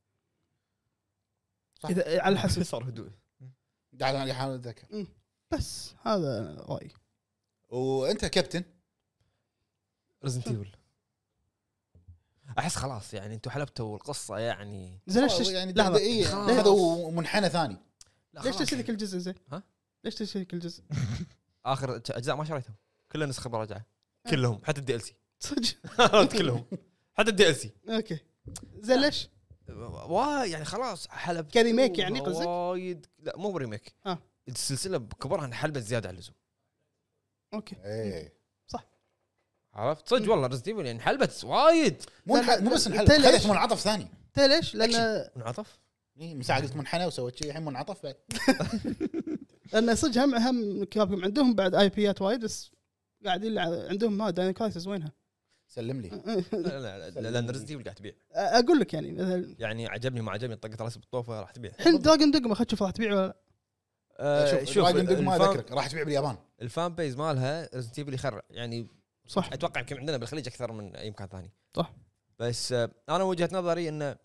Speaker 2: صح.
Speaker 4: اذا على حسب
Speaker 1: <laughs> صار هدوء
Speaker 2: قاعد انا احاول اتذكر
Speaker 4: بس هذا رايي
Speaker 2: وانت كابتن
Speaker 1: ريزنت ايفل احس خلاص يعني انتوا حلبتوا القصه يعني
Speaker 4: زين ليش
Speaker 2: هو
Speaker 4: تشت-
Speaker 2: يعني
Speaker 4: لحظه
Speaker 2: إيه،
Speaker 1: خلاص.
Speaker 2: هذا منحنى ثاني
Speaker 1: لا
Speaker 4: ليش
Speaker 1: خلاص
Speaker 4: تشتري
Speaker 1: يعني.
Speaker 4: كل جزء زين؟
Speaker 1: ها؟
Speaker 4: ليش تشتري كل جزء؟ آه. <laughs>
Speaker 1: اخر اجزاء ما شريتهم كلها نسخه مراجعه كلهم حتى الدي ال سي
Speaker 4: <laughs> صدق
Speaker 1: عرفت <laughs> كلهم حتى الدي ال سي
Speaker 4: اوكي زين ليش؟
Speaker 1: وا يعني خلاص حلب
Speaker 4: كريميك يعني قصدك؟
Speaker 1: وايد لا مو بريميك
Speaker 4: آه.
Speaker 1: السلسله بكبرها انحلبت زياده عن اللزوم
Speaker 4: اوكي
Speaker 2: ايه
Speaker 1: عرفت صدق والله ريزنت ايفل يعني انحلبت وايد
Speaker 2: مو
Speaker 4: لا،
Speaker 2: انح- مو بس انحل
Speaker 4: أنت ليش؟
Speaker 2: خذت منعطف ثاني
Speaker 4: تدري ليش؟ لان
Speaker 1: انعطف
Speaker 2: إيه، من ساعه قلت منحنى وسويت شيء الحين منعطف بعد
Speaker 4: لان صدق هم هم كابكم عندهم بعد اي بيات وايد بس قاعدين لع- عندهم ما داين كرايسس وينها؟
Speaker 2: سلم لي
Speaker 1: لا لا لا لان ريزنت ايفل قاعد تبيع
Speaker 4: اقول لك يعني مثلا
Speaker 1: يعني عجبني ما عجبني طقت راسي بالطوفه راح تبيع
Speaker 4: الحين دراجون دوجما خلينا نشوف راح تبيع ولا لا
Speaker 1: آه،
Speaker 2: شوف دراجون دوج ما
Speaker 1: الفان,
Speaker 2: اذكرك راح تبيع باليابان
Speaker 1: الفان بيز مالها ريزنت ايفل يخرع يعني
Speaker 4: صح
Speaker 1: اتوقع يمكن عندنا بالخليج اكثر من اي مكان ثاني
Speaker 4: صح.
Speaker 1: بس آه، انا وجهه نظري انه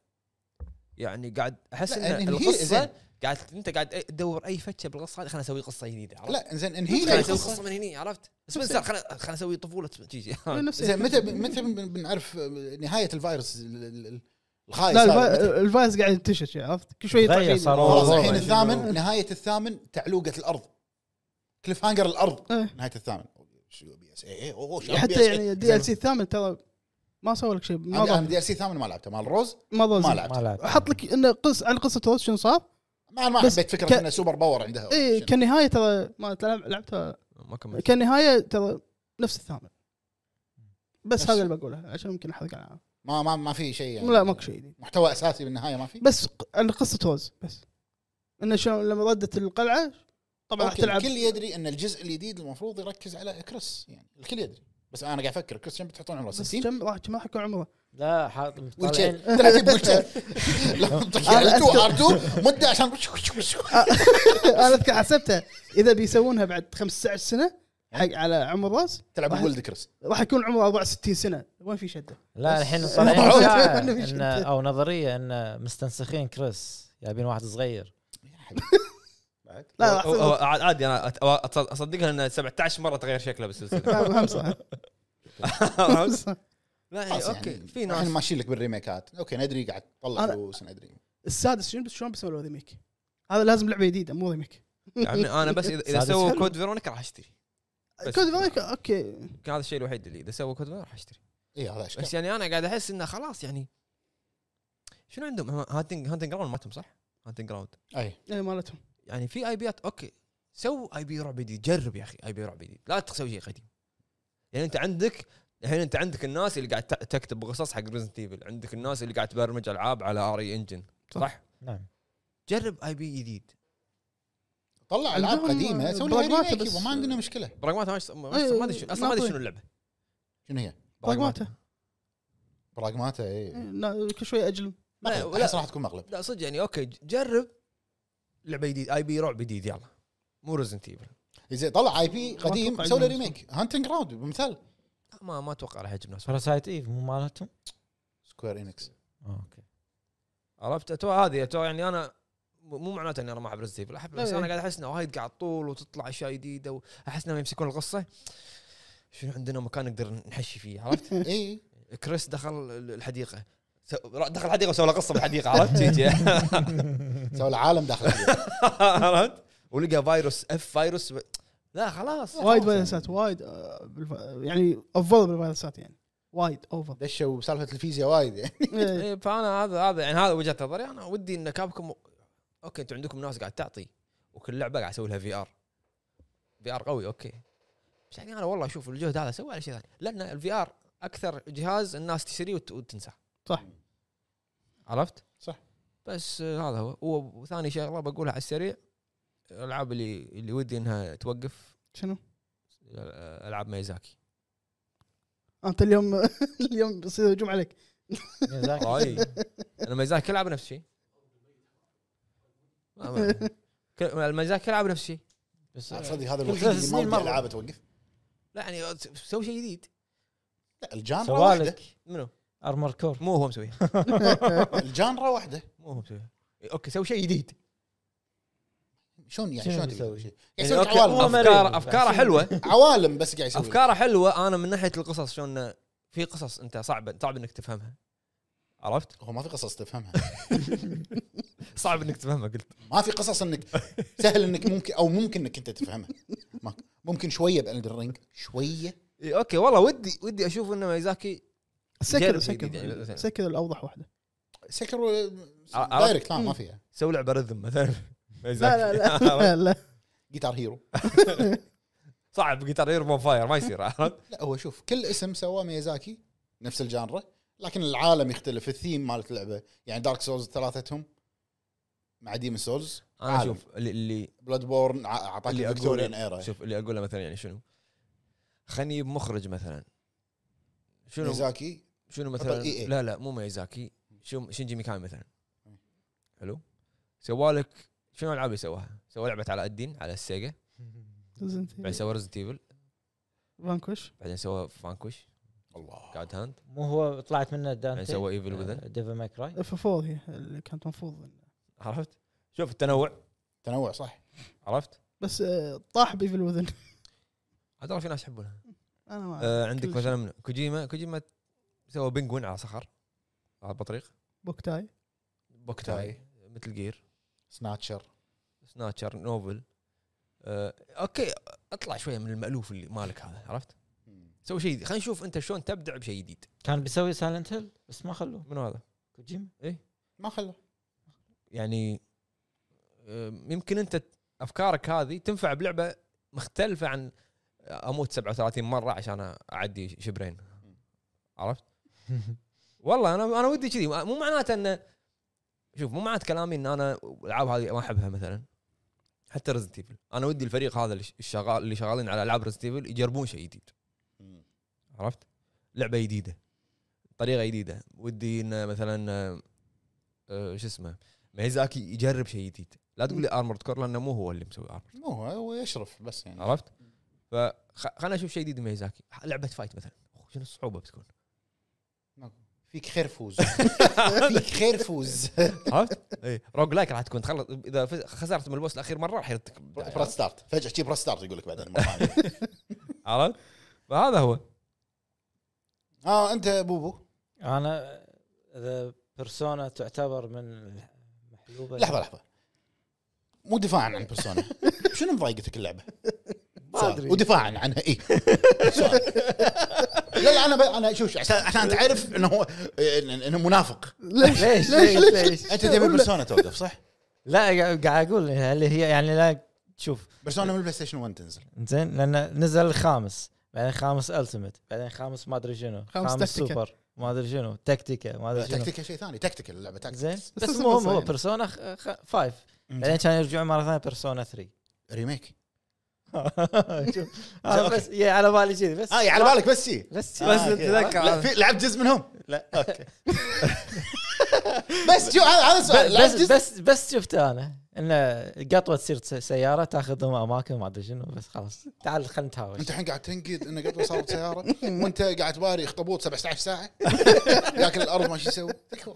Speaker 1: يعني قاعد احس
Speaker 2: لا،
Speaker 1: ان
Speaker 2: إن هي
Speaker 1: القصه
Speaker 2: زين.
Speaker 1: قاعد انت قاعد تدور اي فتشه بالقصه هذه خليني اسوي قصه جديده عرفت؟
Speaker 2: لا زين
Speaker 1: خليني
Speaker 2: انهي
Speaker 1: اسوي قصه من هني عرفت؟ سبنسر خليني خليني اسوي طفوله جيجي
Speaker 4: إيه، نفس
Speaker 2: زين متى متى بن- بنعرف نهايه الفيروس ال- ال- ال- الخايس
Speaker 4: لا
Speaker 2: هذا؟ متى؟
Speaker 4: الفا- آه، الفايز قاعد ينتشر شي، عرفت؟ كل شوي
Speaker 3: تغير
Speaker 4: يطلع شي
Speaker 3: صار
Speaker 4: جديد.
Speaker 2: خلاص
Speaker 3: والله
Speaker 2: الحين
Speaker 3: شنو-
Speaker 2: الثامن نهايه الثامن تعلوقه الارض كليف هانجر الارض
Speaker 4: إيه.
Speaker 2: نهايه الثامن شو بي اس اي اي اوه إيه، شو
Speaker 4: حتى يعني دي ال سي الثامن ترى ما سوى لك شيء ما
Speaker 2: انا
Speaker 4: ضاف-
Speaker 2: دي ال سي الثامن ما لعبته مال روز
Speaker 4: ما ضاف
Speaker 2: ما
Speaker 4: شيء.
Speaker 2: لعبته
Speaker 3: ما لعب
Speaker 4: حط لك انه قص عن قصه روز شنو صار
Speaker 2: ما انا ما
Speaker 4: بس
Speaker 2: حبيت فكره
Speaker 4: ك-
Speaker 2: انه سوبر باور عندها
Speaker 4: اي كنهايه إيه، ترى ما تلعب لعبتها
Speaker 1: <laughs> ما كملت
Speaker 4: كنهايه ترى نفس الثامن بس
Speaker 2: نفس-
Speaker 4: هذا اللي بقوله عشان يمكن احرق على
Speaker 2: ما ما ما في شيء يعني
Speaker 4: لا ماكو شيء جديد
Speaker 2: محتوى اساسي بالنهايه ما في
Speaker 4: بس ق- عن قصه روز بس انه شلون لما ردت القلعه طبعا راح
Speaker 2: أوكي،
Speaker 4: تلعب
Speaker 2: الكل يدري ان الجزء الجديد المفروض يركز على كريس يعني الكل يدري بس انا قاعد افكر كريس كم بتحطون عمره
Speaker 4: بس
Speaker 2: 60
Speaker 4: كم راح كم راح يكون عمره <laughs>
Speaker 3: لا حاط
Speaker 2: ويلشير
Speaker 3: طالعين
Speaker 2: تلعب ويلشير لما
Speaker 4: آه،
Speaker 2: تطلع على 2 ار 2 مده عشان
Speaker 4: انا اذكر حسبتها اذا بيسوونها بعد 15 سنه
Speaker 2: إيه.
Speaker 4: حق على عمر روز
Speaker 2: تلعب بولد
Speaker 4: <laughs>
Speaker 2: كريس
Speaker 4: راح يكون عمره 64 سنه وين في شده
Speaker 3: لا الحين
Speaker 4: بس-
Speaker 3: طالعين
Speaker 4: مبعوث.
Speaker 3: إشاعة
Speaker 4: ما في شيء.
Speaker 3: إن- او نظريه ان مستنسخين كريس جايبين واحد صغير
Speaker 2: يا حبيبي. بعد.
Speaker 4: لا
Speaker 1: هو- هو-
Speaker 4: راح
Speaker 1: عاد- عادي انا أت- أصد- اصدقها انه 17 مره تغير شكله
Speaker 2: <laughs>
Speaker 4: <laughs>
Speaker 1: بالسلسله
Speaker 4: هم صح هم صح.
Speaker 1: لا يعني
Speaker 4: إيه،
Speaker 2: خلاص
Speaker 1: اوكي في
Speaker 2: يعني الحين
Speaker 1: ناس
Speaker 2: ماشيين لك بالريميكات اوكي ندري قاعد تطلع
Speaker 4: أنا-
Speaker 2: فلوس ندري
Speaker 4: <laughs> السادس شنو بس شلون بيسوي له ريميك هذا لازم لعبه جديده مو ريميك
Speaker 1: يا عمي انا يعني بس اذا إذا
Speaker 3: سادس
Speaker 1: سووا
Speaker 3: حلو.
Speaker 1: كود فيرونيكا راح اشتري بس.
Speaker 4: كود فيرونيكا، اوكي
Speaker 1: كان هذا الشيء الوحيد اللي اذا سووا كود فيرونيكا راح اشتري
Speaker 2: اي إيه، هذا اشكال
Speaker 1: بس يعني انا قاعد احس انه خلاص يعني شنو عندهم هم- هانتنج هانتنج جراوند مالتهم صح؟ هانتنج جراوند
Speaker 2: اي
Speaker 4: إيه، مالتهم
Speaker 1: يعني في اي بيات اوكي سو اي بي رعب جديد جرب يا اخي اي بي رعب جديد لا تسوي شيء قديم يعني انت عندك الحين انت عندك الناس اللي قاعد ت- تكتب قصص حق ريزنت ايفل عندك الناس اللي قاعد تبرمج العاب على اري انجن صح؟
Speaker 3: نعم
Speaker 1: جرب اي بي جديد
Speaker 2: طلع العاب
Speaker 4: عندهم
Speaker 2: قديمه سوي لها
Speaker 4: براغماتا
Speaker 2: ريميك
Speaker 4: بس.
Speaker 2: يبا، ما عندنا مشكله
Speaker 1: براغماتا ما يس- ما يس- ما ادري شو- اصلا إيه، ما ادري شنو اللعبه
Speaker 2: شنو هي؟
Speaker 4: براغماتا.
Speaker 2: براغماتا اي
Speaker 4: لا، إيه، كل شوي اجل
Speaker 1: لا ولا-
Speaker 2: احس راح تكون مقلب
Speaker 1: لا صدق يعني اوكي ج- جرب لعبه جديد اي بي رعب جديد يلا مو ريزنت ايفل
Speaker 2: إيه، زين طلع اي بي قديم
Speaker 4: أتوقع
Speaker 2: سوي له
Speaker 4: إنه-
Speaker 2: ريميك هانتنج جراوند مثال
Speaker 1: ما ما اتوقع راح يعجب ناس
Speaker 3: باراسايت ايف مو مالتهم
Speaker 2: سكوير انكس
Speaker 3: آه، اوكي
Speaker 1: عرفت تو هذه تو يعني انا م- مو معناته اني انا ما احب ريزنت ايفل احب
Speaker 4: لا،
Speaker 1: بس انا
Speaker 4: لا.
Speaker 1: قاعد احس انه وايد قاعد طول وتطلع اشياء جديده واحس انهم يمسكون القصه شنو عندنا مكان نقدر نحشي فيه عرفت؟
Speaker 2: اي
Speaker 1: كريس دخل ال- الحديقه س- را- دخل الحديقه وسوى له قصه بالحديقه عرفت؟ جي- جي.
Speaker 2: سوي العالم داخل فيه.
Speaker 1: <laughs> عرفت؟ ولقى فيروس اف فيروس ب- لا خلاص
Speaker 4: وايد فيروسات وايد آه، بالف- يعني افضل بالفيروسات يعني وايد اوفر
Speaker 1: <laughs>
Speaker 2: دشوا بسالفه الفيزياء وايد يعني
Speaker 4: إيه.
Speaker 1: إيه، فانا هذا هذا يعني هذا وجهه نظري انا ودي ان كابكم اوكي انتم عندكم ناس قاعد تعطي وكل لعبه قاعد اسوي لها في ار في ار قوي اوكي بس يعني انا والله اشوف الجهد هذا سوى على شيء ثاني لان الفي ار اكثر جهاز الناس تشتريه وت- وتنساه
Speaker 4: صح.
Speaker 1: عرفت؟
Speaker 2: صح.
Speaker 1: بس آه، هذا هو و- وثاني شغله بقولها على السريع الالعاب اللي اللي ودي انها توقف
Speaker 4: شنو؟
Speaker 1: آه، العاب ميزاكي
Speaker 4: انت اليوم <laughs> اليوم بيصير هجوم
Speaker 1: <laughs>
Speaker 4: عليك
Speaker 3: ميازاكي.
Speaker 1: اي
Speaker 4: <laughs>
Speaker 1: انا ميزاكي يلعب نفس الشيء ما- ما- كل- الميزاكي يلعب نفس الشيء
Speaker 3: بس
Speaker 2: صدق هذا
Speaker 3: كل
Speaker 2: الوحيد
Speaker 3: ثلاث
Speaker 2: اللي ما
Speaker 3: سنين
Speaker 2: ودي
Speaker 3: مرة.
Speaker 2: العابه توقف
Speaker 1: لا يعني س- سوي شيء جديد
Speaker 2: لا الجانرا واحده
Speaker 3: سوالك
Speaker 1: منو؟
Speaker 3: ارمر كور
Speaker 1: <laughs> مو هو مسويها
Speaker 2: الجانرا واحده
Speaker 1: مو هو مسويها اوكي سوي شيء جديد
Speaker 2: شلون يعني
Speaker 3: شنو
Speaker 2: شلون
Speaker 3: بيسوي؟
Speaker 2: تسوي شيء؟ قاعد
Speaker 1: يعني
Speaker 2: يسوي لك
Speaker 1: اوكي
Speaker 2: عوالم
Speaker 1: افكاره
Speaker 3: أوه.
Speaker 4: <laughs>
Speaker 1: افكاره حلوه
Speaker 2: عوالم بس قاعد يسوي لك.
Speaker 1: افكاره حلوه انا من ناحيه القصص شلون في قصص انت صعب صعب انك تفهمها عرفت؟
Speaker 2: هو ما في قصص تفهمها
Speaker 1: صعب انك تفهمها قلت
Speaker 2: ما في قصص انك سهل انك ممكن او ممكن انك انت تفهمها ما- ممكن شويه بالدر رينج شويه
Speaker 1: إي، اوكي والله ودي ودي اشوف انه ميزاكي
Speaker 4: سكر
Speaker 1: جرب جديد يعني،
Speaker 4: سكر
Speaker 1: مثلاً.
Speaker 4: سكر
Speaker 1: <laughs>
Speaker 4: الاوضح واحده
Speaker 2: سكر و-
Speaker 1: عرفت؟
Speaker 2: دايركت لا ما فيها
Speaker 1: سوي لعبه رذم مثلا
Speaker 4: لا لا لا, <laughs> لا.
Speaker 2: جيتار هيرو
Speaker 1: <laughs> صعب جيتار هيرو اون فاير ما يصير عرفت
Speaker 2: لا هو شوف كل اسم سواه ميازاكي نفس الجانرا لكن العالم يختلف الثيم مالت اللعبه يعني دارك سولز ثلاثتهم مع ديمن سولز
Speaker 1: انا
Speaker 2: عالم.
Speaker 1: شوف اللي اللي
Speaker 2: بلاد بورن اعطاك
Speaker 1: اللي
Speaker 2: الفيكتوريان
Speaker 1: اقوله
Speaker 2: ايرا
Speaker 1: شوف اللي اقوله مثلا يعني شنو خلني بمخرج مثلا شنو
Speaker 2: ميازاكي
Speaker 1: شنو
Speaker 2: عطل
Speaker 1: مثلا
Speaker 4: إيه.
Speaker 2: EA.
Speaker 1: لا لا مو ميزاكي شو شينجي ميكامي مثلا حلو سوالك شنو الالعاب اللي سواها؟ سوى لعبه على الدين على
Speaker 4: إيه.
Speaker 1: السيجا
Speaker 4: زين.
Speaker 1: بعدين سوى ريزنت ايفل
Speaker 4: فانكوش
Speaker 1: بعدين سوى فانكوش
Speaker 2: الله
Speaker 1: جاد هاند
Speaker 3: مو هو طلعت منه آه،
Speaker 1: بعدين
Speaker 3: دانتي
Speaker 1: سوى ايفل وذن
Speaker 3: ديفل ماي كراي
Speaker 4: اف 4 هي اللي كانت المفروض
Speaker 1: عرفت؟ شوف التنوع
Speaker 2: تنوع صح
Speaker 1: عرفت؟
Speaker 4: بس آه، طاح بي في <laughs> الوذن
Speaker 1: عاد والله في ناس يحبونها
Speaker 4: انا ما أعرف.
Speaker 1: آه عندك
Speaker 4: كل شيء.
Speaker 1: مثلا من- كوجيما كوجيما سوى بنجوين على صخر على البطريق
Speaker 4: بوكتاي
Speaker 1: <laughs> بوكتاي مثل جير
Speaker 2: سناتشر
Speaker 1: سناتشر نوفل آه اوكي اطلع شويه من المالوف اللي مالك هذا عرفت؟ سوي شيء خلينا نشوف انت شلون تبدع بشيء جديد
Speaker 3: كان بيسوي سايلنت هيل بس ما خلوه
Speaker 1: منو هذا؟
Speaker 3: كوجيما إيه.
Speaker 2: ما خلوا
Speaker 1: يعني أم، يمكن انت ت- افكارك هذه تنفع بلعبه مختلفه عن اموت 37 مره عشان اعدي شبرين عرفت؟ والله انا انا ودي كذي مو معناته انه شوف مو معناته كلامي ان انا الالعاب هذه ما احبها مثلا حتى ريزنت ايفل انا ودي الفريق هذا اللي ش- الشغال اللي شغالين على العاب ريزنت ايفل يجربون شيء جديد عرفت؟ لعبه جديده طريقه جديده ودي انه مثلا آه، آه، شو اسمه ميزاكي يجرب شيء جديد لا تقول لي ارمورد كور لانه مو هو اللي مسوي ارمورد
Speaker 2: مو هو هو يشرف بس يعني
Speaker 1: عرفت؟ فخلنا نشوف شيء جديد من ميزاكي لعبه فايت مثلا أوه، شنو الصعوبه <laughs> بتكون
Speaker 2: فيك خير فوز
Speaker 1: <laughs>
Speaker 2: فيك خير فوز
Speaker 1: عرفت؟ اي روج لايك إيه، راح تكون تخلص اذا فز- خسرت من البوس الاخير مره راح يردك بداية،
Speaker 2: برا ستارت فجاه شي برا ستارت يقول لك بعدين
Speaker 1: <laughs>
Speaker 2: مرة ثانية.
Speaker 1: عرفت؟ فهذا هو
Speaker 2: آه، اه انت بوبو
Speaker 3: انا اذا بيرسونا تعتبر من محلوبه
Speaker 2: لحظه لحظه مو دفاعا عن
Speaker 3: <laughs>
Speaker 2: بيرسونا شنو مضايقتك اللعبه؟
Speaker 4: ما
Speaker 2: سؤال.
Speaker 4: ادري
Speaker 2: ودفاعا عنها اي سؤال. لا لا انا ب... انا شوف شوف، عشان عشان تعرف انه هو إن- انه منافق
Speaker 4: ليش
Speaker 3: ليش
Speaker 4: ليش-
Speaker 3: ليش ليش
Speaker 2: انت تبي بيرسونا توقف
Speaker 3: <laughs>
Speaker 2: صح؟
Speaker 3: لا قاعد- قاعد اقول اللي هي يعني لا تشوف
Speaker 2: بيرسونا من البلاي ستيشن 1 تنزل
Speaker 3: زين لان نزل الخامس بعدين خامس التيمت بعدين خامس ما ادري شنو
Speaker 4: خامس
Speaker 3: خامس,
Speaker 4: تكتيكا.
Speaker 3: سوبر ما ادري شنو تكتيكا ما ادري شنو
Speaker 2: تكتيكال شيء ثاني تكتيكال اللعبه تكتيكال
Speaker 3: زين
Speaker 4: بس
Speaker 3: بس
Speaker 4: اسمه
Speaker 3: المهم هو
Speaker 4: يعني.
Speaker 3: بيرسونا 5 بعدين كانوا يرجعون مره ثانيه بيرسونا 3
Speaker 2: ريميك
Speaker 3: <laughs> شوف، انا بس يا على بالي كذي بس
Speaker 2: اه على بالك بس شي
Speaker 3: بس
Speaker 2: آه،
Speaker 3: بس
Speaker 2: أوكي.
Speaker 1: تتذكر
Speaker 2: لا،
Speaker 1: هذا.
Speaker 2: في لعبت جزء منهم لا
Speaker 3: <laughs>
Speaker 2: اوكي بس شو هذا هذا سؤال لعبت
Speaker 3: بس
Speaker 2: جزء
Speaker 3: بس بس شفت انا انه قطوه تصير س- سياره تاخذهم اماكن ما ادري شنو بس خلاص تعال خلينا نتهاوش
Speaker 2: انت الحين قاعد تنقد انه قبل صارت سياره وانت قاعد تباري اخطبوط 17 ساعه لكن الارض ما شو يسوي تكفى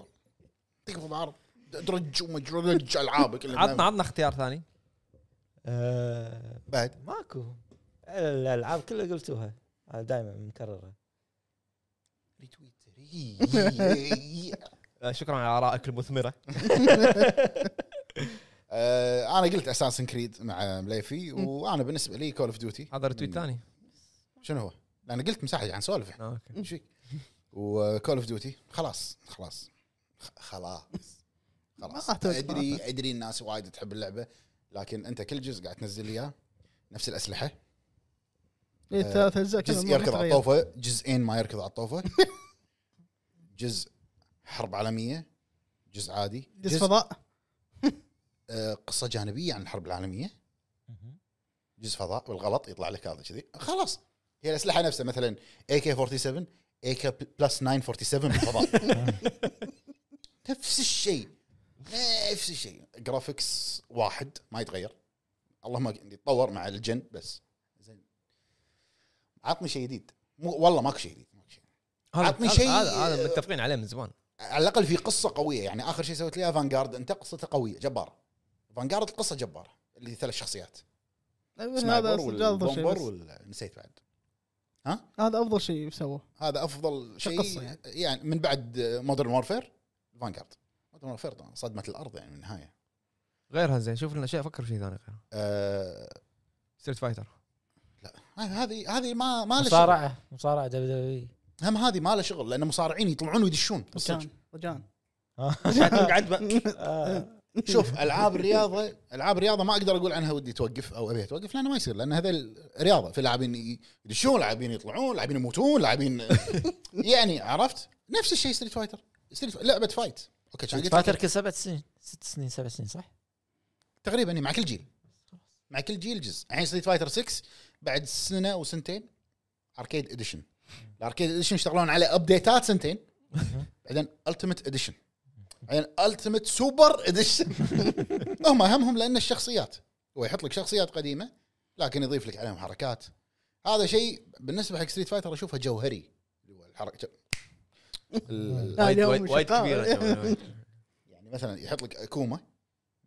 Speaker 2: تكفى الارض درج ومجرج العابك اللي
Speaker 1: عطنا عطنا اختيار ثاني
Speaker 3: آه،
Speaker 2: بعد
Speaker 3: ماكو الالعاب كلها قلتوها دائما مكرره
Speaker 2: ريتويت <laughs>
Speaker 1: آه، شكرا على ارائك المثمره
Speaker 2: آه، انا قلت اساسن كريد مع مليفي وانا بالنسبه لي كول اوف ديوتي
Speaker 1: هذا رتويت ثاني
Speaker 2: شنو هو؟ لان قلت مساحه عن سوالف احنا
Speaker 1: آه، اوكي
Speaker 2: ايش فيك؟ وكول اوف ديوتي خلاص خلاص خ- خلاص خلاص
Speaker 4: ما أعتقد- ما
Speaker 2: ادري ادري الناس وايد تحب اللعبه لكن انت كل جزء قاعد تنزل لي اياه نفس الاسلحه
Speaker 4: <laughs> إيه، ثلاث اجزاء كذا
Speaker 2: جزء
Speaker 4: ما
Speaker 2: يركض على
Speaker 4: تغير.
Speaker 2: الطوفه جزئين ما يركض على
Speaker 4: <laughs>
Speaker 2: الطوفه جزء حرب عالميه جزء عادي
Speaker 4: جزء فضاء
Speaker 2: آه، قصه جانبيه عن الحرب العالميه جزء فضاء بالغلط يطلع لك هذا كذي خلاص هي الاسلحه نفسها مثلا اي كي 47 اي كي بلس 947
Speaker 4: <laughs>
Speaker 2: بالفضاء نفس الشيء نفس الشيء جرافيكس واحد ما يتغير اللهم يتطور مع الجن بس زين عطني شيء جديد مو والله ماكو شيء جديد ماكو شيء
Speaker 1: هذا-
Speaker 2: عطني
Speaker 1: هذا-
Speaker 2: شيء-
Speaker 1: هذا هذا متفقين عليه من زمان
Speaker 2: على الاقل في قصه قويه يعني اخر شيء سويت لي إياه فانجارد انت قصته قويه جباره فانجارد القصه جباره اللي ثلاث شخصيات
Speaker 4: هذا
Speaker 2: سنايبر
Speaker 4: أصلاً افضل شيء
Speaker 2: والبومبر
Speaker 4: بس.
Speaker 2: ولا نسيت بعد
Speaker 4: هذا افضل شيء سووه
Speaker 2: هذا افضل شيء
Speaker 4: قصة يعني.
Speaker 2: يعني من بعد مودرن وورفير فانجارد مودرن وورفير صدمه الارض يعني من النهايه
Speaker 1: غيرها زين شوف لنا شيء فكر في شيء ثاني غيره
Speaker 2: أه
Speaker 1: ستريت فايتر
Speaker 2: آه، هذه هذه ما ما له شغل
Speaker 3: مصارعه مصارعه دبليو دبليو
Speaker 2: هم هذه ما له شغل لان مصارعين يطلعون ويدشون
Speaker 4: رجان رجان <laughs>
Speaker 1: قاعد
Speaker 4: آه،
Speaker 2: شوف العاب الرياضه العاب الرياضه ما اقدر اقول عنها ودي توقف او ابي توقف لانه ما يصير لان هذا رياضه في لاعبين يدشون لاعبين يطلعون لاعبين يموتون لاعبين يعني عرفت نفس الشيء ستريت فايتر ستريت لعبه فايت اوكي كان قلت
Speaker 3: فاتر
Speaker 2: لك
Speaker 3: كل سبع سنين ست سنين سبع سنين صح؟
Speaker 2: تقريبا يعني مع كل جيل مع كل جيل جزء يعني الحين ستريت فايتر 6 بعد سنه او سنتين اركيد اديشن الاركيد اديشن يشتغلون على ابديتات سنتين بعدين التيمت اديشن بعدين التيمت سوبر اديشن هم همهم لان الشخصيات هو يحط لك شخصيات قديمه لكن يضيف لك عليهم حركات هذا شيء بالنسبه حق ستريت فايتر اشوفه جوهري اللي هو الحركه ال-
Speaker 4: لا،
Speaker 1: وايد وايد
Speaker 4: اليوم
Speaker 1: وايد
Speaker 4: شغال.
Speaker 1: <laughs> كبيره
Speaker 2: يعني مثلا يحط لك اكوما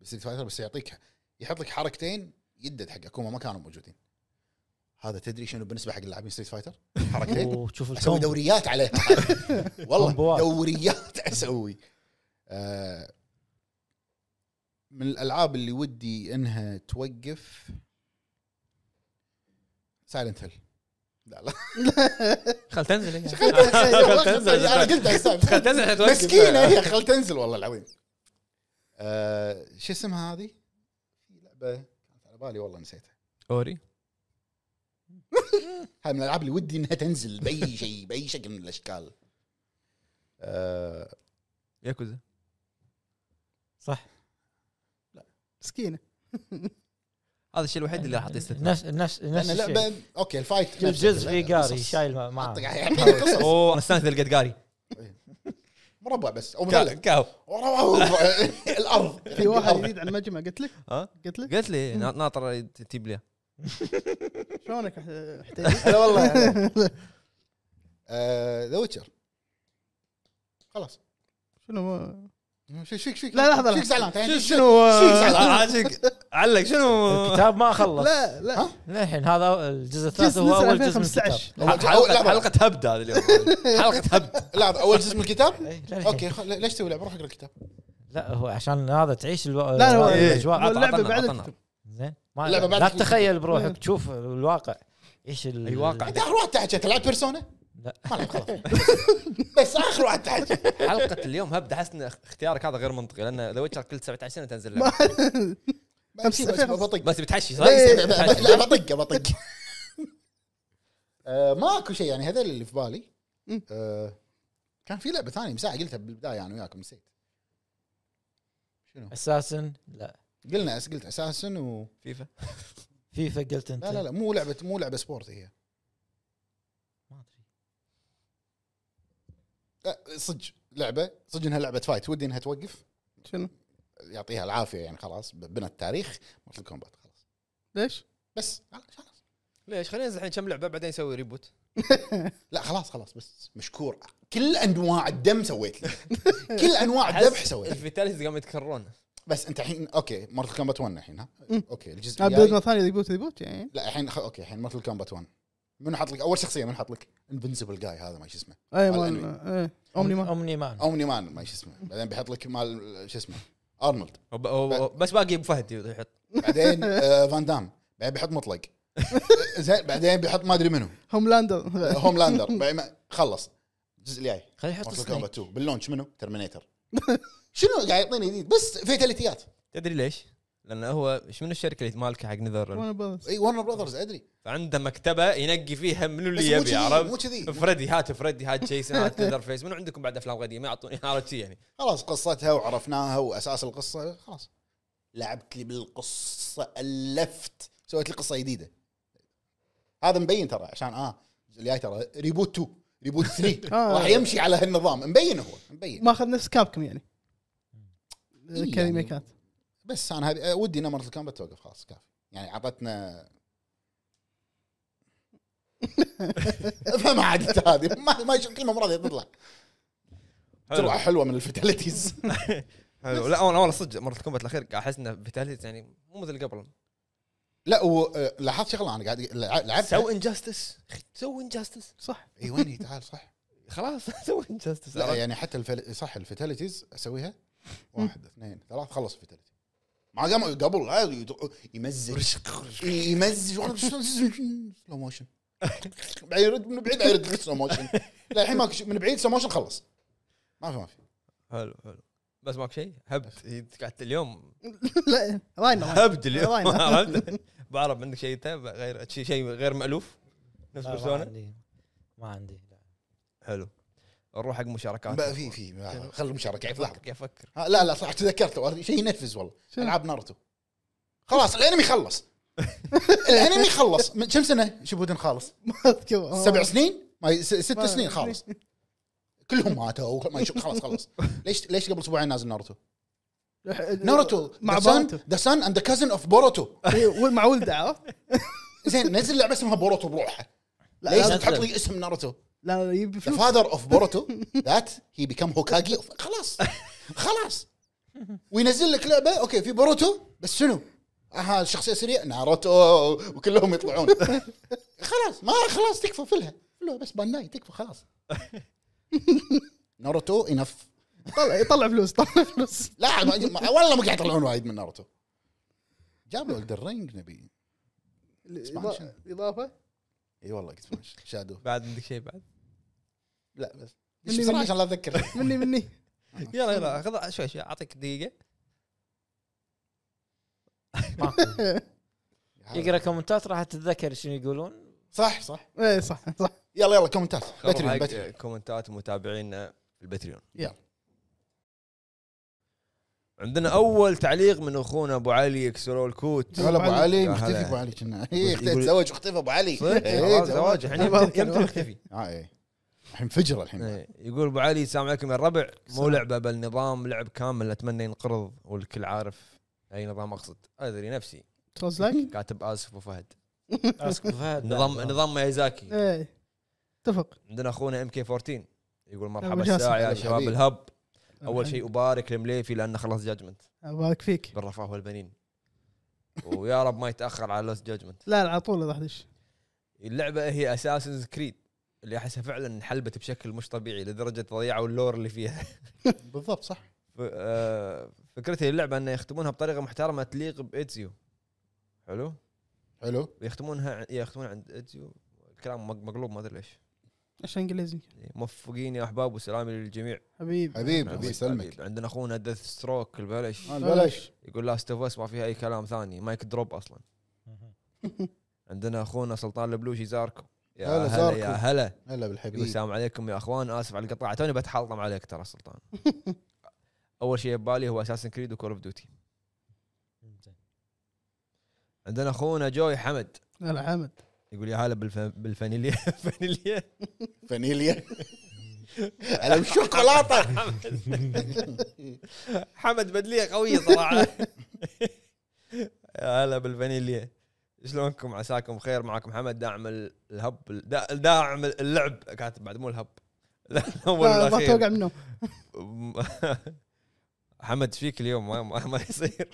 Speaker 2: بستريت فايتر بس يعطيك يحط لك حركتين يدد حق اكوما ما كانوا موجودين هذا تدري شنو بالنسبه حق اللاعبين ستريت فايتر
Speaker 3: <laughs>
Speaker 2: حركتين
Speaker 3: وشوف
Speaker 2: اسوي
Speaker 3: الكومبو
Speaker 2: دوريات عليها والله
Speaker 3: كومبوات.
Speaker 2: دوريات اسوي آه، من الالعاب اللي ودي انها توقف سايلنت هيل لا لا
Speaker 1: خل تنزل
Speaker 2: خل
Speaker 1: <laughs>
Speaker 2: تنزل
Speaker 1: تنزل.
Speaker 2: انا قلتها السالفة.
Speaker 1: خل تنزل حتوقف.
Speaker 2: مسكينه
Speaker 1: <laughs>
Speaker 2: هي خل تنزل والله العظيم آه، شو اسمها هذه؟ في لعبه كانت على بالي والله نسيتها
Speaker 1: اوري
Speaker 2: هاي من الالعاب اللي ودي انها تنزل باي
Speaker 1: <laughs>
Speaker 2: شيء باي شكل من الاشكال آه،
Speaker 1: ياكوزا
Speaker 3: صح
Speaker 4: مسكينه
Speaker 1: هذا الشيء الوحيد اللي راح اعطيه استثناء
Speaker 3: نفس نفس نفس
Speaker 2: لان
Speaker 3: الشيء
Speaker 2: لعبه اوكي الفايت نفسه.
Speaker 3: جزء في
Speaker 2: لأن
Speaker 3: قاري
Speaker 2: قصص.
Speaker 3: شايل معاه
Speaker 2: حط- يعطيني <laughs> قصص
Speaker 1: اوه انا استانس اذا لقيت قاري
Speaker 2: مربع بس او
Speaker 1: كا-
Speaker 2: <laughs> مثلث
Speaker 1: كاو
Speaker 2: الارض <laughs>
Speaker 4: في واحد جديد على المجمع قلت لك
Speaker 1: ها
Speaker 4: قلت لك
Speaker 1: قلت لي نا- ناطر تجيب لي
Speaker 4: شلونك أح- احتاج
Speaker 2: <laughs> لا والله <laughs> ذا ويتشر آه، خلاص
Speaker 4: شنو
Speaker 2: شو شو شو
Speaker 4: لا، لحظة،
Speaker 2: شو
Speaker 4: لحظة.
Speaker 2: زعلان يعني
Speaker 1: شنو
Speaker 2: تعال.
Speaker 1: شنو
Speaker 2: شيك زعلان.
Speaker 1: علق شنو
Speaker 3: الكتاب ما خلص
Speaker 4: لا لا
Speaker 2: ها؟
Speaker 3: للحين هذا الجزء الثالث
Speaker 4: جزء
Speaker 3: هو
Speaker 4: نزل
Speaker 3: اول جزء من الكتاب
Speaker 4: 2015
Speaker 2: أول- أول-
Speaker 1: حلقه
Speaker 2: لحظة.
Speaker 1: حلقه هبد هذا اليوم حلقه هبد
Speaker 2: لحظه اول جزء من الكتاب
Speaker 3: إيه، للحين.
Speaker 2: اوكي خل- ليش تسوي لعبه روح اقرا الكتاب
Speaker 3: لا هو عشان هذا تعيش الو...
Speaker 4: لا، هو-
Speaker 1: إيه.
Speaker 3: الاجواء
Speaker 1: عطنا-
Speaker 4: اللعبه
Speaker 1: عطنا-
Speaker 4: بعد
Speaker 1: عطنا.
Speaker 4: <laughs> الكتب.
Speaker 3: زين ما
Speaker 2: اللعبة بعد
Speaker 3: لا
Speaker 2: الكتاب.
Speaker 3: تتخيل بروحك تشوف الواقع ايش ال...
Speaker 1: أي واقع.
Speaker 2: انت اخر واحد تحكي تلعب بيرسونا
Speaker 3: لا
Speaker 2: ما لعب خلاص
Speaker 4: <laughs>
Speaker 2: بس اخر واحد تحكي
Speaker 1: حلقه اليوم هبد احس ان اختيارك هذا غير منطقي لان ذا ويتشر كل 17 سنه تنزل لعبة.
Speaker 2: بس بطق
Speaker 1: بس بتحشي صح؟
Speaker 2: لا بطق بطق
Speaker 4: طيب.
Speaker 2: آه، ماكو شيء يعني هذا اللي في بالي
Speaker 4: مم.
Speaker 2: آه، كان في لعبه ثانيه مساعة قلتها بالبدايه انا وياكم نسيت شنو؟
Speaker 3: اساسا لا
Speaker 2: قلنا أس- قلت اساسا و
Speaker 1: فيفا
Speaker 3: فيفا قلت انت
Speaker 2: لا لا لا مو لعبه مو لعبه سبورت هي
Speaker 3: ما ادري
Speaker 2: لا، صدق لعبه صدق انها لعبه فايت ودي انها توقف
Speaker 4: شنو
Speaker 2: يعطيها العافيه يعني خلاص بنى التاريخ مارتل كومبات خلاص
Speaker 4: ليش؟
Speaker 2: بس خلاص
Speaker 1: ليش خلينا ننزل الحين كم لعبه بعدين نسوي <laughs> ريبوت
Speaker 2: لا خلاص خلاص بس مشكور كل انواع الدم سويت لي كل انواع الذبح سويت لي.
Speaker 1: الفيتاليز قاموا يتكررون
Speaker 2: بس انت الحين اوكي مارتل كومبات 1 الحين ها
Speaker 4: مم.
Speaker 2: اوكي الجزء
Speaker 4: بدون ما
Speaker 2: الجاي
Speaker 4: ثاني ريبوت ريبوت يعني
Speaker 2: لا الحين خ- اوكي الحين مارتل كومبات 1 منو حاط لك اول شخصيه منو حاط لك انفنسبل جاي هذا ما شو اسمه
Speaker 4: اي
Speaker 2: على
Speaker 4: مال إيه. اومني مان
Speaker 3: اومني مان
Speaker 2: اومني مان ما شو اسمه بعدين بيحط لك مال شو اسمه ارنولد
Speaker 1: وب- وب- بس باقي ابو فهد يحط
Speaker 2: بعدين آه، فان دام بعدين بيحط مطلق <laughs> زين بعدين بيحط ما ادري منو
Speaker 4: <laughs> هوملاندر
Speaker 2: هوم لاندر خلص الجزء الجاي
Speaker 3: خليه يحط
Speaker 2: مارتل
Speaker 3: سنيك
Speaker 2: كومبات 2 باللونش منو؟ ترمينيتر <laughs> شنو قاعد يعطيني جديد بس فيتاليتيات
Speaker 1: تدري ليش؟ لانه هو ايش من الشركه اللي مالكه حق نذر
Speaker 2: اي ورنر براذرز ادري
Speaker 1: فعنده مكتبه ينقي فيها منو
Speaker 2: بس
Speaker 1: اللي
Speaker 2: مو
Speaker 1: يبي
Speaker 2: كذي مو
Speaker 1: عرفت؟
Speaker 2: كذي
Speaker 1: فريدي هات فريدي هات جيسون هات ليذر فيس منو عندكم بعد افلام قديمه اعطوني عرفت شي يعني
Speaker 2: خلاص قصتها وعرفناها واساس القصه خلاص لعبت لي بالقصه الفت سويت لي قصه جديده هذا مبين ترى عشان اه الجاي ترى ريبوت 2 ريبوت <laughs> 3
Speaker 4: آه.
Speaker 2: راح يمشي على هالنظام مبين هو مبين
Speaker 4: ما اخذ نفس كابكم يعني
Speaker 2: إيه
Speaker 4: كلمه
Speaker 2: يعني.
Speaker 4: كانت
Speaker 2: بس انا هذه آه، ودي ان مارتل كومبات توقف خلاص كافي يعني عطتنا <laughs> فما عاد هذه ما ما يشوف كلمه مراد تطلع جرعه حلوه من الفتاليتيز
Speaker 1: حلو لا انا والله صدق مرة كومبات الاخير قاعد احس انه فيتاليز يعني مو مثل قبل
Speaker 2: لا آه، ولاحظت شغله انا قاعد لع- لعبت
Speaker 1: سو انجاستس سو انجاستس
Speaker 4: صح <laughs>
Speaker 2: اي وين هي تعال صح
Speaker 1: خلاص <laughs> سو انجاستس
Speaker 2: لا يعني حتى الفل... صح الفتاليتيز اسويها واحد اثنين ثلاث خلص الفتاليتي ما قام قبل لا، يد- يمزج يمزج وانا شلون سلو موشن بعدين يرد من بعيد بعدين يرد سلو موشن لا الحين ماكو شيء. من بعيد سلو موشن خلص ما في ما في
Speaker 1: حلو حلو بس ماك شيء هبت أنت إيه، قعدت اليوم
Speaker 4: لا راينا
Speaker 1: <laughs>
Speaker 4: راينا.
Speaker 1: هبد اليوم
Speaker 4: راينا.
Speaker 1: عرفت بعرف عندك شيء تاب غير شيء شيء غير مالوف نفس
Speaker 3: لا، ما
Speaker 1: بيرسونا
Speaker 3: عندي ما عندي لا.
Speaker 1: حلو نروح حق مشاركات
Speaker 2: بقى في في ما- خل المشاركه
Speaker 1: قاعد
Speaker 2: في لحظه
Speaker 1: افكر قاعد افكر
Speaker 2: ها، لا لا صح تذكرته شيء ينرفز والله
Speaker 4: شنو؟
Speaker 2: العاب ناروتو خلاص الانمي خلص الانمي خلص من كم سنه شبودن خالص
Speaker 4: ما اذكر
Speaker 2: سبع سنين ما ي- س- ست
Speaker 4: آه. ما-
Speaker 2: سنين
Speaker 4: <laughs>
Speaker 2: خالص كلهم ماتوا ما يشوف خلاص خلص ليش ليش قبل اسبوعين نازل ناروتو ناروتو
Speaker 4: آه، مع بارتو.
Speaker 2: ذا سان اند ذا كازن اوف بوروتو
Speaker 4: إيه، مع ولده عرفت؟
Speaker 2: زين نزل لعبه اسمها بوروتو بروحها
Speaker 4: لا،
Speaker 2: ليش
Speaker 3: لا،
Speaker 2: تحط
Speaker 3: لا.
Speaker 2: لي اسم ناروتو
Speaker 4: لا يبي
Speaker 2: ذا
Speaker 4: فلوس
Speaker 2: فاذر اوف <laughs> بوروتو ذات هي بيكم هوكاجي خلاص خلاص وينزل لك لعبه اوكي في بوروتو بس شنو؟ اها الشخصيه سريع ناروتو وكلهم يطلعون <laughs> خلاص ما خلاص تكفى فلها فلها بس بانداي تكفى خلاص <laughs> ناروتو انف
Speaker 4: طلع يطلع فلوس طلع فلوس
Speaker 2: لا ما- ما- والله ما قاعد يطلعون وايد من ناروتو جاب له الرينج نبي Expansion.
Speaker 4: اضافه
Speaker 2: اي والله اكسبانشن شادو
Speaker 1: بعد عندك شيء بعد
Speaker 2: لا بس
Speaker 4: مني-
Speaker 2: بصراحه
Speaker 4: مني.
Speaker 2: عشان لا اتذكر
Speaker 4: مني مني
Speaker 1: يلا يلا خذ شوي شوي اعطيك دقيقه
Speaker 3: ماكو. يقرا كومنتات راح تتذكر شنو يقولون
Speaker 2: صح صح
Speaker 4: ايه صح صح
Speaker 2: يلا يلا كومنتات
Speaker 1: خبر
Speaker 2: باتريون
Speaker 1: حق
Speaker 2: باتريون
Speaker 1: كومنتات متابعينا في البتريون
Speaker 2: يلا.
Speaker 1: عندنا اول تعليق من اخونا ابو علي يكسروا
Speaker 2: <laughs>
Speaker 1: الكوت
Speaker 2: هلا ابو علي
Speaker 1: يا
Speaker 2: مختفي
Speaker 1: هلا.
Speaker 2: ابو علي كنا إيه،
Speaker 1: يقول-
Speaker 2: اخت- تزوج واختفى ابو علي
Speaker 1: صدق؟
Speaker 2: إيه،
Speaker 1: خلاص زواج الحين يمتى- يمتى يختفي
Speaker 2: آه، إيه. الحين فجر الحين
Speaker 1: إيه، يقول ابو علي السلام عليكم يا الربع مو
Speaker 4: السلام.
Speaker 1: لعبه بل نظام لعب كامل اتمنى ينقرض والكل عارف اي نظام اقصد ادري نفسي
Speaker 4: ترز لايك
Speaker 1: كاتب اسف وفهد
Speaker 3: اسك أبو فهد لا،
Speaker 1: نظام
Speaker 3: لا. <laughs>
Speaker 1: نظام ميازاكي
Speaker 4: ايه اتفق
Speaker 1: عندنا اخونا ام كي 14 يقول مرحبا
Speaker 4: أبو جاسم.
Speaker 1: الساعه يا
Speaker 2: هلا
Speaker 1: شباب
Speaker 2: حبيبي.
Speaker 1: الهب اول شيء ابارك لمليفي لانه خلص جاجمنت
Speaker 4: بارك فيك
Speaker 1: بالرفاه والبنين ويا رب ما يتاخر على لوس جاجمنت
Speaker 4: لا لا على طول راح ادش
Speaker 1: اللعبه هي اساسنز كريد اللي احسها فعلا انحلبت بشكل مش طبيعي لدرجه ضيعوا اللور اللي فيها
Speaker 2: <laughs> بالضبط صح
Speaker 1: ف- آه، فكرتي اللعبه انه يختمونها بطريقه محترمه تليق بايتزيو حلو
Speaker 2: حلو
Speaker 1: يختمونها ع- يختمونها عند ايتزيو الكلام مق- مقلوب ما ادري ليش يعني
Speaker 4: عشان انجليزي
Speaker 1: موفقين يا احباب وسلامي للجميع
Speaker 2: حبيب
Speaker 4: حبيب
Speaker 1: حبيب-
Speaker 2: حبيب يسلمك
Speaker 1: نعم. حبيب. عندنا اخونا دث ستروك البلش
Speaker 2: آه، بلاش
Speaker 1: يقول لاست اوف اس ما فيها اي كلام ثاني مايك دروب اصلا عندنا اخونا سلطان البلوشي زاركو يا
Speaker 2: هلا
Speaker 1: هلا
Speaker 2: زاركو.
Speaker 1: يا هلا
Speaker 2: هلا
Speaker 1: يقول
Speaker 2: بالحبيب
Speaker 1: السلام عليكم يا اخوان اسف على القطاع توني بتحلطم عليك ترى سلطان اول شيء ببالي هو اساسن كريد وكول اوف ديوتي
Speaker 3: زين.
Speaker 1: عندنا اخونا جوي حمد
Speaker 4: لا لا حمد
Speaker 1: يقول يا هلا بالف... بالفانيليا فانيليا <laughs>
Speaker 2: فانيليا انا بالشوكولاته
Speaker 1: حمد بدليه قويه صراحه يا هلا بالفانيليا شلونكم عساكم خير معاكم حمد داعم ال- الهب دا- داعم اللعب كاتب بعد مو الهب <laughs> لا الاول
Speaker 4: لا ما
Speaker 1: والاخير
Speaker 4: توقع منه
Speaker 1: <laughs> حمد فيك اليوم ما, ما, ما يصير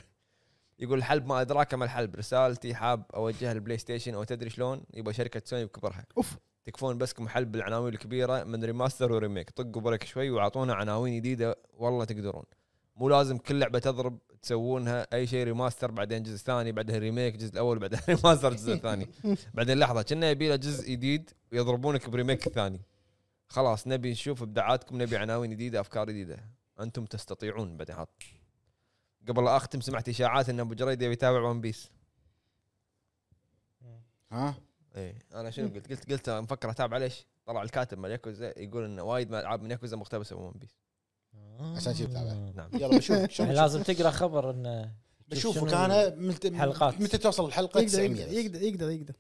Speaker 1: يقول الحلب ما ادراك ما الحلب رسالتي حاب اوجهها للبلاي ستيشن او تدري شلون يبغى شركه سوني بكبرها
Speaker 4: اوف
Speaker 1: تكفون بسكم حل بالعناوين الكبيره من ريماستر وريميك طقوا برك شوي واعطونا عناوين جديده والله تقدرون مو لازم كل لعبه تضرب تسوونها اي شيء ريماستر بعدين جزء ثاني بعدها ريميك جزء الاول بعدين <laughs> ريماستر الجزء الثاني بعدين لحظه كنا يبي له جزء جديد ويضربونك بريميك الثاني خلاص نبي نشوف ابداعاتكم نبي عناوين جديده افكار جديده انتم تستطيعون بعدين حط قبل لا اختم سمعت اشاعات ان ابو جريد يبي يتابع ون بيس
Speaker 2: ها
Speaker 1: ايه انا شنو قلت؟ قلت قلت مفكر اتابع ليش؟ طلع الكاتب مال ياكوزا يقول انه وايد من العاب من ياكوزا مقتبسه من ون بيس
Speaker 2: عشان شي بتابع.
Speaker 1: نعم <laughs>
Speaker 2: يلا بشوفك شوف
Speaker 3: يعني لازم تقرا خبر انه شوف
Speaker 2: بشوفك
Speaker 3: شنو-
Speaker 2: انا ملت-
Speaker 3: حلقات.
Speaker 2: متى توصل الحلقه
Speaker 4: يقدر
Speaker 2: 900 بس.
Speaker 4: يقدر يقدر يقدر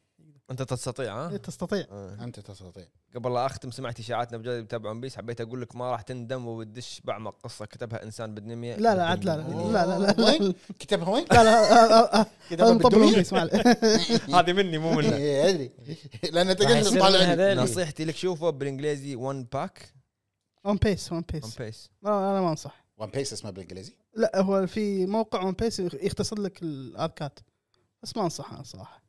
Speaker 1: انت تستطيع ها؟
Speaker 4: إيه، تستطيع
Speaker 1: آه.
Speaker 2: انت تستطيع
Speaker 1: قبل لا اختم سمعت اشاعات نبجاز بتابع ون بيس حبيت اقول لك ما راح تندم وبتدش بعمق قصه كتبها انسان بالدنيا
Speaker 4: لا لا عاد لا لا
Speaker 1: يعني
Speaker 4: لا لا لا لا
Speaker 2: وين؟ كتبها
Speaker 1: <laughs>
Speaker 2: وين؟
Speaker 4: لا لا هذا مطبل
Speaker 2: بالدنيا.
Speaker 4: ونقيس ما عليه.
Speaker 1: <laughs> هذه مني مو منه
Speaker 2: <laughs> إيه، ادري لان انت
Speaker 3: راح
Speaker 2: قلت
Speaker 3: يصير
Speaker 2: طالع
Speaker 3: منها
Speaker 2: عندي.
Speaker 3: هذيل.
Speaker 1: نصيحتي لك شوفه بالانجليزي ون باك
Speaker 4: اون بيس اون
Speaker 1: ون
Speaker 4: بيس
Speaker 1: بيس
Speaker 4: لا انا ما انصح
Speaker 2: ون بيس اسمها بالانجليزي
Speaker 4: لا هو في موقع اون بيس يختصر لك الاركات بس ما انصح انا صراحه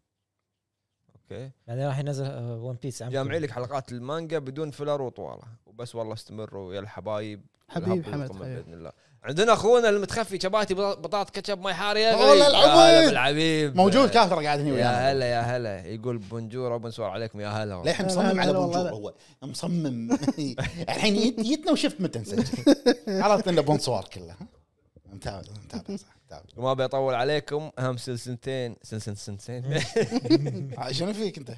Speaker 1: اوكي
Speaker 3: يعني راح ينزل ون بيس
Speaker 1: جامعي لك حلقات المانجا بدون فيلر وطواله وبس والله استمروا يا الحبايب
Speaker 4: حبيب
Speaker 1: الهب
Speaker 4: حمد أيوه.
Speaker 1: يقوم
Speaker 4: حياك.
Speaker 1: باذن الله عندنا اخونا المتخفي شباتي بط- بطاطا كاتشب ماي حار يا
Speaker 2: والله
Speaker 1: غي.
Speaker 2: العظيم.
Speaker 1: يا هلا بالعبيب
Speaker 2: موجود كافر قاعد هنا
Speaker 1: يا
Speaker 2: ويانا
Speaker 1: هلا يا هلا يقول بونجور وبنسوار عليكم يا هلا
Speaker 2: للحين
Speaker 4: لا،
Speaker 2: مصمم
Speaker 4: لا،
Speaker 2: على
Speaker 4: لا،
Speaker 2: بونجور
Speaker 4: والله
Speaker 2: هو مصمم <laughs> الحين يت- يتنا وشفت متى <laughs> نسجل عرفت انه بونسوار كله متابع متابع صح متابع <laughs>
Speaker 1: وما بيطول عليكم اهم سلسلتين سلسل سنتين
Speaker 2: آه، شنو فيك انت؟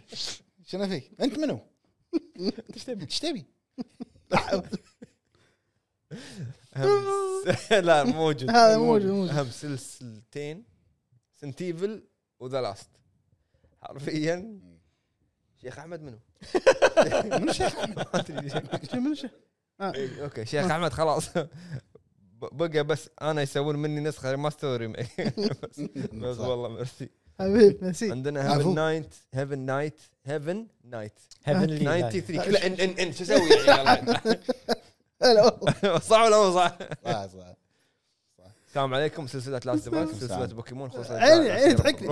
Speaker 2: شنو فيك؟ انت منو؟ ايش تبي؟ <laughs>
Speaker 1: أهم س- <laughs> لا موجود
Speaker 4: هذا موجود، موجود.
Speaker 1: اهم سلسلتين سنتيفل وذا لاست حرفيا شيخ احمد منو؟
Speaker 2: منو شيخ احمد؟
Speaker 1: ما
Speaker 2: <laughs>
Speaker 1: أدري.
Speaker 4: شو من شو؟ آه.
Speaker 1: إيه، اوكي شيخ احمد خلاص ب- بقى بس انا يسوون مني نسخه ريماستر ريميك <laughs> بس, بس والله ميرسي
Speaker 4: حبيب ميرسي
Speaker 1: عندنا هيفن
Speaker 2: عفو.
Speaker 1: نايت هيفن نايت هيفن نايت
Speaker 3: هيفنلي نايت.
Speaker 1: 93 كله ان ان ان شو اسوي <laughs> يعني
Speaker 4: هلا والله.
Speaker 1: صح ولا مو صح؟
Speaker 2: صح، صح.
Speaker 1: السلام عليكم سلسله لاست باك سلسله
Speaker 2: السلام.
Speaker 1: بوكيمون خصوصا
Speaker 4: عيني عيني ضحكني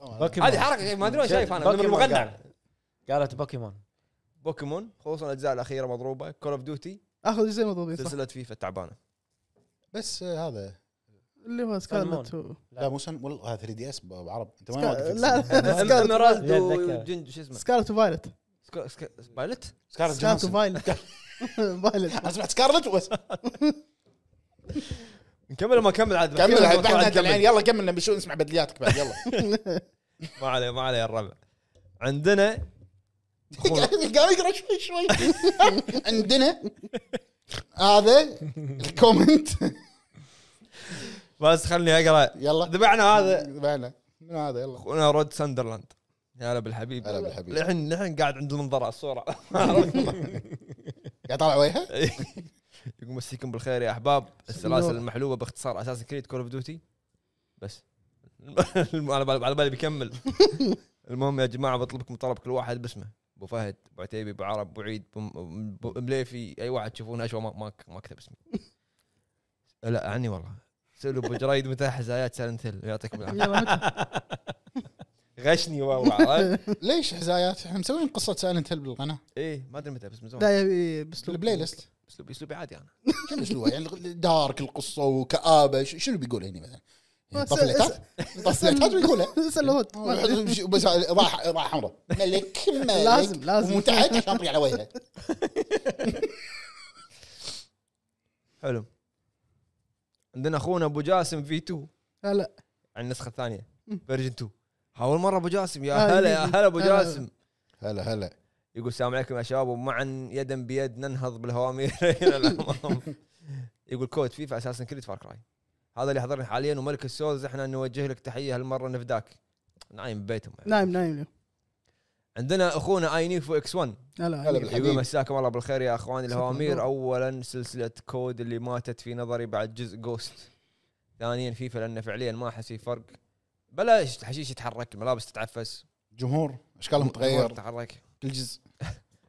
Speaker 3: بوكيمون.
Speaker 1: هذه حركه ما ادري وين شايف انا من
Speaker 3: بوكيمون
Speaker 1: المقنع
Speaker 3: قالت. قالت بوكيمون
Speaker 1: بوكيمون خصوصا الاجزاء الاخيره مضروبه كول اوف ديوتي
Speaker 4: اخذ جزئين مضبوطين صح
Speaker 1: سلسله فيفا <laughs> تعبانه
Speaker 2: بس آه، هذا
Speaker 4: اللي هو سكارلت و-
Speaker 2: لا مو سن والله هذا 3 دي اس بعرب انت ما
Speaker 4: سكا-
Speaker 2: واقف
Speaker 4: لا، لا. سكارلت.
Speaker 1: ايميرالد
Speaker 3: لا، أتذكر.
Speaker 1: وجنج شو اسمه
Speaker 4: سكارلت وفايلت
Speaker 1: سكا- سكا- بايلت
Speaker 2: سكارلت
Speaker 4: سكارلت
Speaker 2: جوهانسون.
Speaker 4: وفايلت <laughs> فايلت
Speaker 2: انا سمعت سكارلت وبس
Speaker 1: نكمل ما كمل عاد
Speaker 2: كمل
Speaker 1: بحكي لك
Speaker 2: بعد
Speaker 1: بعد
Speaker 2: بعد
Speaker 1: كمل.
Speaker 2: العين يلا كمل نبي شو نسمع بدلياتك بعد يلا
Speaker 1: ما عليه ما عليه الربع عندنا أخونا-
Speaker 2: <laughs> قاعد يقرا شوي شوي عندنا هذا الكومنت
Speaker 1: بس خلني اقرا
Speaker 2: <laughs> يلا
Speaker 1: ذبحنا هذا
Speaker 2: ذبحنا من هذا يلا
Speaker 1: اخونا رود ساندرلاند يا هلا بالحبيب
Speaker 2: هلا بالحبيب.
Speaker 1: الحين الحين قاعد عند منظره الصوره
Speaker 2: قاعد طالع وجهه
Speaker 1: <laughs> يقول مسيكم بالخير يا احباب السلاسل
Speaker 4: النور.
Speaker 1: المحلوبه باختصار اساس كريد كول اوف ديوتي بس <laughs> على بالي على بالي بيكمل المهم يا جماعه بطلبكم طلب كل واحد باسمه ابو فهد ابو عتيبي ابو عرب ابو عيد ابو م- أبو مليفي اي واحد تشوفونه اشوى ما ما, ما كتب اسمي لا عني والله سالوا ابو جريد متى حزايات سايلنت هيل يعطيكم العافيه
Speaker 4: يلا متى؟
Speaker 1: غشني والله عرفت؟
Speaker 2: ليش حزايات احنا مسوين قصه سايلنت هيل بالقناه
Speaker 1: ايه ما ادري متى بس من زمان
Speaker 4: لا يبي باسلوب
Speaker 2: البلاي ليست
Speaker 1: اسلوبي اسلوبي عادي انا
Speaker 2: شنو اسلوبها يعني دارك القصه وكابه ش- شنو بيقول هنا مثلا؟ يعني
Speaker 4: بس-
Speaker 2: طفلتات طفلتات بيقولها
Speaker 4: <laughs> اسال هود
Speaker 2: <laughs> بس راح راح حمراء
Speaker 4: <laughs>
Speaker 2: ملك ملك
Speaker 4: لازم- لازم.
Speaker 2: ومتعك عشان أطري على وجهه
Speaker 1: حلو عندنا اخونا ابو جاسم في 2
Speaker 4: هلا
Speaker 1: عن النسخه الثانيه
Speaker 4: مم.
Speaker 1: فيرجن 2 ها اول مره ابو جاسم يا
Speaker 4: آه،
Speaker 1: هلا يا
Speaker 4: يجي.
Speaker 1: هلا ابو
Speaker 4: هلا.
Speaker 1: جاسم
Speaker 2: هلا هلا
Speaker 1: يقول السلام عليكم يا شباب ومعا يدا بيد ننهض بالهوامير <laughs> الى الامام يقول كود فيفا اساسا كريد فار كراي هذا اللي حضرنا حاليا وملك السولز احنا نوجه لك تحيه هالمره نفداك نايم ببيتهم
Speaker 4: نايم نايم اليوم
Speaker 1: عندنا اخونا اي نيفو اكس 1
Speaker 4: هلا
Speaker 2: هلا
Speaker 4: هلا
Speaker 2: بالحبيب.
Speaker 1: يقول مساكم الله بالخير يا اخواني
Speaker 4: مساكم
Speaker 1: الهوامير
Speaker 4: النور.
Speaker 1: اولا سلسله كود اللي ماتت في نظري بعد جزء جوست ثانيا فيفا لان فعليا ما احس في فرق بلاش الحشيش يتحرك الملابس تتعفس
Speaker 2: جمهور اشكالهم
Speaker 1: الأمور
Speaker 2: تغير
Speaker 1: تتحرك
Speaker 2: كل جزء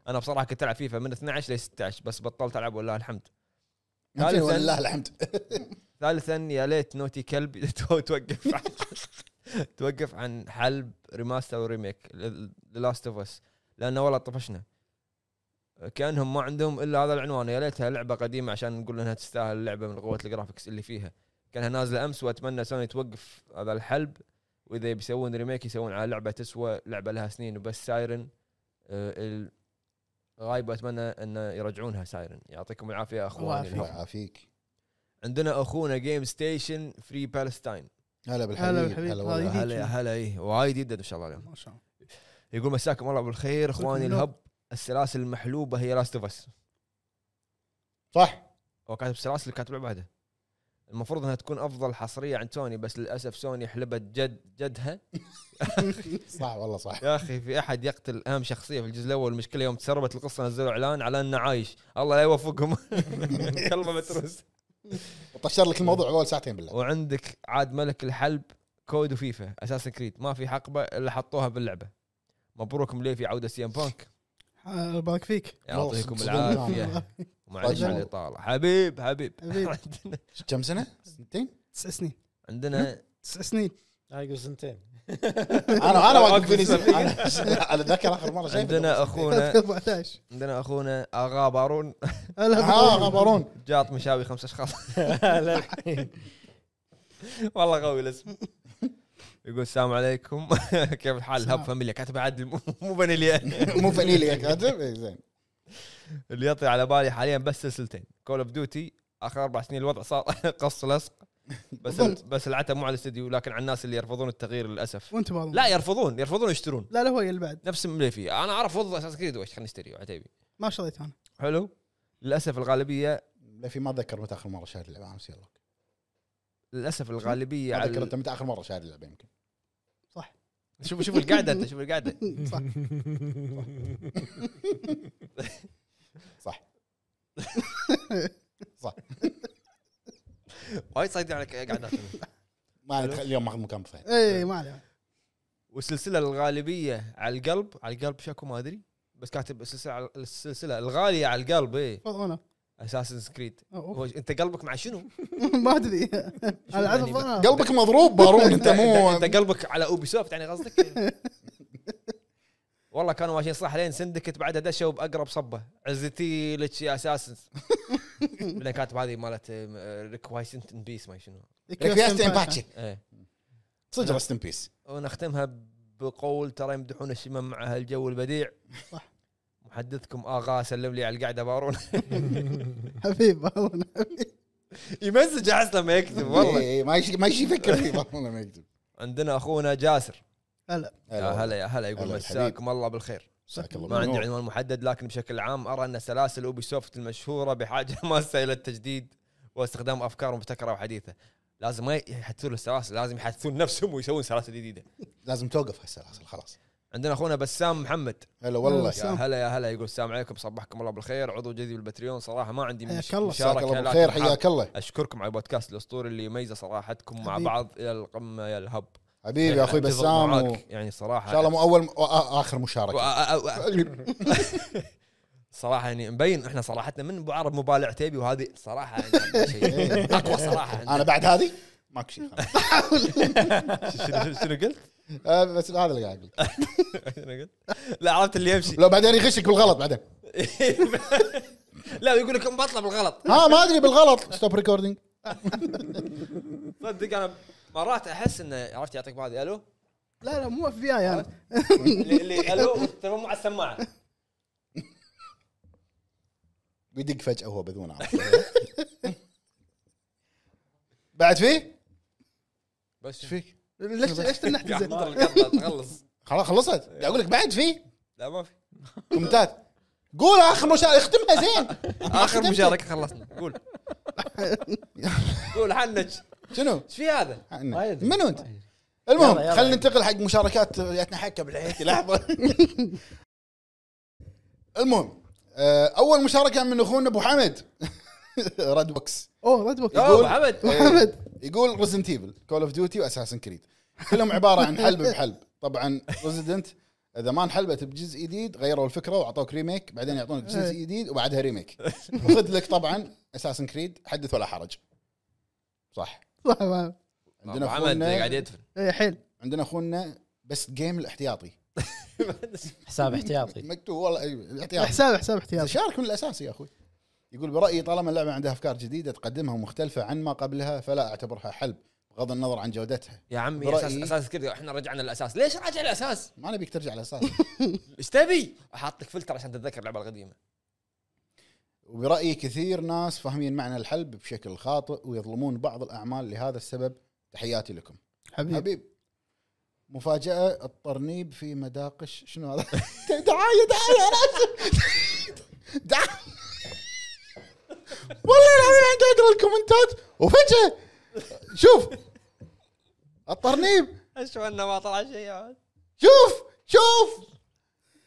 Speaker 1: انا بصراحه كنت العب فيفا من 12 ل 16 بس بطلت العب والله الحمد ثالثاً-
Speaker 2: لله الحمد
Speaker 1: ثالثا يا ليت نوتي كلب <laughs> تو- توقف عن <laughs> توقف عن حلب ريماستر وريميك لاست اوف اس لانه والله طفشنا كانهم ما عندهم الا هذا العنوان يا ليتها لعبه قديمه عشان نقول انها تستاهل اللعبه من قوه الجرافكس اللي فيها كانها نازله امس واتمنى سوني توقف هذا الحلب واذا بيسوون ريميك يسوون على لعبه تسوى لعبه لها سنين وبس سايرن آه، ال- غايبه اتمنى انه يرجعونها سايرن يعطيكم العافيه يا اخواني
Speaker 4: يعافيك.
Speaker 1: الهوى.
Speaker 2: الله يعافيك
Speaker 1: عندنا اخونا جيم ستيشن فري بالستاين
Speaker 2: هلا
Speaker 4: هلا
Speaker 2: بالحبيب
Speaker 4: بالحبيب.
Speaker 2: هلا والله
Speaker 4: هاي.
Speaker 1: هلا يا هلا ايه وايد يدد ان شاء الله اليوم
Speaker 4: ما شاء الله
Speaker 1: يقول مساكم الله بالخير اخواني
Speaker 4: بالنور.
Speaker 1: الهب السلاسل المحلوبه هي لاست اوف اس
Speaker 2: صح
Speaker 1: هو كاتب سلاسل كاتب لعبه واحده المفروض انها تكون افضل حصريه عند سوني بس للاسف سوني حلبت جد جدها
Speaker 2: صح والله صح
Speaker 1: يا اخي في احد يقتل اهم شخصيه في الجزء الاول المشكله يوم تسربت القصه نزلوا اعلان على انه عايش الله لا يوفقهم <laughs> كلمه متروس
Speaker 2: طشر لك الموضوع اول ساعتين بالله
Speaker 1: وعندك عاد ملك الحلب كود وفيفا اساسا كريد ما في حقبه الا حطوها باللعبه مبروك مليفي عوده سي ام بانك
Speaker 4: الله يبارك فيك
Speaker 1: يعطيكم
Speaker 2: والله
Speaker 1: العافيه معلش
Speaker 2: طيب.
Speaker 1: على الاطاله حبيب حبيب
Speaker 4: حبيب.
Speaker 1: عندنا-
Speaker 2: كم سنه؟ سنتين؟
Speaker 4: تسع سنين
Speaker 1: عندنا
Speaker 4: <laughs> تسع سنين
Speaker 5: <laughs>
Speaker 3: هاي يقول سنتين
Speaker 2: انا انا واقف
Speaker 1: واقف
Speaker 2: فينيسيوس
Speaker 1: فينيسيوس.
Speaker 2: انا <laughs> أنا اتذكر اخر مره شايفه
Speaker 1: عندنا
Speaker 4: <laughs>
Speaker 1: اخونا
Speaker 4: إيه؟ 14
Speaker 1: عندنا اخونا اغا بارون
Speaker 4: آه،
Speaker 2: اه غبرون
Speaker 1: جاط مشاوي خمس اشخاص
Speaker 3: للحين.
Speaker 1: <laughs> والله قوي
Speaker 4: <laughs>
Speaker 1: الاسم يقول السلام عليكم <laughs> كيف الحال
Speaker 4: السلام.
Speaker 1: هاب فاميليا كاتب عدل مو- مو فانيليا
Speaker 2: مو فانيليا كاتب إيه، زين
Speaker 1: اللي يطري على بالي حاليا بس سلسلتين كول اوف ديوتي اخر اربع سنين الوضع صار <laughs> قص لصق بس
Speaker 4: بالضبط.
Speaker 1: بس العتب مو على الاستديو لكن على الناس اللي يرفضون التغيير للاسف
Speaker 4: وانت بعض
Speaker 1: لا يرفضون يرفضون يشترون
Speaker 4: لا لا هو اللي بعد
Speaker 1: نفس مليفي انا اعرف والله اساس كريد وش خليني اشتري عتيبي
Speaker 4: ما شريت انا
Speaker 1: حلو للاسف الغالبيه
Speaker 2: لا في ما اتذكر متى اخر مره شاهد اللعبه امس يلا
Speaker 1: للاسف الغالبيه
Speaker 2: ما
Speaker 1: على
Speaker 2: اتذكر انت متى اخر مره شاهد اللعبه يمكن
Speaker 1: شوف شوف القعده انت شوف
Speaker 4: <laughs>
Speaker 1: القعده
Speaker 4: صح
Speaker 2: صح
Speaker 1: وايد صايدين على قعدات
Speaker 2: ما أنا أتخ- اليوم ماخذ مكان فهد
Speaker 4: اي إيه، ما عليه
Speaker 1: والسلسله الغالبيه على القلب على القلب شكو ما ادري بس كاتب السلسله على السلسله الغاليه على القلب ايه
Speaker 4: فض انا
Speaker 1: اساسن كريد
Speaker 4: أوه.
Speaker 1: هو انت قلبك مع شنو؟
Speaker 4: <laughs> ما ادري <laughs> انا عارف
Speaker 1: يعني
Speaker 4: انا
Speaker 2: <laughs> قلبك مضروب بارون انت مو
Speaker 1: انت قلبك على اوبي سوفت يعني
Speaker 2: <laughs>
Speaker 1: قصدك والله كانوا ماشيين صح لين سندكت بعدها دشوا باقرب صبه عزتي لك يا اساسن
Speaker 2: <laughs>
Speaker 1: بعدين كاتب هذه مالت آه، ريكوايسنت بيس ما شنو
Speaker 2: ريكويست ان باتشي
Speaker 1: ايه
Speaker 2: صدق رست ان بيس
Speaker 1: ونختمها بقول ترى يمدحون الشمم مع هالجو البديع
Speaker 4: صح.
Speaker 1: محدثكم اغا سلم لي على القعده بارون
Speaker 4: <laughs>
Speaker 1: <laughs>
Speaker 4: حبيب والله
Speaker 1: يمزج احس لما يكتب والله
Speaker 2: إيه، ما يش- ما يش يفكر <laughs> فيه بارون لما يكتب
Speaker 1: عندنا اخونا جاسر
Speaker 4: هلا
Speaker 1: يا هلا يا هلا يقول
Speaker 2: هلا
Speaker 1: مساكم الله بالخير
Speaker 2: مساك الله
Speaker 1: ما عندي
Speaker 2: بالنور.
Speaker 1: عنوان محدد لكن بشكل عام ارى ان سلاسل اوبي سوفت المشهوره <laughs> بحاجه ماسه الى التجديد واستخدام افكار مبتكره وحديثه لازم ما يحدثون السلاسل لازم يحدثون نفسهم ويسوون سلاسل جديده
Speaker 2: لازم توقف هالسلاسل خلاص
Speaker 1: عندنا اخونا بسام محمد
Speaker 2: هلا والله
Speaker 1: يا هلا يا هلا يقول السلام عليكم صبحكم الله بالخير عضو جديد بالبتريون صراحه ما عندي
Speaker 4: حياك
Speaker 1: مش-
Speaker 4: الله.
Speaker 2: مساك الله
Speaker 1: لكن
Speaker 2: بالخير
Speaker 1: حاب
Speaker 2: حياك الله
Speaker 1: اشكركم على البودكاست الاسطوري اللي يميزه صراحتكم مع
Speaker 4: حبيبي.
Speaker 1: بعض الى القمه يا الهب
Speaker 2: حبيبي يا اخوي
Speaker 1: أتفق
Speaker 2: بسام
Speaker 1: إيه، معاك.
Speaker 2: و-
Speaker 1: يعني صراحه
Speaker 2: ان شاء الله مو آه، اول وآ-
Speaker 1: <laughs>
Speaker 2: اخر مشاركه
Speaker 1: و- صراحه يعني مبين احنا صراحتنا من ابو عرب مبالع عتيبي وهذه صراحه يعني شيء. يعني. اقوى صراحه عندنا.
Speaker 2: انا بعد هذه ماكو شيء <laughs> خلاص.
Speaker 1: شنو شنو- شنو قلت؟
Speaker 2: آه، بس هذا اللي قاعد اقول
Speaker 1: <laughs> شنو قلت؟ لا عرفت اللي يمشي <laughs>
Speaker 2: لو بعدين يغشك بالغلط بعدين
Speaker 1: لا يقول لك مبطله بالغلط
Speaker 2: ها ما ادري بالغلط ستوب ريكوردينج
Speaker 1: صدق انا مرات احس انه عرفت يعطيك هذه الو
Speaker 4: لا لا مو اف بي اي انا
Speaker 1: اللي- <laughs> اللي الو والتليفون مع السماعه
Speaker 2: بيدق فجاه وهو بذون عرفت. <laughs> بعد فيه؟
Speaker 1: بس
Speaker 2: ايش فيك؟
Speaker 4: ليش ليش تنحت
Speaker 1: قاعد
Speaker 4: زين؟
Speaker 1: تنطر القطه تخلص
Speaker 2: خلاص خلصت قاعد اقول لك بعد فيه
Speaker 1: لا ما في
Speaker 2: كومنتات قول اخر مشاركه اختمها زين
Speaker 1: اخر مشاركه خلصنا قول قول حنج
Speaker 2: شنو؟
Speaker 1: ايش في هذا؟
Speaker 3: ما يدري.
Speaker 2: منو انت؟
Speaker 3: ما يدري. يلا،
Speaker 2: المهم
Speaker 3: يلا.
Speaker 2: خلينا ننتقل حق مشاركات جاتنا حكه بالعيد لحظه <laughs> المهم آه، اول مشاركه من اخونا ابو <laughs> حمد راد بوكس
Speaker 4: اوه ريد بوك
Speaker 1: يا
Speaker 2: يقول-
Speaker 1: ابو حمد
Speaker 4: محمد
Speaker 2: إيه، يقول ريزنت ايفل كول اوف ديوتي واساسن كريد كلهم عباره عن حلب بحلب طبعا ريزدنت اذا ما انحلبت بجزء جديد غيروا الفكره واعطوك ريميك بعدين يعطونك جزء
Speaker 3: إيه.
Speaker 2: جديد وبعدها ريميك وصدلك طبعا اساسن كريد حدث ولا حرج صح
Speaker 4: صح ما-
Speaker 1: ابو
Speaker 2: عندنا
Speaker 1: حمد قاعد
Speaker 2: اخونا
Speaker 1: يدفن
Speaker 4: إيه، حيل
Speaker 2: عندنا اخونا بس جيم الاحتياطي
Speaker 3: حساب احتياطي
Speaker 2: مكتوب والله أيوة، الاحتياطي
Speaker 4: حساب حساب احتياطي
Speaker 2: شارك من الاساس يا اخوي يقول برايي طالما اللعبه عندها افكار جديده تقدمها ومختلفه عن ما قبلها فلا اعتبرها حلب بغض النظر عن جودتها
Speaker 1: يا عمي
Speaker 2: برأيي-
Speaker 1: اساس اساس كذا احنا رجعنا للاساس ليش راجع للاساس؟
Speaker 2: ما نبيك ترجع الاساس
Speaker 1: ايش تبي؟ احط لك فلتر عشان تتذكر اللعبه القديمه
Speaker 2: وبرأيي كثير ناس فاهمين معنى الحلب بشكل خاطئ ويظلمون بعض الأعمال لهذا السبب تحياتي لكم
Speaker 4: حبيبي
Speaker 2: حبيب مفاجأة الطرنيب في مداقش شنو هذا <laughs> دعاية دعاية أنا آسف. <laughs> دعاية والله العظيم أنا قاعد أقرأ الكومنتات وفجأة شوف الطرنيب
Speaker 1: اشوف انه ما طلع شيء عاد
Speaker 2: شوف شوف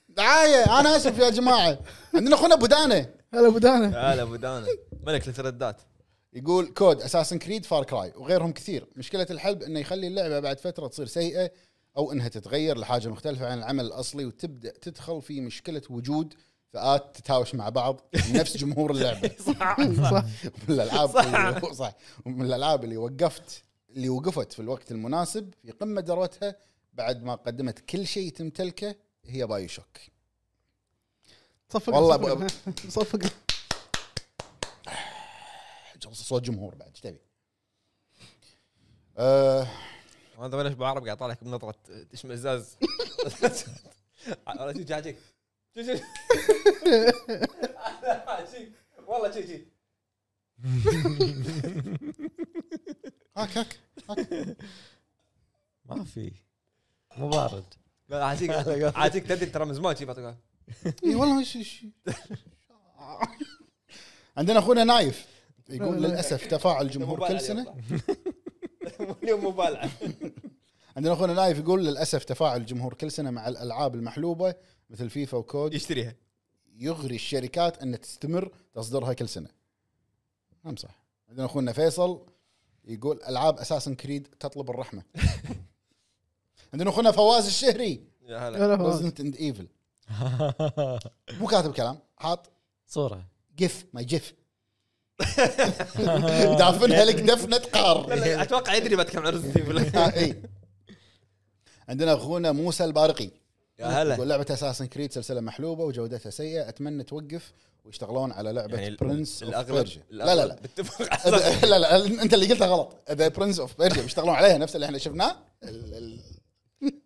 Speaker 2: دعاية أنا آسف يا جماعة عندنا أخونا أبو دانه
Speaker 4: هلا ابو دانا
Speaker 1: هلا ابو دانا ملك <laughs> الثردات
Speaker 2: يقول كود اساسن كريد فار كراي وغيرهم كثير مشكله الحلب انه يخلي اللعبه بعد فتره تصير سيئه او انها تتغير لحاجه مختلفه عن العمل الاصلي وتبدا تدخل في مشكله وجود فئات تتهاوش مع بعض من نفس جمهور اللعبه
Speaker 1: <laughs> صح
Speaker 4: صح
Speaker 2: <laughs> من الالعاب
Speaker 1: صح.
Speaker 2: صح ومن الالعاب اللي وقفت اللي وقفت في الوقت المناسب في قمه ذروتها بعد ما قدمت كل شيء تمتلكه هي بايو شوك
Speaker 4: صفق
Speaker 2: والله
Speaker 4: صفق. <laughs> صفق
Speaker 2: صوت جمهور بعد ايش تبي؟ آه،
Speaker 1: هذا بلش بعرب قاعد طالعك بنظره اشمئزاز انا شو جاجيك شو <laughs> شو والله شي شي
Speaker 2: هاك هاك
Speaker 5: ما في مو <laughs> بارد
Speaker 1: <laughs> عاتيك عاتيك تدري ترى من زمان شي بعطيك
Speaker 2: اي والله ايش ايش عندنا اخونا نايف يقول للاسف تفاعل الجمهور كل سنه
Speaker 1: <laughs> اليوم مبالعه
Speaker 2: عندنا اخونا نايف يقول للاسف تفاعل الجمهور كل سنه مع الالعاب المحلوبه مثل فيفا وكود
Speaker 1: يشتريها
Speaker 2: يغري الشركات ان تستمر تصديرها كل سنه. نعم صح. عندنا اخونا فيصل يقول العاب اساسن كريد تطلب الرحمه. <laughs> عندنا اخونا فواز الشهري
Speaker 1: يا هلا
Speaker 4: لا، لا،
Speaker 2: ريزنت اند ايفل مو كاتب كلام حاط
Speaker 5: صوره
Speaker 2: جف ما جف دافنها لك دفنه قار
Speaker 1: لا، <laughs> اتوقع يدري بتكلم عن رزنت ايفل
Speaker 2: آه، <laughs> إي. عندنا اخونا موسى البارقي
Speaker 1: يا هلا
Speaker 2: يقول لعبه اساسن كريد سلسله محلوبه وجودتها سيئه اتمنى توقف ويشتغلون على لعبه يعني برنس اوف بيرجا لا لا لا <laughs>
Speaker 1: بتفق <laughs>
Speaker 2: لا لا لا، انت اللي قلتها غلط ذا برنس اوف بيرجا بيشتغلون عليها نفس اللي احنا شفناه ال- ال-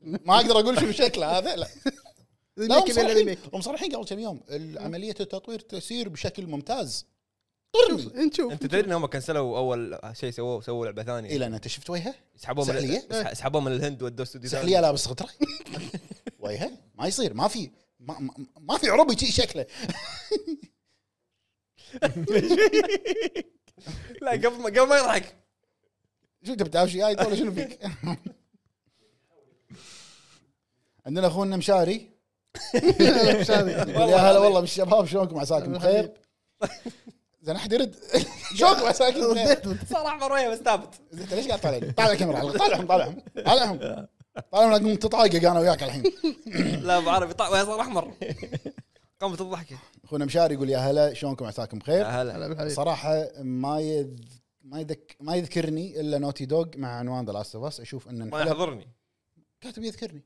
Speaker 2: <laughs> ما اقدر اقول شنو شكله هذا لا لا هم
Speaker 4: ريميك يبي له
Speaker 2: صريحين
Speaker 4: ريميك
Speaker 2: هم صريحين قبل كم يوم ال- عمليه التطوير تسير بشكل ممتاز
Speaker 4: شوف، انت شوف
Speaker 1: انت تدري انهم كنسلوا اول شيء سووه سووا لعبه ثانيه
Speaker 2: الى ان انت شفت وجهه
Speaker 1: سحبوه من
Speaker 2: سحلية؟
Speaker 1: سحبوه من الهند ودوه استوديو ثاني.
Speaker 2: سحليه لابس <laughs> غتره وجهه ما يصير ما في ما, ما, ما في عربي شي شكله
Speaker 1: لا قبل ما قبل ما يضحك
Speaker 2: شو انت بتعرف شيء ولا شنو فيك؟ <laughs> عندنا اخونا مشاري
Speaker 4: مش هذه.
Speaker 2: <laughs> يقول يا هلا والله بالشباب شلونكم عساكم بخير؟ <laughs> زين احد يرد <laughs> شلونكم عساكم بخير؟
Speaker 1: صار احمر وياه بس ثابت
Speaker 2: زين انت ليش قاعد طالعني؟ طالع الكاميرا على طالعهم طالعهم طالعهم طالعهم اقوم تطايقق انا وياك الحين
Speaker 1: لا ابو عربي طا- وياه صار
Speaker 2: <laughs>
Speaker 1: احمر قامت الضحكه
Speaker 2: اخونا مشاري يقول يا هلا شلونكم عساكم
Speaker 1: يا
Speaker 2: بخير؟
Speaker 1: هلا
Speaker 4: هلا بالحبيب.
Speaker 2: صراحه ما يذ... ما يذك... ما يذكرني الا نوتي دوغ مع عنوان ذا لاست اوف اس اشوف ان
Speaker 1: ما
Speaker 2: انحلب
Speaker 1: يحضرني
Speaker 2: كاتب يذكرني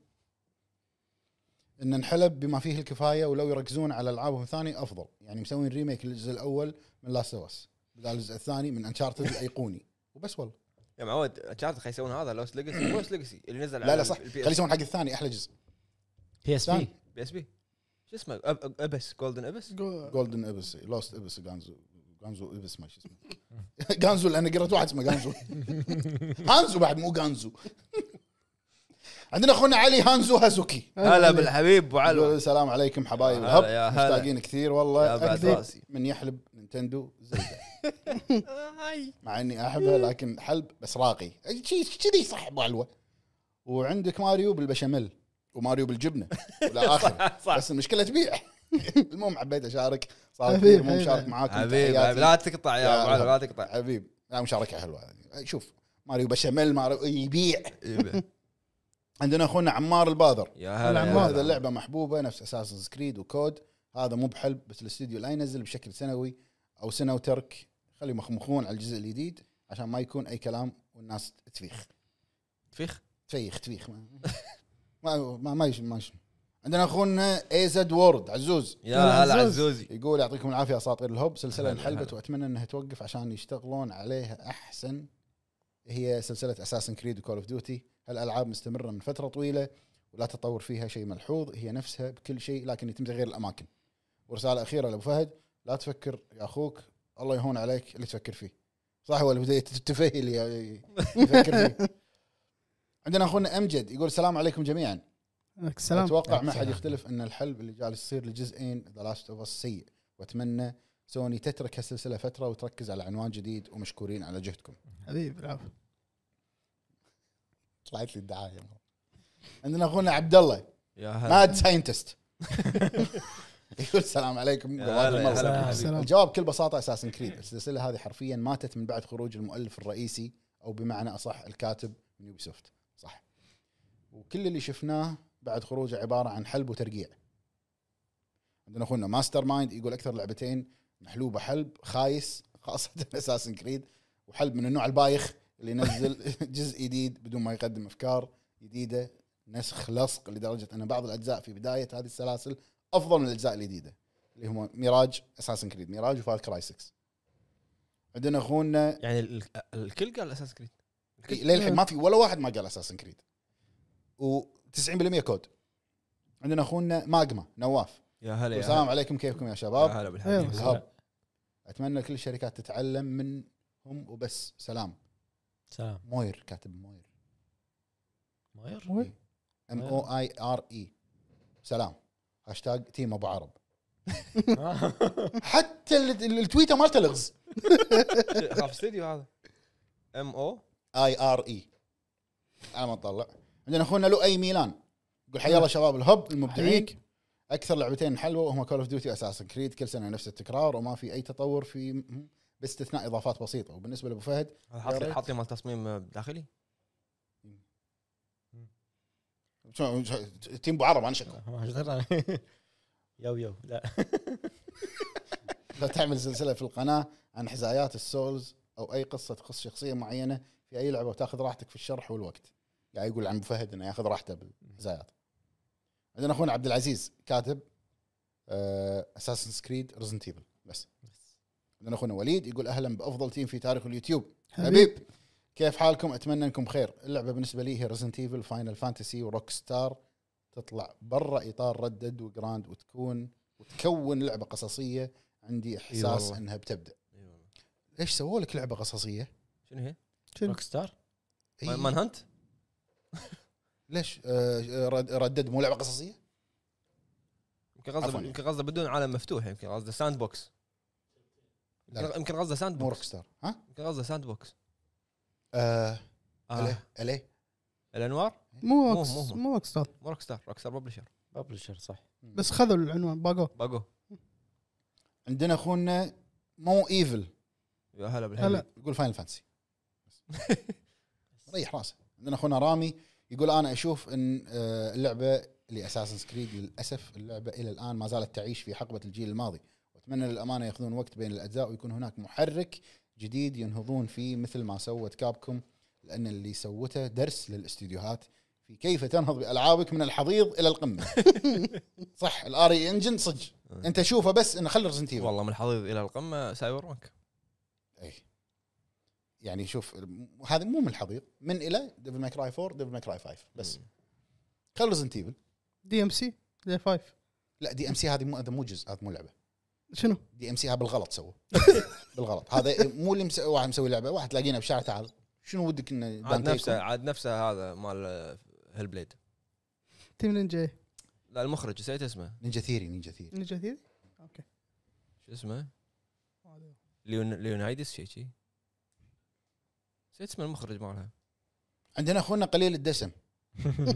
Speaker 2: ان انحلب بما فيه الكفايه ولو يركزون على العابهم الثانيه افضل يعني مسوين ريميك للجزء الاول من لاست اوف اس بدال الجزء الثاني من انشارتد الايقوني وبس والله
Speaker 1: يا معود شافت خلي يسوون هذا لوس ليجسي لوس ليجسي اللي نزل
Speaker 2: لا لا صح خليه
Speaker 1: البي اس
Speaker 2: يسوون حق الثاني احلى جزء
Speaker 5: بي اس بي
Speaker 2: ثاني
Speaker 1: بي اس بي شو اسمه أب- أب- ابس جولدن ابس
Speaker 4: جو-
Speaker 2: جولدن ابس لوست ابس غانزو غانزو ابس ما شو اسمه <laughs> غانزو لان قريت واحد اسمه غانزو هانزو بعد مو غانزو عندنا اخونا علي هانزو هازوكي
Speaker 1: هلا بالحبيب ابو علو
Speaker 2: يقول السلام عليكم حبايب
Speaker 1: هلا
Speaker 2: الهب
Speaker 1: يا هلا.
Speaker 2: مشتاقين كثير
Speaker 1: يا
Speaker 2: والله
Speaker 1: بعد
Speaker 2: أكثر
Speaker 1: راسي.
Speaker 2: من يحلب نينتندو زلدة مع اني احبها لكن حلب بس راقي أي شي- كذي صح بعلوه وعندك ماريو بالبشاميل وماريو
Speaker 1: <laughs>
Speaker 2: بالجبنه ولا اخر
Speaker 1: صح.
Speaker 2: بس المشكله <laughs> تبيع المهم حبيت اشارك صار
Speaker 4: حبيب،
Speaker 2: كثير مو مشارك معاكم
Speaker 1: حبيب
Speaker 2: تحياتي.
Speaker 1: حبيب، لا تقطع يا ابو علو لا تقطع
Speaker 2: حبيب لا مشاركه حلوه يعني. شوف ماريو بشاميل ماريو يبيع
Speaker 1: إيه.
Speaker 2: عندنا اخونا عمار البادر
Speaker 1: يا هلا يا
Speaker 4: العمار.
Speaker 1: هلا.
Speaker 2: هذا اللعبه محبوبه نفس اساس كريد وكود هذا مو بحلب بس الاستديو لا ينزل بشكل سنوي او سنه وترك خليهم يخمخون على الجزء الجديد عشان ما يكون اي كلام والناس تفيخ
Speaker 1: فيخ
Speaker 2: تفيخ تفيخ <laughs> ما ما ما, ما, يش- ما يش- عندنا اخونا ايزد وورد عزوز
Speaker 1: يا هلا
Speaker 4: عزوز.
Speaker 1: عزوزي
Speaker 2: يقول يعطيكم العافيه اساطير الهب سلسله
Speaker 1: هلا،
Speaker 2: انحلبت
Speaker 1: هلا.
Speaker 2: واتمنى انها توقف عشان يشتغلون عليها احسن هي سلسله اساسن كريد وكول اوف ديوتي هالالعاب مستمره من فتره طويله ولا تطور فيها شيء ملحوظ هي نفسها بكل شيء لكن يتم تغيير الاماكن ورساله اخيره لابو فهد لا تفكر يا اخوك الله يهون عليك اللي تفكر فيه صح هو البدايه التفهي اللي يفكر فيه عندنا اخونا امجد يقول السلام عليكم جميعا
Speaker 4: عليك السلام
Speaker 2: اتوقع
Speaker 1: نعم،
Speaker 2: ما حد
Speaker 5: سلام.
Speaker 2: يختلف ان الحلب اللي جالس يصير لجزئين ذا لاست اوف اس سيء واتمنى سوني تترك هالسلسله فتره وتركز على عنوان جديد ومشكورين على جهدكم.
Speaker 4: حبيبي العافيه
Speaker 2: طلعت لي الدعايه عندنا اخونا عبد الله
Speaker 1: يا هلا
Speaker 2: ماد ساينتست <laughs> يقول السلام عليكم
Speaker 1: يا
Speaker 2: جواد
Speaker 1: هلا، يا
Speaker 2: المرسى.
Speaker 1: هلا
Speaker 5: السلام.
Speaker 1: بالحبيب.
Speaker 4: السلام
Speaker 2: الجواب بكل بساطه اساسن كريد السلسله هذه حرفيا ماتت من بعد خروج المؤلف الرئيسي او بمعنى اصح الكاتب من يوبي سوفت صح وكل اللي شفناه بعد خروجه عباره عن حلب وترقيع عندنا اخونا ماستر مايند يقول اكثر لعبتين محلوبه حلب خايس <laughs> خاصه اساسن كريد <laughs> وحلب من النوع البايخ اللي ينزل جزء جديد بدون ما يقدم افكار جديده نسخ لصق لدرجه ان بعض الاجزاء في بدايه هذه السلاسل افضل من الاجزاء الجديده اللي هم ميراج اساسن كريد ميراج وفار كراي 6 عندنا اخونا
Speaker 1: يعني ال- الكل قال اساس كريد
Speaker 2: للحين ما في ولا واحد ما قال اساسن كريد و90% كود عندنا اخونا ماجما نواف
Speaker 1: يا هلا يا
Speaker 2: السلام
Speaker 1: هلا
Speaker 2: عليكم كيفكم يا
Speaker 1: يا
Speaker 2: شباب
Speaker 1: هلا بالحبيب
Speaker 2: <laughs>
Speaker 4: أيوة.
Speaker 2: الهب اتمنى كل الشركات تتعلم منهم وبس سلام
Speaker 5: سلام
Speaker 2: موير كاتب موير إيه.
Speaker 5: ماير
Speaker 4: وين؟
Speaker 2: ام او اي ار اي E. سلام هاشتاج تيم ابو عرب حتى ال- ال- التويتر مالته لغز
Speaker 1: خاف استديو إيه، هذا ام او
Speaker 2: اي ار اي على ما تطلع عندنا اخونا لؤي ميلان يقول حيا الله شباب الهب المبدعين
Speaker 4: حيك.
Speaker 2: اكثر لعبتين انحلوا هما كول اوف ديوتي واساسن كريد كل سنه نفس التكرار وما في اي تطور في باستثناء اضافات بسيطه وبالنسبه لابو فهد
Speaker 1: حاط
Speaker 2: يا ريت.
Speaker 1: لي حاط لي مال تصميم داخلي
Speaker 2: شو- شو- تيم ابو عرب انا
Speaker 5: <laughs>
Speaker 2: شكو
Speaker 5: ما أدري. يو يو لا
Speaker 2: لو تعمل سلسله في القناه عن حزايات السولز او اي قصه تخص شخصيه معينه في اي لعبه وتاخذ راحتك في الشرح والوقت قاعد يقول عن ابو فهد انه ياخذ راحته بالحزايات عندنا اخونا عبد العزيز كاتب آه، اساسن سكريد ريزنت ايفل بس عندنا اخونا وليد يقول اهلا بافضل تيم في تاريخ اليوتيوب حبيب كيف حالكم اتمنى انكم بخير اللعبه بالنسبه لي هي ريزنت ايفل فاينل فانتسي وروك ستار تطلع برا اطار ردد وجراند وتكون وتكون لعبه قصصيه عندي احساس
Speaker 1: إيه والله.
Speaker 2: انها بتبدع ليش سووا لك لعبه قصصيه؟
Speaker 1: شنو هي؟
Speaker 4: شنو؟
Speaker 5: روك ستار
Speaker 2: إي،
Speaker 1: مان هانت؟
Speaker 2: ليش آه، آه، رد- ردد مو لعبه قصصيه؟
Speaker 1: يمكن
Speaker 2: عفواً
Speaker 1: قصده
Speaker 2: يعني.
Speaker 1: يمكن قصده بدون عالم مفتوح يمكن قصده ساند بوكس
Speaker 2: لا لا.
Speaker 1: يمكن قصده ساند
Speaker 2: مو
Speaker 1: بوكس
Speaker 2: روك ستار ها؟
Speaker 1: يمكن قصده ساند بوكس
Speaker 2: آه،
Speaker 1: آه.
Speaker 2: اليه اليه
Speaker 1: الانوار
Speaker 4: مو
Speaker 1: مو-
Speaker 4: روكس-
Speaker 1: مو-
Speaker 4: مو روك ستار
Speaker 1: مو روك ستار روك ستار ببلشر
Speaker 5: ببلشر صح
Speaker 4: بس خذوا العنوان باقوه
Speaker 1: باجو
Speaker 2: عندنا اخونا مو ايفل
Speaker 1: يا هلا
Speaker 4: هلا.
Speaker 1: بالحبيب
Speaker 2: يقول فاينل فانتسي <laughs> ريح راسه عندنا اخونا رامي يقول انا اشوف ان آه، اللعبه لاساسن سكريد للاسف اللعبه الى الان ما زالت تعيش في حقبه الجيل الماضي واتمنى للامانه ياخذون وقت بين الاجزاء ويكون هناك محرك جديد ينهضون فيه مثل ما سوت كابكم لان اللي سوته درس للاستديوهات في كيف تنهض بالعابك من الحضيض الى القمه <laughs> صح الاري انجن صدق انت شوفه بس انه خلي رزنت
Speaker 1: والله من الحضيض الى القمه سايبر بانك
Speaker 2: اي إيه. يعني شوف الم- هذا مو من الحضيض من الى ديفل ماي كراي 4 ديفل ماي كراي 5 بس خلوا ريزنت ايفل
Speaker 4: دي ام سي دي 5
Speaker 2: لا دي ام سي هذه مو هذا مو جزء هذا مو لعبه
Speaker 4: شنو؟
Speaker 2: دي ام سي هذا بالغلط
Speaker 1: <laughs>
Speaker 2: سووا بالغلط هذا مو اللي مسوي واحد مسوي لعبه واحد تلاقينا بشارع تعال شنو ودك انه
Speaker 1: عاد
Speaker 2: دانتيكم؟
Speaker 1: نفسه عاد نفسه هذا مال هيل بليد
Speaker 4: تيم نينجا إيه؟
Speaker 1: لا المخرج نسيت اسمه
Speaker 2: نينجا ثيري نينجا ثيري
Speaker 4: نينجا ثيري؟
Speaker 1: شو اسمه؟ ليون ليونايدس شيء شي نسيت اسم المخرج مالها
Speaker 2: عندنا اخونا قليل
Speaker 1: <laughs>
Speaker 2: الدسم <laughs>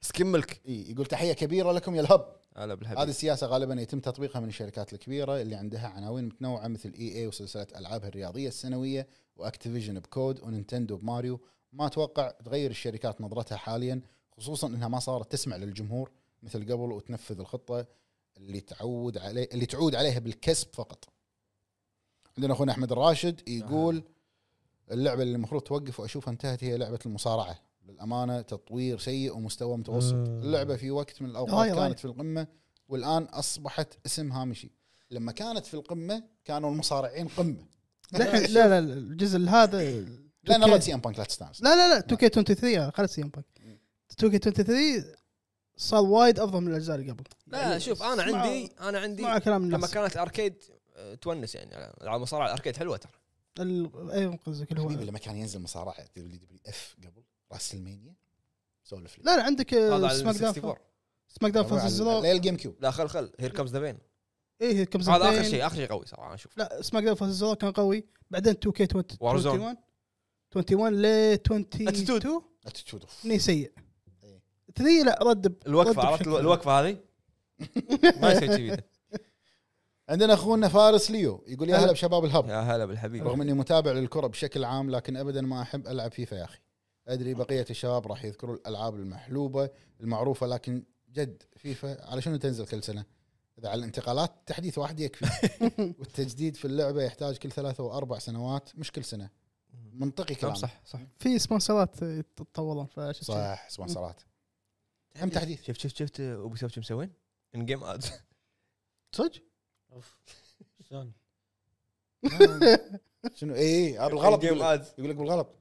Speaker 1: سكيم ملك
Speaker 2: اي إيه، يقول تحيه كبيره لكم يا الهب
Speaker 1: هلا
Speaker 2: هذه
Speaker 1: بالحبيب
Speaker 2: السياسه غالبا يتم تطبيقها من الشركات الكبيره اللي عندها عناوين متنوعه مثل اي اي وسلسله العابها الرياضيه السنويه واكتيفيجن بكود ونينتندو بماريو ما اتوقع تغير الشركات نظرتها حاليا خصوصا انها ما صارت تسمع للجمهور مثل قبل وتنفذ الخطه اللي تعود عليه اللي تعود عليها بالكسب فقط. عندنا اخونا احمد الراشد يقول اللعبه اللي المفروض توقف واشوفها انتهت هي لعبه المصارعه للامانه تطوير سيء ومستوى متوسط
Speaker 5: مم.
Speaker 2: اللعبه في وقت من الاوقات
Speaker 4: رايح، رايح.
Speaker 2: كانت في القمه والان اصبحت اسم هامشي لما كانت في القمه كانوا المصارعين قمه
Speaker 4: لا
Speaker 2: <laughs>
Speaker 4: لا لا الجزء هذا
Speaker 2: لا انا
Speaker 4: أوكي.
Speaker 2: رد سي ام بانك لا تستانس
Speaker 4: لا لا لا 2K23 خلاص سي ام بانك 2K23 صار وايد افضل من الاجزاء اللي قبل
Speaker 1: لا شوف انا
Speaker 4: اسمعوا-
Speaker 1: عندي انا عندي
Speaker 4: مع كلام
Speaker 1: لما
Speaker 4: الناس
Speaker 1: كانت الاركيد آه، تونس يعني على المصارعه الاركيد حلوه ترى
Speaker 4: ال- إيه، اي قصدك اللي هو
Speaker 2: حبيبي لما كان ينزل مصارعه دبليو دبليو اف قبل راس المانيا سولف لي
Speaker 4: لا لا عندك
Speaker 1: هذا
Speaker 4: آه،
Speaker 1: على
Speaker 4: سماك داون
Speaker 1: 64
Speaker 4: سماك داون فانسي
Speaker 2: على-
Speaker 4: زيرو
Speaker 2: لا الجيم كيوب
Speaker 1: لا خل خل هير كمز ذا بين
Speaker 4: اي إيه، كم
Speaker 1: هذا اخر شيء اخر شيء قوي صراحه اشوف
Speaker 4: لا سماك داون فانسي زيرو كان قوي بعدين 2K21
Speaker 1: Warzone.
Speaker 4: 21 ل 22
Speaker 1: Attitude.
Speaker 2: اتيتيود أوف.
Speaker 4: ني سيء
Speaker 2: إيه.
Speaker 4: 3 لا رد
Speaker 1: الوقفه عرفت الو- الوقفه هذه ما يصير كذي
Speaker 2: عندنا اخونا فارس ليو يقول يا
Speaker 4: هلا.
Speaker 2: هلا بشباب الهب
Speaker 1: يا هلا بالحبيب
Speaker 2: رغم اني متابع للكره بشكل عام لكن ابدا ما احب العب فيفا يا اخي ادري بقيه الشباب راح يذكروا الالعاب المحلوبه المعروفه لكن جد فيفا على شنو تنزل كل سنه؟ اذا على الانتقالات تحديث واحد يكفي والتجديد في اللعبه يحتاج كل ثلاثة واربع سنوات مش كل سنه منطقي
Speaker 1: نعم
Speaker 2: كلام صح
Speaker 1: صح صح
Speaker 4: في سبونسرات يتطورون فشو اسمه؟
Speaker 2: صح سبونسرات هم تحديث
Speaker 1: شفت شفت شفت ابو سوف شو مسوين؟ ان جيم ادز
Speaker 4: صدق؟
Speaker 5: اوف شلون
Speaker 2: <laughs> شنو اي بالغلط
Speaker 1: جيم
Speaker 2: يقول
Speaker 1: ادز
Speaker 2: يقول لك بالغلط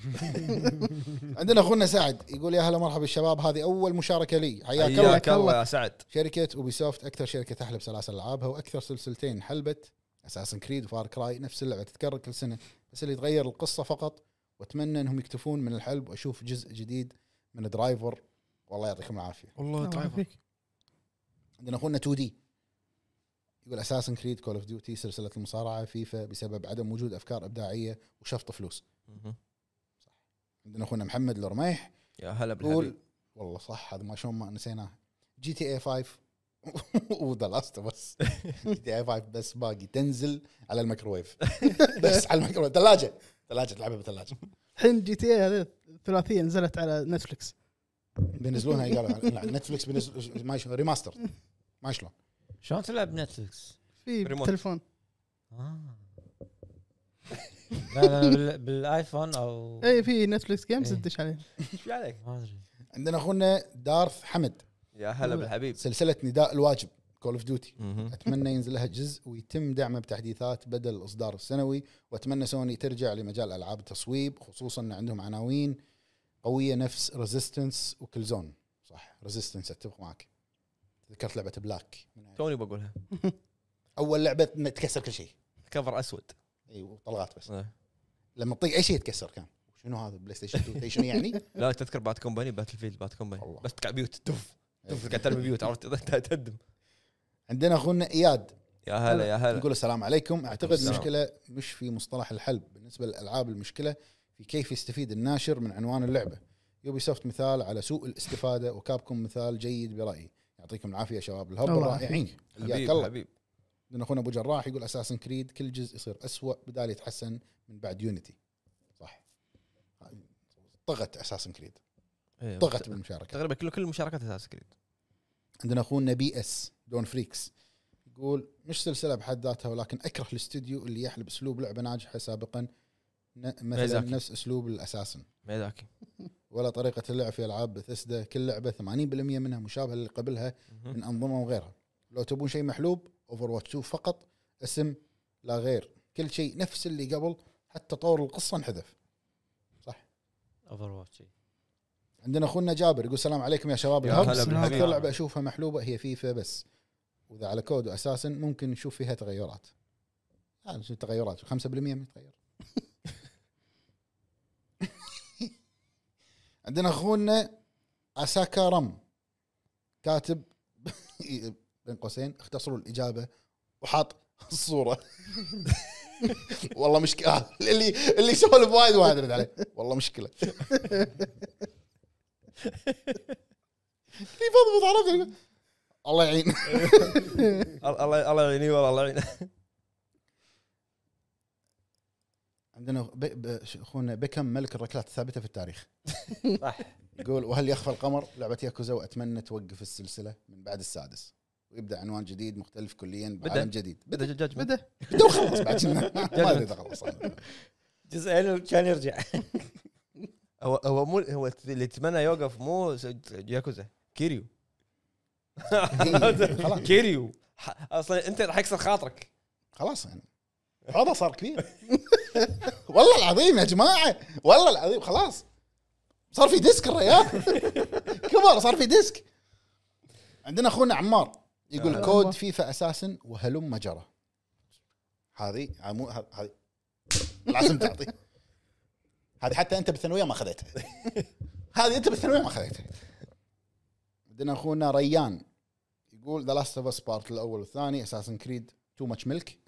Speaker 2: <laughs> عندنا اخونا سعد يقول يا هلا مرحبا بالشباب هذه اول مشاركه لي حياك الله
Speaker 1: حياك الله يا سعد
Speaker 2: شركه اوبيسوفت اكثر شركه تحلب سلاسل العابها واكثر سلسلتين انحلبت اساسن كريد وفار كراي نفس اللعبه تتكرر كل سنه بس اللي يتغير القصه فقط واتمنى انهم يكتفون من الحلب واشوف جزء جديد من درايفر والله يعطيكم العافيه
Speaker 4: الله
Speaker 6: والله
Speaker 3: طيب.
Speaker 4: يعافيك.
Speaker 2: عندنا اخونا 2 دي يقول اساسن كريد كول اوف ديوتي سلسله المصارعه فيفا بسبب عدم وجود افكار ابداعيه وشفط فلوس عندنا اخونا محمد الرميح
Speaker 1: يا هلا
Speaker 2: يقول
Speaker 1: بالحبيب
Speaker 2: والله صح هذا ما شلون ما نسيناه جي تي إيه اي 5 <laughs> وذا لاست بس جي تي اي 5 بس باقي تنزل على الميكروويف بس على الميكروويف ثلاجه ثلاجه تلعبها بالثلاجه
Speaker 4: الحين جي تي اي هذه الثلاثيه نزلت على نتفلكس
Speaker 2: بينزلونها إيه قالوا لا، نتفلكس بينزل ما شلون ريماستر ما شلون
Speaker 5: شلون تلعب نتفلكس؟
Speaker 4: في
Speaker 1: ريموت.
Speaker 4: تلفون
Speaker 5: آه. <laughs> لا لا بال- بالايفون او
Speaker 4: اي في نتفلكس جيمز
Speaker 5: إيه.
Speaker 4: تدش عليه
Speaker 1: ايش في عليك؟
Speaker 5: ما ادري
Speaker 2: عندنا اخونا دارث حمد
Speaker 1: يا هلا بالحبيب
Speaker 2: سلسله نداء الواجب كول اوف ديوتي
Speaker 1: مهم.
Speaker 2: اتمنى ينزل لها جزء ويتم دعمه بتحديثات بدل الاصدار السنوي واتمنى سوني ترجع لمجال العاب التصويب خصوصا ان عندهم عناوين قويه نفس ريزيستنس وكل زون صح ريزيستنس اتفق معك ذكرت لعبه بلاك
Speaker 1: توني بقولها
Speaker 2: اول لعبه إنه تكسر كل شيء
Speaker 1: كفر اسود
Speaker 2: اي وطلقات بس
Speaker 1: آه.
Speaker 2: لما تطيق اي شيء يتكسر كان شنو هذا بلاي ستيشن 2 شنو يعني؟
Speaker 1: لا تذكر بات كومباني باتل فيلد بات كومباني
Speaker 2: والله. إيه.
Speaker 1: بس تقع بيوت تف تف قاعد ترمي بيوت عرفت <laughs> تهدم
Speaker 2: عندنا اخونا اياد
Speaker 1: يا هلا يا هلا
Speaker 2: نقول السلام عليكم اعتقد
Speaker 1: السلام.
Speaker 2: المشكله مش في مصطلح الحلب بالنسبه للالعاب المشكله في كيف يستفيد الناشر من عنوان اللعبه يوبي سوفت مثال على سوء الاستفاده وكابكم مثال جيد برايي يعطيكم العافيه يا شباب الهب
Speaker 4: الله
Speaker 2: الرائعين حياك
Speaker 1: حبيب
Speaker 2: الله
Speaker 1: حبيب
Speaker 2: لان اخونا ابو جراح يقول اساسا كريد كل جزء يصير أسوأ بدال يتحسن من بعد يونيتي صح طغت اساسا كريد
Speaker 1: إيه،
Speaker 2: طغت بالمشاركه
Speaker 1: تقريبا كل كل المشاركات اساس كريد
Speaker 2: عندنا اخونا بي اس دون فريكس يقول مش سلسله بحد ذاتها ولكن اكره الاستوديو اللي يحلب اسلوب لعبه ناجحه سابقا ن- مثلا
Speaker 1: ميزاكي.
Speaker 2: نفس اسلوب الاساسن
Speaker 1: ميزاكي
Speaker 2: ولا طريقه اللعب في العاب بثسدا كل لعبه 80% منها مشابهه للي قبلها
Speaker 1: مهم.
Speaker 2: من انظمه وغيرها لو تبون شيء محلوب اوفر واتش 2 فقط اسم لا غير كل شيء نفس اللي قبل حتى طور القصه انحذف
Speaker 5: اوفر واتش
Speaker 2: عندنا اخونا جابر يقول السلام عليكم يا شباب
Speaker 1: يا
Speaker 2: الهب
Speaker 1: هلا
Speaker 2: اكثر
Speaker 1: بالحبيب
Speaker 2: لعبه اشوفها محلوبه هي فيفا بس واذا على كود واساسا ممكن نشوف فيها تغيرات هذا شو تغيرات 5% من يتغير <laughs> عندنا اخونا اساكا رم كاتب <laughs> بين قوسين اختصروا الاجابه وحاط الصوره <laughs> والله مشكله <laughs> اللي اللي سولف وايد واحد رد عليه والله مشكله اللي فضفض عرفت الله يعين
Speaker 1: <laughs> الله الله يعيني والله الله يعينه
Speaker 2: عندنا ب... ب... ش- اخونا بكم ملك الركلات الثابته في التاريخ
Speaker 5: صح.
Speaker 2: يقول وهل يخفى القمر لعبه ياكوزا واتمنى توقف السلسله من بعد السادس ويبدا عنوان جديد مختلف كليا بعالم جديد
Speaker 1: بدا <laughs> جاج
Speaker 4: بدا
Speaker 2: بدا وخلص بعد شنو؟ ما ادري إذا خلص
Speaker 5: جزئين كان
Speaker 2: <laughs>
Speaker 5: يرجع
Speaker 1: هو هو مو هو اللي يتمنى يوقف مو س- ياكوزا كيريو
Speaker 2: إيه.
Speaker 1: <laughs>
Speaker 2: خلاص
Speaker 1: كيريو ح- اصلا انت راح يكسر خاطرك
Speaker 2: خلاص يعني هذا صار كبير <laughs> والله العظيم يا جماعه والله العظيم خلاص صار في ديسك الرجال <laughs> كبر صار في ديسك عندنا اخونا عمار يقول
Speaker 1: آه.
Speaker 2: كود فيفا اساسا وهلم جرى هذه ها- مو ها- هذه العزم تعطي هذه حتى انت بالثانويه ما اخذتها <laughs> هذه انت بالثانويه ما اخذتها عندنا اخونا ريان يقول ذا لاست اوف اس بارت الاول والثاني اساسن كريد تو ماتش ملك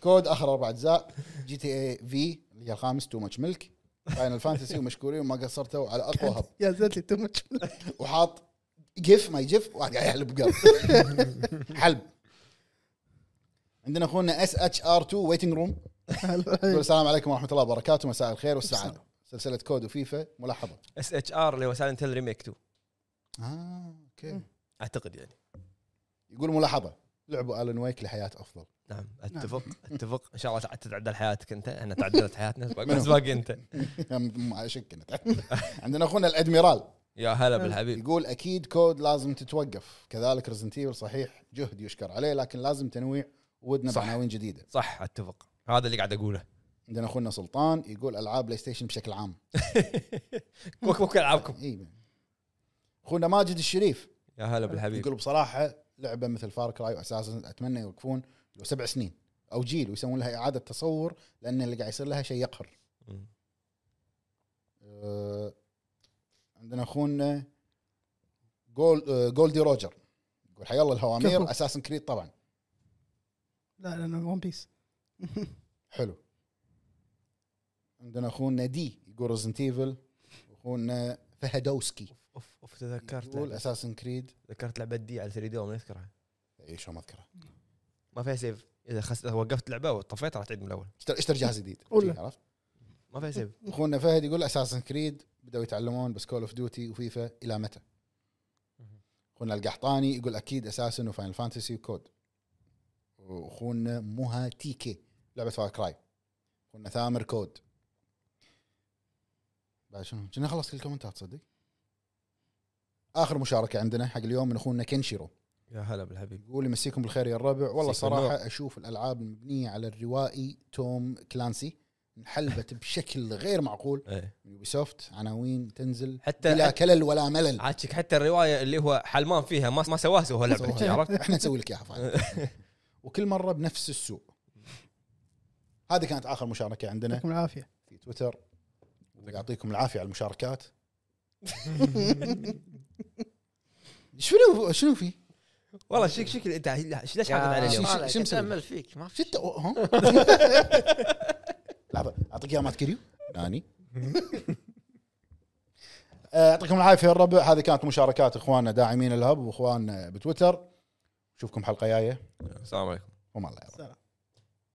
Speaker 2: كود اخر اربع اجزاء جي تي اي في اللي هي الخامس تو ماتش ملك فاينل فانتسي ومشكورين وما قصرتوا على اقوى هب
Speaker 4: يا زلتي تو ماتش <laughs>
Speaker 2: وحاط جف ما يجف واحد قاعد يحلب قلب حلب عندنا اخونا اس اتش ار 2 ويتنج روم يقول السلام عليكم ورحمه الله وبركاته مساء الخير والسعاده سلسله كود وفيفا ملاحظه
Speaker 1: اس اتش ار اللي هو سايلنت هيل ريميك 2
Speaker 2: اه اوكي
Speaker 1: اعتقد يعني
Speaker 2: يقول ملاحظه لعبوا الن ويك لحياه <laughs> افضل
Speaker 1: نعم <laughs> اتفق اتفق ان شاء الله تع- تتعدل حياتك انت احنا تعدلت حياتنا بس باقي- بس باقي انت
Speaker 2: م- ما اشك أنا. <laughs> عندنا اخونا الادميرال
Speaker 1: يا <laughs> هلا بالحبيب
Speaker 2: يقول اكيد كود لازم تتوقف كذلك ريزنت ايفل صحيح جهد يشكر عليه لكن لازم تنويع ودنا
Speaker 1: صح.
Speaker 2: بعناوين جديده
Speaker 1: صح اتفق هذا اللي قاعد اقوله
Speaker 2: عندنا اخونا سلطان يقول العاب بلاي ستيشن بشكل عام
Speaker 1: <laughs> كوك كوك العابكم
Speaker 2: اي اخونا ماجد الشريف
Speaker 1: يا هلا بالحبيب
Speaker 2: يقول بصراحه لعبه مثل فار كراي واساسا اتمنى يوقفون لو سبع سنين او جيل ويسوون لها اعاده تصور لان اللي قاعد يصير لها شيء يقهر
Speaker 1: مم.
Speaker 2: آه، عندنا اخونا جول آه، جولدي روجر يقول حيالله
Speaker 4: كفو.
Speaker 2: الهوامير اساسا كريد طبعا
Speaker 4: لا لان ون بيس
Speaker 2: حلو عندنا اخونا دي يقول ريزنت ايفل اخونا فهدوسكي
Speaker 1: اوف اوف تذكرت
Speaker 2: يقول
Speaker 1: لعبة-
Speaker 2: اساسا كريد
Speaker 1: تذكرت لعبه دي على 3 دي وما اذكرها
Speaker 2: اي شو ما اذكره
Speaker 1: ما فيها سيف اذا خس... إذا وقفت لعبه وطفيتها راح تعيد من الاول
Speaker 2: اشتر- اشتر جهاز جديد
Speaker 4: ولا.
Speaker 2: عرفت
Speaker 1: ما فيها سيف
Speaker 2: اخونا فهد يقول اساسا كريد بداوا يتعلمون بس كول اوف ديوتي وفيفا الى متى؟ اخونا القحطاني يقول اكيد اساسا وفاينل فانتسي وكود واخونا مها تيكي لعبه فار كراي اخونا ثامر كود بعد شنو؟ كنا خلصت كل الكومنتات تصدق؟ اخر مشاركه عندنا حق اليوم من اخونا كنشيرو
Speaker 1: <laughs> يا هلا بالحبيب
Speaker 2: يقول يمسيكم بالخير يا الربع والله
Speaker 1: مسيك
Speaker 2: صراحه اشوف الالعاب المبنيه على الروائي توم كلانسي انحلبت بشكل غير معقول
Speaker 1: ايه
Speaker 2: من يوبيسوفت عناوين تنزل
Speaker 1: حتى
Speaker 2: بلا كلل ولا ملل
Speaker 1: عاتشك حتى الروايه اللي هو حلمان فيها ما ما سواها سوى لعبه <laughs>
Speaker 2: سواها.
Speaker 1: عرفت؟
Speaker 2: احنا نسوي لك اياها فايدة.
Speaker 1: <laughs>
Speaker 2: وكل مره بنفس السوق هذه كانت اخر مشاركه عندنا
Speaker 4: يعطيكم العافيه
Speaker 2: في تويتر يعطيكم العافيه
Speaker 1: <laughs>
Speaker 2: على المشاركات <laughs> شنو شنو في؟
Speaker 1: والله شك شكل انت ليش حاطط عليه اليوم؟
Speaker 2: شو- شو
Speaker 5: شو
Speaker 2: مسوي؟
Speaker 5: متامل آه، فيك ما في
Speaker 2: شت ها؟ لحظه اعطيك اياها مات كريو ناني آه، يعطيكم العافيه يا الربع هذه كانت مشاركات اخواننا داعمين الهب واخواننا بتويتر نشوفكم حلقه جايه
Speaker 1: السلام عليكم
Speaker 2: وما الله يرضى
Speaker 4: سلام